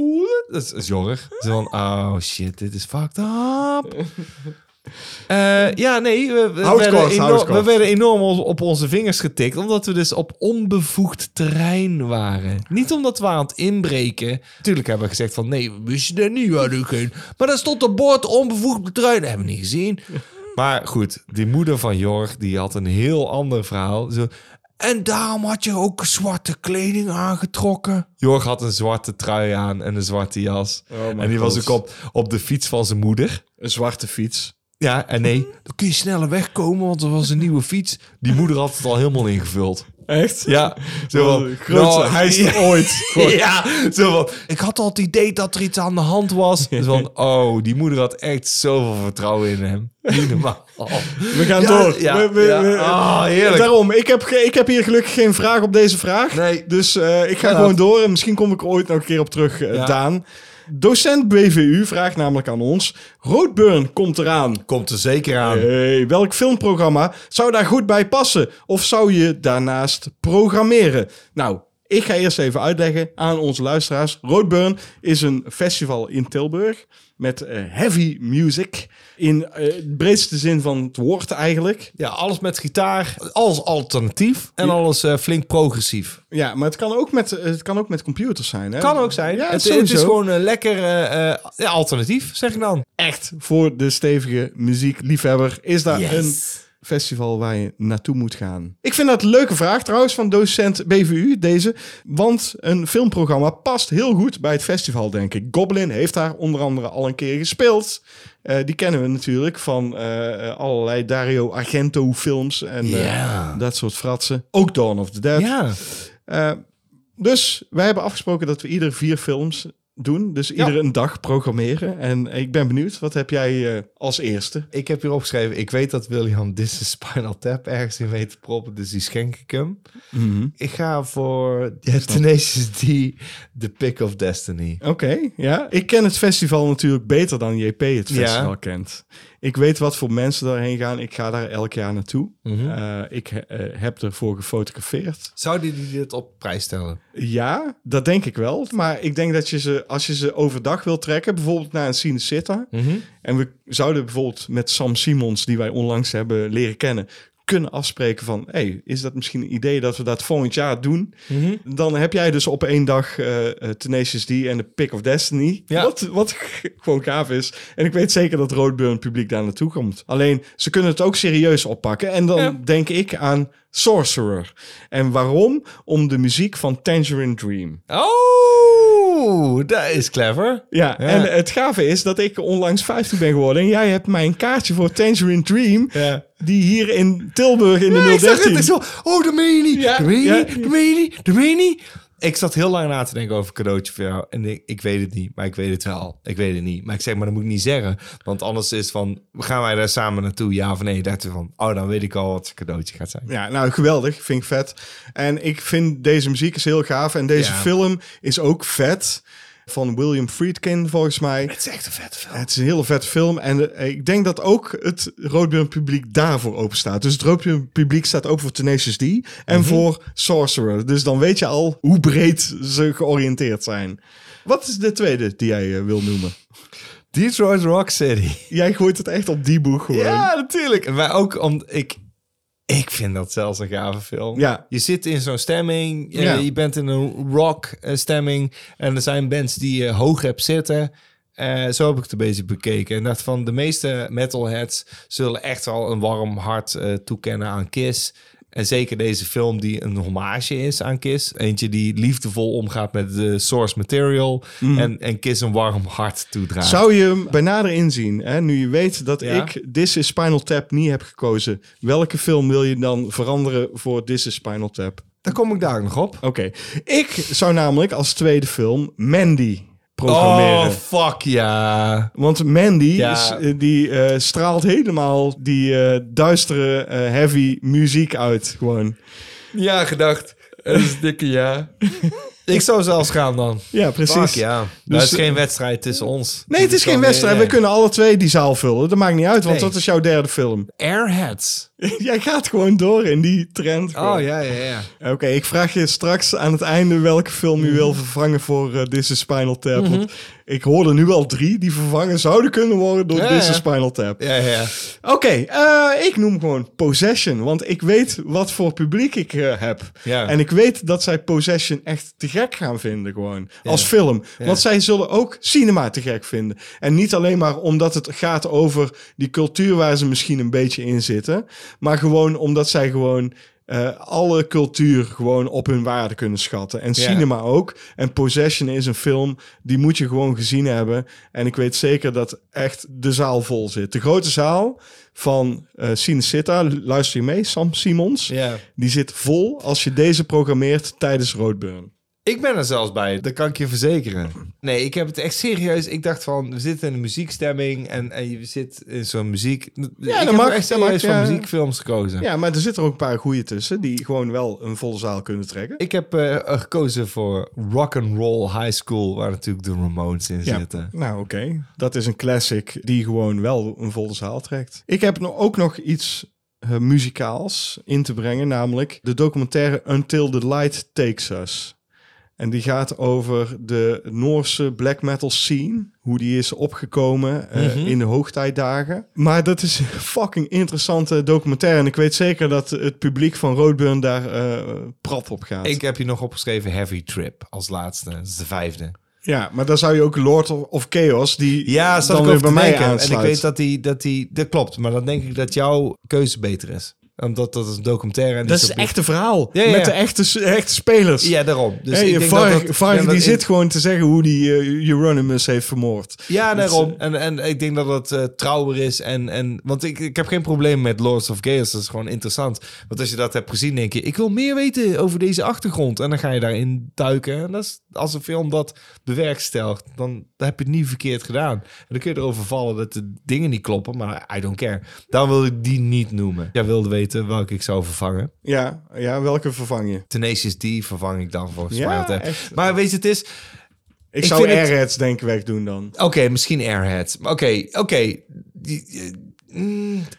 S2: horen. Dat is, dat is Jorg. Ze van, oh shit, dit is fucked up. Eh, ja, nee, we, we
S1: Houd het
S2: werden
S1: kort, houd
S2: enorm-
S1: het kort.
S2: we werden enorm op, op onze vingers getikt, omdat we dus op onbevoegd terrein waren. Niet omdat we aan het inbreken. Natuurlijk hebben we gezegd van, nee, we wisten er niet, we hadden geen... Maar daar stond een bord onbevoegd terrein, dat hebben we niet gezien. Maar goed, die moeder van Jorg, die had een heel ander verhaal. Zo, en daarom had je ook zwarte kleding aangetrokken. Jorg had een zwarte trui aan en een zwarte jas.
S1: mijn
S2: en die was
S1: God.
S2: ook op, op de fiets van zijn moeder.
S1: Een zwarte fiets.
S2: Ja, en nee, Mhm. dan kun je sneller wegkomen, want er was een nieuwe fiets. Die moeder had het al helemaal ingevuld.
S1: Echt?
S2: Ja, zo
S1: Zo,
S2: van,
S1: de grootste
S2: nou,
S1: heist
S2: ja,
S1: ooit. Goh.
S2: ja, zo van, ik had al het idee dat er iets aan de hand was. Dus van, oh, die moeder had echt zoveel vertrouwen in hem. Niet normaal.
S1: We gaan
S2: Ja,
S1: door.
S2: ja,
S1: we, we-
S2: ja.
S1: we-
S2: Ah, heerlijk.
S1: Daarom, ik heb, ge- ik heb hier gelukkig geen vraag op deze vraag.
S2: Nee.
S1: Dus eh, ik ga
S2: Ja.
S1: gewoon door en misschien kom ik er ooit nog een keer op terug, eh,
S2: Ja.
S1: Daan. Docent BVU vraagt namelijk aan ons: Roadburn komt eraan.
S2: Komt er zeker aan.
S1: Hey, welk filmprogramma zou daar goed bij passen? Of zou je daarnaast programmeren? Nou, ik ga eerst even uitleggen aan onze luisteraars. Roadburn is een festival in Tilburg met eh, heavy music. In eh, de breedste zin van het woord eigenlijk.
S2: Ja, alles met gitaar, alles alternatief en alles eh, flink progressief.
S1: Ja, maar het kan ook met, het kan ook met computers zijn. Hè?
S2: Kan ook zijn.
S1: Ja,
S2: het, het
S1: sowieso.
S2: is gewoon een lekker eh, eh, ja, alternatief, zeg ik dan.
S1: echt voor de stevige muziekliefhebber. Is daar
S2: Yes.
S1: een festival waar je naartoe moet gaan? Ik vind dat een leuke vraag trouwens van docent BVU, deze. Want een filmprogramma past heel goed bij het festival, denk ik. Goblin heeft daar onder andere al een keer gespeeld. Eh, die kennen we natuurlijk van eh, eh, allerlei Dario Argento films en eh,
S2: Ja.
S1: dat soort fratsen. Ook Dawn of the Dead.
S2: Ja.
S1: Eh, dus wij hebben afgesproken dat we ieder vier films doen. Dus iedere een dag programmeren. En ik ben benieuwd, wat heb jij eh, als eerste?
S2: Ik heb hier opgeschreven, ik weet dat William Disney Spinal Tap ergens in weet te proppen, dus die schenk ik hem. Ik ga voor Tenacious D, The Pick of Destiny.
S1: Oké, ja. Ik ken het festival natuurlijk beter dan JP het festival
S2: Ja.
S1: kent. Ik weet wat voor mensen daarheen gaan. Ik ga daar elk jaar naartoe. Eh, ik eh, heb ervoor gefotografeerd.
S2: Zouden jullie dit op prijs stellen?
S1: Ja, dat denk ik wel. Maar ik denk dat je ze, als je ze overdag wil trekken, bijvoorbeeld naar een Cinecitta. En we zouden bijvoorbeeld met Sam Simons, die wij onlangs hebben leren kennen, kunnen afspreken van... hey, is dat misschien een idee dat we dat volgend jaar doen? Dan heb jij dus op één dag eh eh, Tenacious D en de Pick of Destiny.
S2: Ja.
S1: Wat, wat gewoon gaaf is. En ik weet zeker dat Roadburn publiek daar naartoe komt. Alleen, ze kunnen het ook serieus oppakken. En dan denk ik aan Sorcerer. En waarom? Om de muziek van Tangerine Dream.
S2: Oh, dat is clever.
S1: Ja, en het gave is dat ik onlangs 15 ben geworden. En jij hebt mij een kaartje voor Tangerine Dream.
S2: Ja.
S1: Die hier in Tilburg in de
S2: Ja, ik zag
S1: 013...
S2: het. Ik zo, oh, dat meen je niet.
S1: Ja,
S2: dat meen je
S1: ja.
S2: niet. Dat meen je niet. Dat meen je niet. Ik zat heel lang na te denken over een cadeautje voor jou. En ik, ik weet het niet, maar ik weet het wel. Ik weet het niet. Maar ik zeg, maar dat moet ik niet zeggen. Want anders is het van, gaan wij daar samen naartoe? Ja of nee? Dacht van, oh, dan weet ik al wat het cadeautje gaat zijn.
S1: Ja, nou geweldig. Vind ik vet. En ik vind deze muziek is heel gaaf. En deze
S2: Ja.
S1: film is ook vet. Van William Friedkin volgens mij.
S2: Het is echt een vette film.
S1: Het is een hele vette film. En eh, ik denk dat ook het Roodburn publiek daarvoor open staat. Dus het Roodburn publiek staat ook voor Tenacious D. En
S2: Mhm.
S1: voor Sorcerer. Dus dan weet je al hoe breed ze georiënteerd zijn. Wat is de tweede die jij eh, wil noemen?
S2: Detroit Rock City.
S1: Jij gooit het echt op die boeg gewoon.
S2: Ja, natuurlijk. Maar ook om ik. Ik vind dat zelfs een gave film.
S1: Ja.
S2: Je zit in zo'n stemming. eh,
S1: Ja.
S2: Je bent in een rock eh, stemming. En er zijn bands die je hoog hebt zitten. Eh, zo heb ik het een beetje bekeken. En dacht van de meeste metalheads zullen echt wel een warm hart eh, toekennen aan Kiss. En zeker deze film die een hommage is aan Kiss. Eentje die liefdevol omgaat met de source material. En, en Kiss een warm hart toedraagt.
S1: Zou je hem bij nader inzien, hè? nu je weet dat
S2: Ja.
S1: ik This is Spinal Tap niet heb gekozen, welke film wil je dan veranderen voor This is Spinal Tap?
S2: Daar kom ik daar nog op.
S1: Oké, ik zou namelijk als tweede film Mandy
S2: Oh,
S1: programmeren.
S2: fuck ja.
S1: Want Mandy
S2: Ja.
S1: is, eh, die, eh, straalt helemaal die eh, duistere, eh, heavy muziek uit. Gewoon.
S2: Ja, gedacht. Dat is dikke ja. ik zou zelfs gaan dan.
S1: Ja, precies.
S2: Fuck ja.
S1: Dus-
S2: dat is geen wedstrijd tussen ons. Dus
S1: Nee, het is geen wedstrijd.
S2: eh,
S1: We kunnen alle twee die zaal vullen. Dat maakt niet uit, want
S2: Nee.
S1: dat is jouw derde film.
S2: Airheads.
S1: Jij gaat gewoon door in die trend. gewoon.
S2: Oh, ja, ja, ja.
S1: Oké, ik vraag je straks aan het einde welke film je
S2: Mhm.
S1: wil vervangen voor eh This is Spinal Tap. Want ik hoorde nu al drie die vervangen zouden kunnen worden door
S2: Ja,
S1: This
S2: ja.
S1: is Spinal Tap.
S2: Ja, ja, ja.
S1: Oké, eh, ik noem gewoon Possession, want ik weet wat voor publiek ik eh, heb.
S2: Ja.
S1: En ik weet dat zij Possession echt te gek gaan vinden gewoon, als film. Want zij zullen ook cinema te gek vinden. En niet alleen maar omdat het gaat over die cultuur waar ze misschien een beetje in zitten. Maar gewoon omdat zij gewoon... eh, alle cultuur gewoon op hun waarde kunnen schatten. En
S2: Ja.
S1: cinema ook. En Possession is een film die moet je gewoon gezien hebben. En ik weet zeker dat echt de zaal vol zit. De grote zaal van eh Cinecitta, luister je mee, Sam Simons.
S2: Ja.
S1: Die zit vol als je deze programmeert tijdens Roadburn.
S2: Ik ben er zelfs bij, dat kan ik je verzekeren. Nee, ik heb het echt serieus. Ik dacht van, we zitten in een muziekstemming en, en je zit in zo'n muziek. ik heb
S1: mag,
S2: echt
S1: dat mag,
S2: serieus van
S1: ja.
S2: muziekfilms gekozen.
S1: Ja, maar er zitten er ook een paar goeie tussen die gewoon wel een volle zaal kunnen trekken.
S2: Ik heb eh, gekozen voor Rock and Roll High School, waar natuurlijk de Ramones in
S1: Ja,
S2: zitten.
S1: nou oké. Dat is een classic die gewoon wel een volle zaal trekt. Ik heb no- ook nog iets eh, muzikaals in te brengen, namelijk de documentaire Until the Light Takes Us. En die gaat over de Noorse black metal scene. Hoe die is opgekomen eh,
S2: Mhm.
S1: in de hoogtijdagen. Maar dat is een fucking interessante documentaire. En ik weet zeker dat het publiek van Roadburn daar eh prat op gaat.
S2: Ik heb hier nog opgeschreven Heavy Trip als laatste. Dat is de vijfde.
S1: Ja, maar dan zou je ook Lord of- of Chaos... die
S2: Ja, zat
S1: dan
S2: ik
S1: weer
S2: over
S1: bij
S2: te
S1: mij
S2: denken.
S1: aansluit.
S2: En ik weet dat die, dat die... Dat klopt, maar dan denk ik dat jouw keuze beter is. Omdat dat is een documentaire. En
S1: Dat
S2: Dus die
S1: is echt een verhaal.
S2: Ja, ja, ja.
S1: Met de echte, echte spelers.
S2: Ja, daarom. Dus
S1: Hey,
S2: ik denk
S1: Varg-
S2: dat dat,
S1: Varg
S2: ja, dat
S1: die
S2: in-
S1: zit gewoon te zeggen hoe die eh, Euronymous heeft vermoord.
S2: Ja,
S1: Dat is-
S2: daarom. En, en ik denk dat dat eh, trouwer is. En, en, want ik, ik heb geen probleem met Lords of Chaos. Dat is gewoon interessant. Want als je dat hebt gezien, denk je... Ik wil meer weten over deze achtergrond. En dan ga je daarin duiken. En dat is, als een film dat bewerkstelt, dan heb je het niet verkeerd gedaan. En dan kun je erover vallen dat de dingen niet kloppen. Maar I don't care. Dan wil ik die niet noemen. Jij wilde weten welke ik zou vervangen.
S1: Ja, ja, welke vervang je?
S2: Tenacious D vervang ik dan volgens
S1: Ja,
S2: mij altijd.
S1: echt.
S2: Maar weet je, het is...
S1: Ik,
S2: Ik
S1: zou
S2: vind het-
S1: Airheads denk ik wegdoen dan.
S2: Oké, misschien Airhead. Maar Oké, oké. Die- eh,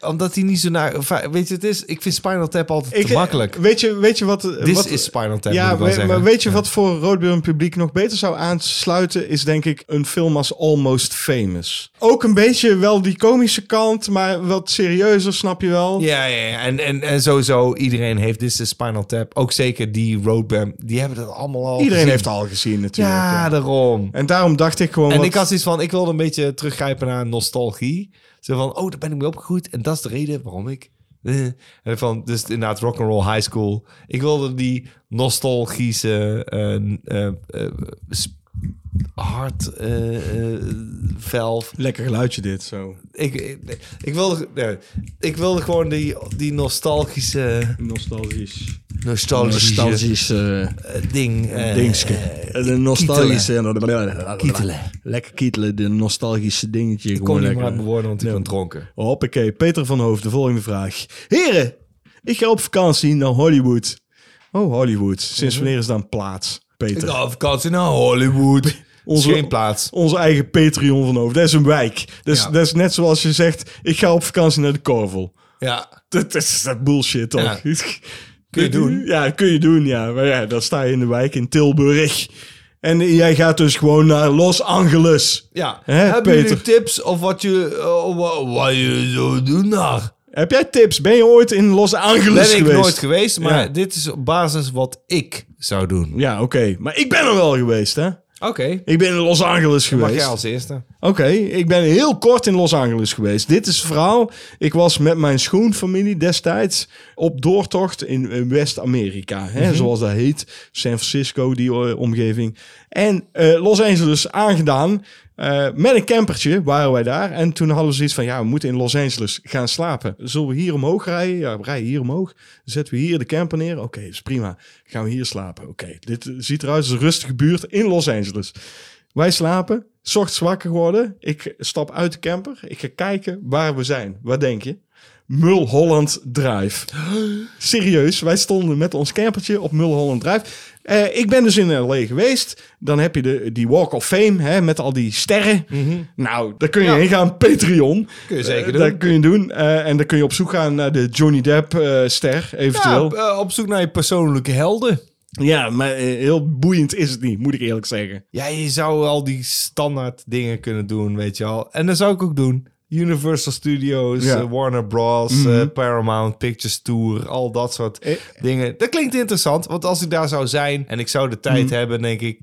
S2: Omdat hij niet zo naar... va- Weet je, het is, ik eh, vind Spinal Tap altijd
S1: Ik-
S2: te makkelijk.
S1: Weet je, weet je wat...
S2: Dit
S1: wat,
S2: is Spinal Tap, moet
S1: Ja,
S2: ik wel
S1: we-
S2: zeggen.
S1: maar weet je wat voor roodbeeld publiek nog beter zou aansluiten? Is denk ik een film als Almost Famous. Ook een beetje wel die komische kant, maar wat serieuzer, snap je wel?
S2: Ja, ja, ja. En, en, en sowieso, iedereen heeft This is Spinal Tap. Ook zeker die Roadband. Die hebben dat allemaal al
S1: Iedereen
S2: gezien.
S1: heeft het al gezien natuurlijk.
S2: Ja,
S1: ja.
S2: daarom.
S1: En daarom dacht ik gewoon...
S2: En
S1: wat-
S2: ik had iets van, ik wilde een beetje teruggrijpen naar nostalgie. Zo van, oh, daar ben ik mee opgegroeid. En dat is de reden waarom ik... eh. En van, dus inderdaad, rock'n'roll high school. Ik wilde die nostalgische... eh eh eh, sp- hard eh, eh, velf.
S1: Lekker geluidje dit, zo.
S2: Ik, ik, ik wilde, nee, ik wilde gewoon die, die nostalgische,
S1: Nostalgisch.
S2: nostalgische
S4: Nostalgische
S2: eh, ding. eh,
S4: dingetje. de
S1: eh, nou,
S4: nostalgische...
S2: Kietelen.
S4: Lekker kietelen, de nostalgische dingetje.
S2: Ik kon
S4: gewoon
S2: niet meer
S4: lekker.
S2: uit mijn woorden, want ik ben dronken.
S1: Hoppakee, Peter van Hoofd, de volgende vraag. Heren, ik ga op vakantie naar Hollywood. Oh, Hollywood.
S2: Mhm.
S1: Sinds wanneer is daar een plaats, Peter?
S2: ga op vakantie naar Hollywood.
S1: Onze-
S2: Geen plaats.
S1: Onze eigen Patreon van Hoofd. Dat is een wijk. Dat is,
S2: Ja.
S1: dat is net zoals je zegt, ik ga op vakantie naar de Korvel.
S2: Ja.
S1: Dat is dat bullshit, toch?
S2: Ja. Kun je doen.
S1: Ja, kun je doen, ja. Maar ja, dan sta je in de wijk in Tilburg. En jij gaat dus gewoon naar Los Angeles.
S2: ja.
S1: Hè,
S2: Hebben jullie
S1: Peter?
S2: tips of wat je, eh, wa- wat je zo doen daar?
S1: Heb jij tips? Ben je ooit in Los Angeles
S2: Ben ik
S1: geweest?
S2: nooit geweest, maar
S1: Ja.
S2: dit is op basis wat ik zou doen.
S1: Ja, oké. Maar ik ben er wel geweest, hè?
S2: Oké,
S1: Ik ben in Los Angeles
S2: mag
S1: geweest.
S2: jij als eerste.
S1: Oké, ik ben heel kort in Los Angeles geweest. Dit is het verhaal. Ik was met mijn schoonfamilie destijds op doortocht in eh, West-Amerika. hè, Zoals dat heet. San Francisco, die eh, omgeving. En eh, Los Angeles aangedaan. Eh, met een campertje waren wij daar. En toen hadden we zoiets van, ja, we moeten in Los Angeles gaan slapen. Zullen we hier omhoog rijden? Ja, we rijden hier omhoog. Dan zetten we hier de camper neer. Oké, dat is prima. Gaan we hier slapen? Oké, dit eh, ziet eruit als een rustige buurt in Los Angeles. Wij slapen. 's Ochtends wakker geworden. Ik stap uit de camper. Ik ga kijken waar we zijn. Waar denk je? Mulholland Drive. Serieus, wij stonden met ons campertje op Mulholland Drive. Eh, ik ben dus in L.A. geweest. Dan heb je de, die Walk of Fame hè, met al die sterren. Nou, daar kun je heen gaan. Patreon.
S2: Mhm. Kun je zeker
S1: Eh,
S2: doen.
S1: daar kun je doen. Eh, en dan kun je op zoek gaan naar de Johnny Depp eh, ster,
S2: Ja,
S1: eventueel.
S2: op, eh, op zoek naar je persoonlijke helden.
S1: Ja, maar eh, heel boeiend is het niet, moet ik eerlijk zeggen.
S2: Ja, je zou al die standaard dingen kunnen doen, weet je al. En dat zou ik ook doen. Universal Studios,
S1: Ja. Mhm.
S2: eh, Warner Bros, eh, Paramount Pictures Tour, al dat soort
S1: Eh.
S2: dingen. Dat klinkt interessant, want als ik daar zou zijn en ik zou de
S1: Mhm.
S2: tijd hebben, denk ik...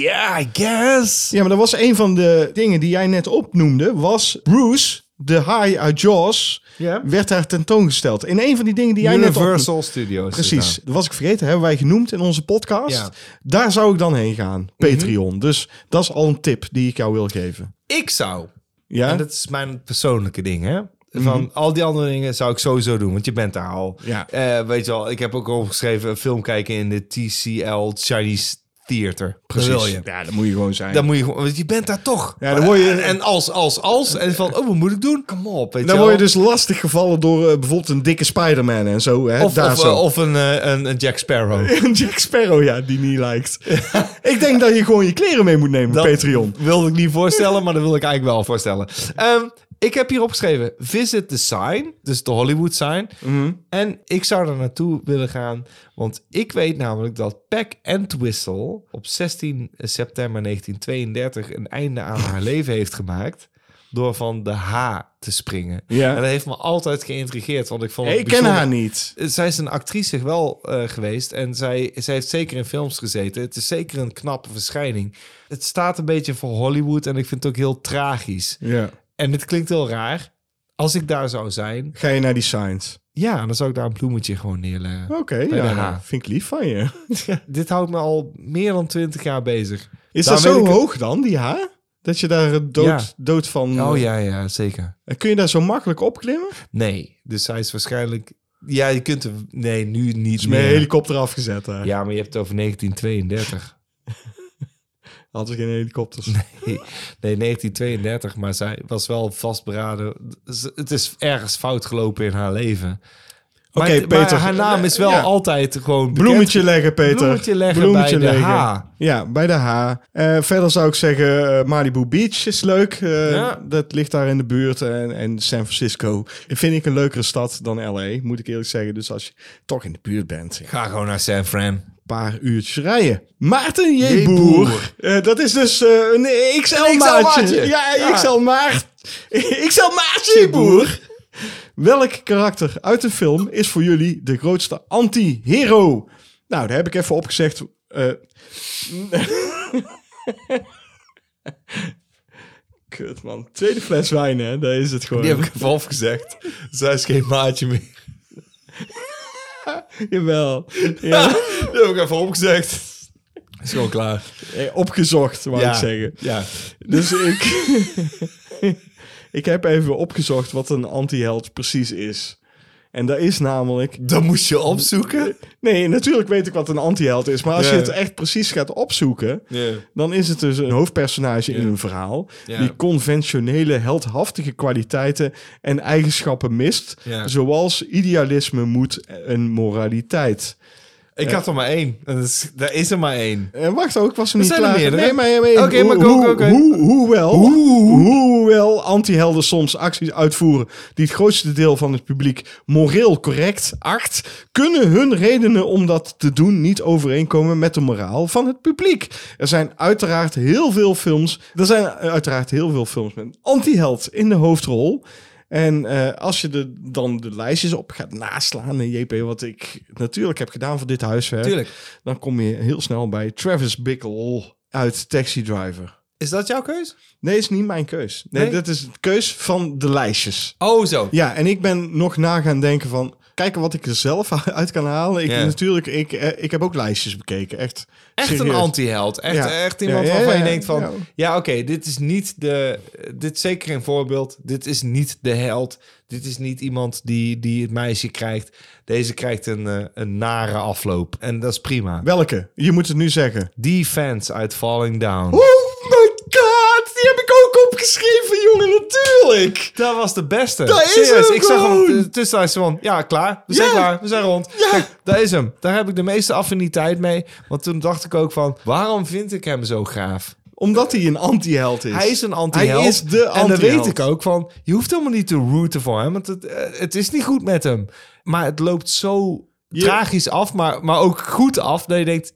S2: Ja, I guess.
S1: Ja, maar dat was een van de dingen die jij net opnoemde. Was Bruce, de haai uit Jaws,
S2: Ja.
S1: werd daar tentoongesteld. In een van die dingen die jij net opnoemde.
S2: Universal Studios. is
S1: Precies, dat was ik vergeten. Hebben wij genoemd in onze podcast.
S2: Ja. Mhm.
S1: Daar zou ik dan heen gaan. Patreon. Dus dat is al een tip die ik jou wil geven.
S2: dat. Ik zou,
S1: Ja?
S2: en dat is mijn persoonlijke ding, hè. Van al die andere dingen zou ik sowieso doen, want je bent daar al.
S1: Mhm. Ja.
S2: Eh, weet je wel, ik heb ook opgeschreven een film kijken in de TCL Chinese Theater. Precies. wil je.
S1: Ja, dat moet je gewoon zijn.
S2: Dan moet je gewoon, want je bent daar toch.
S1: Ja, dan word je-
S2: En, en als, als, als. En van, oh, wat moet ik doen? Kom op, weet
S1: dan
S2: je
S1: word je
S2: wel.
S1: dus lastig gevallen door eh, bijvoorbeeld een dikke Spider-Man en zo. Hè?
S2: Of,
S1: Daar
S2: of,
S1: zo.
S2: eh, of een, eh, een, een Jack Sparrow.
S1: Een Jack Sparrow, ja, die niet lijkt. ik denk dat je gewoon je kleren mee moet nemen,
S2: Dat
S1: Patreon.
S2: wilde ik niet voorstellen, maar dat wil ik eigenlijk wel voorstellen. Ehm, ik heb hier opgeschreven, visit the sign, dus de Hollywood sign.
S1: Mhm.
S2: En ik zou er naartoe willen gaan, want ik weet namelijk dat Peck Entwistle op 16 september 1932 een einde aan haar leven heeft gemaakt door van de H te springen.
S1: Ja.
S2: En dat heeft me altijd geïntrigeerd, want ik vond het
S1: ik ken
S2: bijzonder-
S1: haar niet.
S2: zij is een actrice wel eh, geweest en zij, zij heeft zeker in films gezeten. Het is zeker een knappe verschijning. Het staat een beetje voor Hollywood en ik vind het ook heel tragisch.
S1: Ja.
S2: En het klinkt heel raar. Als ik daar zou zijn,
S1: Ga je naar die signs?
S2: ja, dan zou ik daar een bloemetje gewoon neerleggen.
S1: Oké,
S2: Bij de
S1: ja,
S2: H.
S1: vind ik lief van je.
S2: Dit houdt me al meer dan twintig jaar bezig.
S1: Is
S2: Daar
S1: dat
S2: weet
S1: zo
S2: ik het-
S1: hoog dan, die H? Dat je daar eh, dood,
S2: Ja.
S1: dood van...
S2: Oh ja, ja, zeker.
S1: En Kun je daar zo makkelijk opklimmen?
S2: Nee, dus zij is waarschijnlijk... Ja, je kunt er... Nee, nu niet
S1: Is mijn
S2: meer.
S1: helikopter afgezet daar.
S2: Ja, maar je hebt het over 1932.
S1: Had ze geen helikopters.
S2: Nee, 1932, maar zij was wel vastberaden. Z- Het is ergens fout gelopen in haar leven.
S1: Oké,
S2: maar, maar
S1: Peter.
S2: haar naam is wel
S1: Ja.
S2: altijd gewoon bekend.
S1: Bloemetje leggen, Peter.
S2: Bloemetje leggen bij de H.
S1: Ja, bij de H. Eh, verder zou ik zeggen, eh Malibu Beach is leuk. Eh,
S2: Ja.
S1: Dat ligt daar in de buurt. En, en San Francisco vind ik een leukere stad dan L.A., moet ik eerlijk zeggen. Dus als je toch in de buurt bent,
S2: Ga gewoon naar San Fran.
S1: een paar uurtjes rijden. Maarten J.
S2: J.
S1: Boer.
S2: Boer.
S1: Eh, dat is dus eh, een
S2: XL
S1: XL-maatje.
S2: maatje.
S1: ja,
S2: Ja.
S1: XL Maart. XL Maartje Boer. Welk karakter uit de film is voor jullie de grootste anti-hero? Nou, daar heb ik even opgezegd. eh Kut man, tweede fles wijn hè, daar is het gewoon.
S2: Die heb ik even opgezegd. Zij is geen maatje meer.
S1: Jawel. Ja.
S2: Die heb ik even opgezegd. Is gewoon klaar.
S1: Eh, Opgezocht, wou ik zeggen.
S2: Ja.
S1: Dus ik. ik heb even opgezocht wat een antiheld precies is. En dat is namelijk.
S2: Dat moest je opzoeken.
S1: Nee, natuurlijk weet ik wat een antiheld is. Maar als je
S2: Ja.
S1: het echt precies gaat opzoeken.
S2: Ja.
S1: dan is het dus een hoofdpersonage in een verhaal.
S2: Ja.
S1: die conventionele heldhaftige kwaliteiten en eigenschappen mist.
S2: Ja.
S1: zoals idealisme, moed en moraliteit.
S2: Ik had er maar één. En Dat is, er is er maar één.
S1: En wacht, ook was er niet
S2: zijn er
S1: klaar.
S2: meerdere.
S1: Nee, maar, maar,
S2: Oké, maar
S1: hoe-
S2: go,
S1: hoe-
S2: go, go.
S1: hoe- Hoewel, hoewel antihelden soms acties uitvoeren die het grootste deel van het publiek moreel correct acht, kunnen hun redenen om dat te doen niet overeenkomen met de moraal van het publiek. Er zijn uiteraard heel veel films, er zijn uiteraard heel veel films met een antiheld in de hoofdrol. En eh, als je de, dan de lijstjes op gaat naslaan, en JP, wat ik natuurlijk heb gedaan voor dit huiswerk,
S2: Tuurlijk.
S1: dan kom je heel snel bij Travis Bickle uit Taxi Driver.
S2: Is dat jouw keus?
S1: Nee, is niet mijn keus. Nee,
S2: Nee?
S1: dat is de keus van de lijstjes.
S2: Oh, zo.
S1: Ja, en ik ben nog na gaan denken van... Kijken wat ik er zelf uit kan halen. Ik,
S2: Ja.
S1: Natuurlijk, ik, eh, ik heb ook lijstjes bekeken. Echt,
S2: Echt een
S1: serieus.
S2: anti-held. Echt,
S1: Ja.
S2: echt iemand
S1: Ja, ja,
S2: waarvan
S1: ja,
S2: je denkt van...
S1: ja.
S2: Ja, oké, dit is niet de... Dit is zeker geen voorbeeld. Dit is niet de held. Dit is niet iemand die, die het meisje krijgt. Deze krijgt een, eh, een nare afloop. En dat is prima.
S1: Welke? Je moet het nu zeggen.
S2: Die fans uit Falling Down.
S1: Oh my god! Die heb ik ook opgeschreven, jongen. Natuurlijk!
S2: Dat was de beste.
S1: Dat is hem
S2: ik zag
S1: gewoon.
S2: hem tussen van, ja, klaar. We zijn
S1: Ja.
S2: klaar. We zijn rond.
S1: Ja.
S2: Kijk, dat is hem. Daar heb ik de meeste affiniteit mee. Want toen dacht ik ook van, waarom vind ik hem zo gaaf?
S1: Omdat hij een anti-held is.
S2: Hij is een anti-held.
S1: Hij is de
S2: En dat
S1: anti-held.
S2: weet ik ook van, je hoeft helemaal niet te rooten voor hem. Want het, eh, het is niet goed met hem. Maar het loopt zo tragisch af, maar, maar ook goed af. Dat je denkt,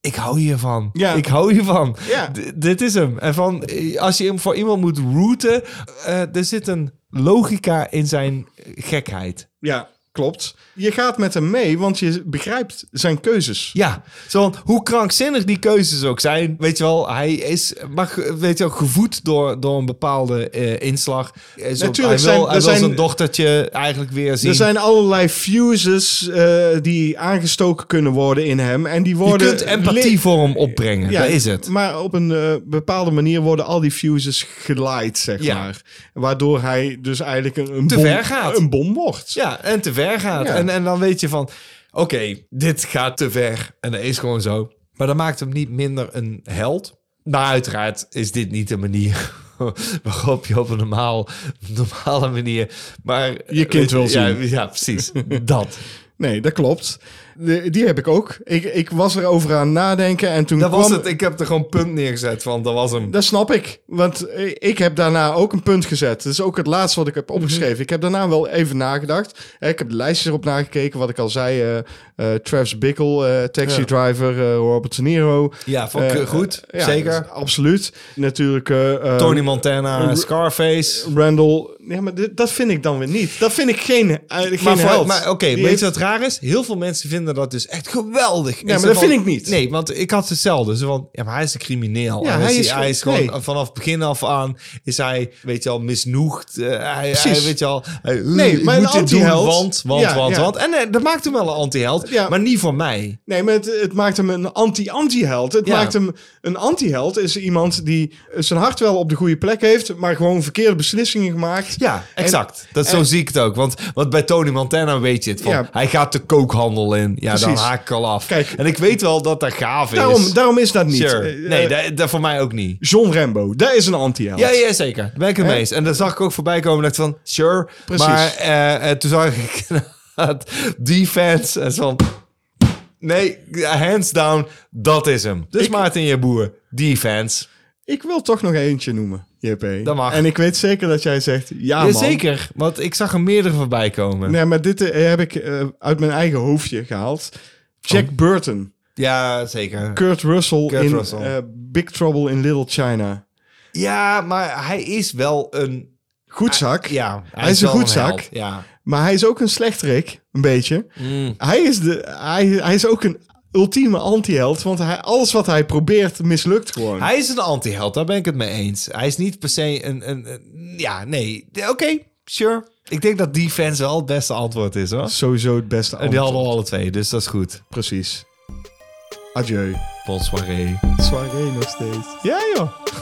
S2: ik hou hiervan.
S1: Ja.
S2: Ik hou hiervan.
S1: Ja.
S2: D- dit is hem. En van, eh, als je hem voor iemand moet rooten, eh, er zit een logica in zijn gekheid.
S1: Ja, klopt. Je gaat met hem mee, want je begrijpt zijn keuzes.
S2: Ja, zo, want hoe krankzinnig die keuzes ook zijn, weet je wel, hij is, mag, weet je wel, gevoed door, door een bepaalde eh, inslag. Eh, zo,
S1: Natuurlijk
S2: hij wil,
S1: zijn-
S2: hij
S1: er
S2: wil
S1: zijn-
S2: zijn dochtertje eigenlijk weer zien.
S1: Er zijn allerlei fuses eh, die aangestoken kunnen worden in hem. En die
S2: je
S1: worden.
S2: kunt empathie voor hem opbrengen,
S1: Ja,
S2: dat is het.
S1: Maar op een eh, bepaalde manier worden al die fuses geleid, zeg
S2: Ja.
S1: maar. Waardoor hij dus eigenlijk een, een
S2: Te
S1: bom,
S2: ver gaat.
S1: Een bom wordt.
S2: Ja, en te ver gaat.
S1: Ja.
S2: En, en dan weet je van, oké, dit gaat te ver. En dat is gewoon zo. Maar dat maakt hem niet minder een held. Maar uiteraard is dit niet de manier waarop je op een normaal, normale manier... Maar,
S1: Je kind wil
S2: ja,
S1: zien.
S2: Ja, precies. dat.
S1: Nee, dat klopt. De- die heb ik ook. Ik, ik was erover aan nadenken en toen
S2: Dat
S1: kwam...
S2: was het. Ik heb er gewoon punt neergezet van, dat was hem.
S1: Dat snap ik. Want eh, ik heb daarna ook een punt gezet. Dat is ook het laatste wat ik
S2: Mhm.
S1: heb opgeschreven. Ik heb daarna wel even nagedacht. Eh, Ik heb de lijstjes erop nagekeken. Wat ik al zei. eh eh, Travis Bickle, eh, Taxi
S2: Ja.
S1: Driver, eh, Robert De Niro.
S2: Ja, vond ik
S1: Eh,
S2: eh, goed.
S1: ja,
S2: Zeker.
S1: dus absoluut. Natuurlijk eh, eh,
S2: Tony Montana,
S1: eh,
S2: Scarface.
S1: Randall. Nee, maar dit- dat vind ik dan weer niet. Dat vind ik geen, eh, geen
S2: Maar, voor-
S1: held.
S2: maar oké,
S1: Die
S2: weet
S1: heeft-
S2: je wat raar is? Heel veel mensen vinden dat dus echt geweldig. Ja,
S1: maar dat vind ik niet.
S2: Nee, want ik had hetzelfde. Zo van, ja, maar hij is een crimineel.
S1: Ja,
S2: En
S1: hij
S2: hij, is,
S1: is
S2: hij is gewoon
S1: nee.
S2: vanaf het begin af aan is hij, weet je al, misnoegd. Eh, hij,
S1: Precies.
S2: hij, weet je al, hij, eh,
S1: Nee,
S2: ik
S1: maar een
S2: moet dit doen,
S1: antiheld.
S2: want, want,
S1: Ja,
S2: want,
S1: ja.
S2: want. En eh, dat maakt hem wel een antiheld,
S1: Ja.
S2: maar niet voor mij.
S1: Nee, maar het, het maakt hem een anti-anti-held. Het
S2: Ja.
S1: maakt hem een anti-held is iemand die zijn hart wel op de goede plek heeft, maar gewoon verkeerde beslissingen maakt.
S2: Ja,
S1: En-
S2: exact. dat, zo
S1: en-
S2: zie ik het ook. Want, want bij Tony Montana weet je het van.
S1: Ja.
S2: Hij gaat de kookhandel in. Ja, dan
S1: Precies.
S2: haak ik al af.
S1: Kijk.
S2: en ik weet wel dat dat gaaf is.
S1: Daarom, daarom is dat niet.
S2: Sure.
S1: Eh,
S2: Nee,
S1: eh,
S2: dat, dat voor mij ook niet.
S1: John Rambo, dat is een anti-held.
S2: Ja, ja, zeker. Daar ben ik het
S1: Hè?
S2: mee eens. En dat zag ik ook voorbij komen. dacht van, sure.
S1: Precies.
S2: Maar eh, eh, toen zag ik staat defense. En zo van, nee, hands down, dat is hem. Dus Maarten je boer, defense.
S1: Ik wil toch nog eentje noemen, JP.
S2: Dat mag.
S1: En ik weet zeker dat jij zegt, ja man.
S2: Jazeker, want ik zag er meerdere voorbij komen.
S1: Nee, maar dit eh, heb ik eh, uit mijn eigen hoofdje gehaald. Jack
S2: Oh.
S1: Burton,
S2: Ja, zeker.
S1: Kurt Russell
S2: Kurt
S1: in
S2: Russell.
S1: eh, Big Trouble in Little China.
S2: Ja, maar hij is wel een...
S1: Goed zak,
S2: Ah, Ja,
S1: Hij is een
S2: wel
S1: goed zak.
S2: held, Ja.
S1: maar hij is ook een slechterik, een beetje.
S2: Mm.
S1: Hij, is de, hij, hij is ook een ultieme anti-held, want hij, alles wat hij probeert mislukt gewoon.
S2: Hij is een anti-held, daar ben ik het mee eens. Hij is niet per se een... een, een- ja, nee. Oké, sure. Ik denk dat defense wel het beste antwoord is, hoor.
S1: Sowieso het beste
S2: En Eh, die
S1: antwoord.
S2: hadden we alle twee, dus dat is goed.
S1: Precies. Adieu.
S2: Bonsoiré.
S1: Soirée nog steeds. Ja joh.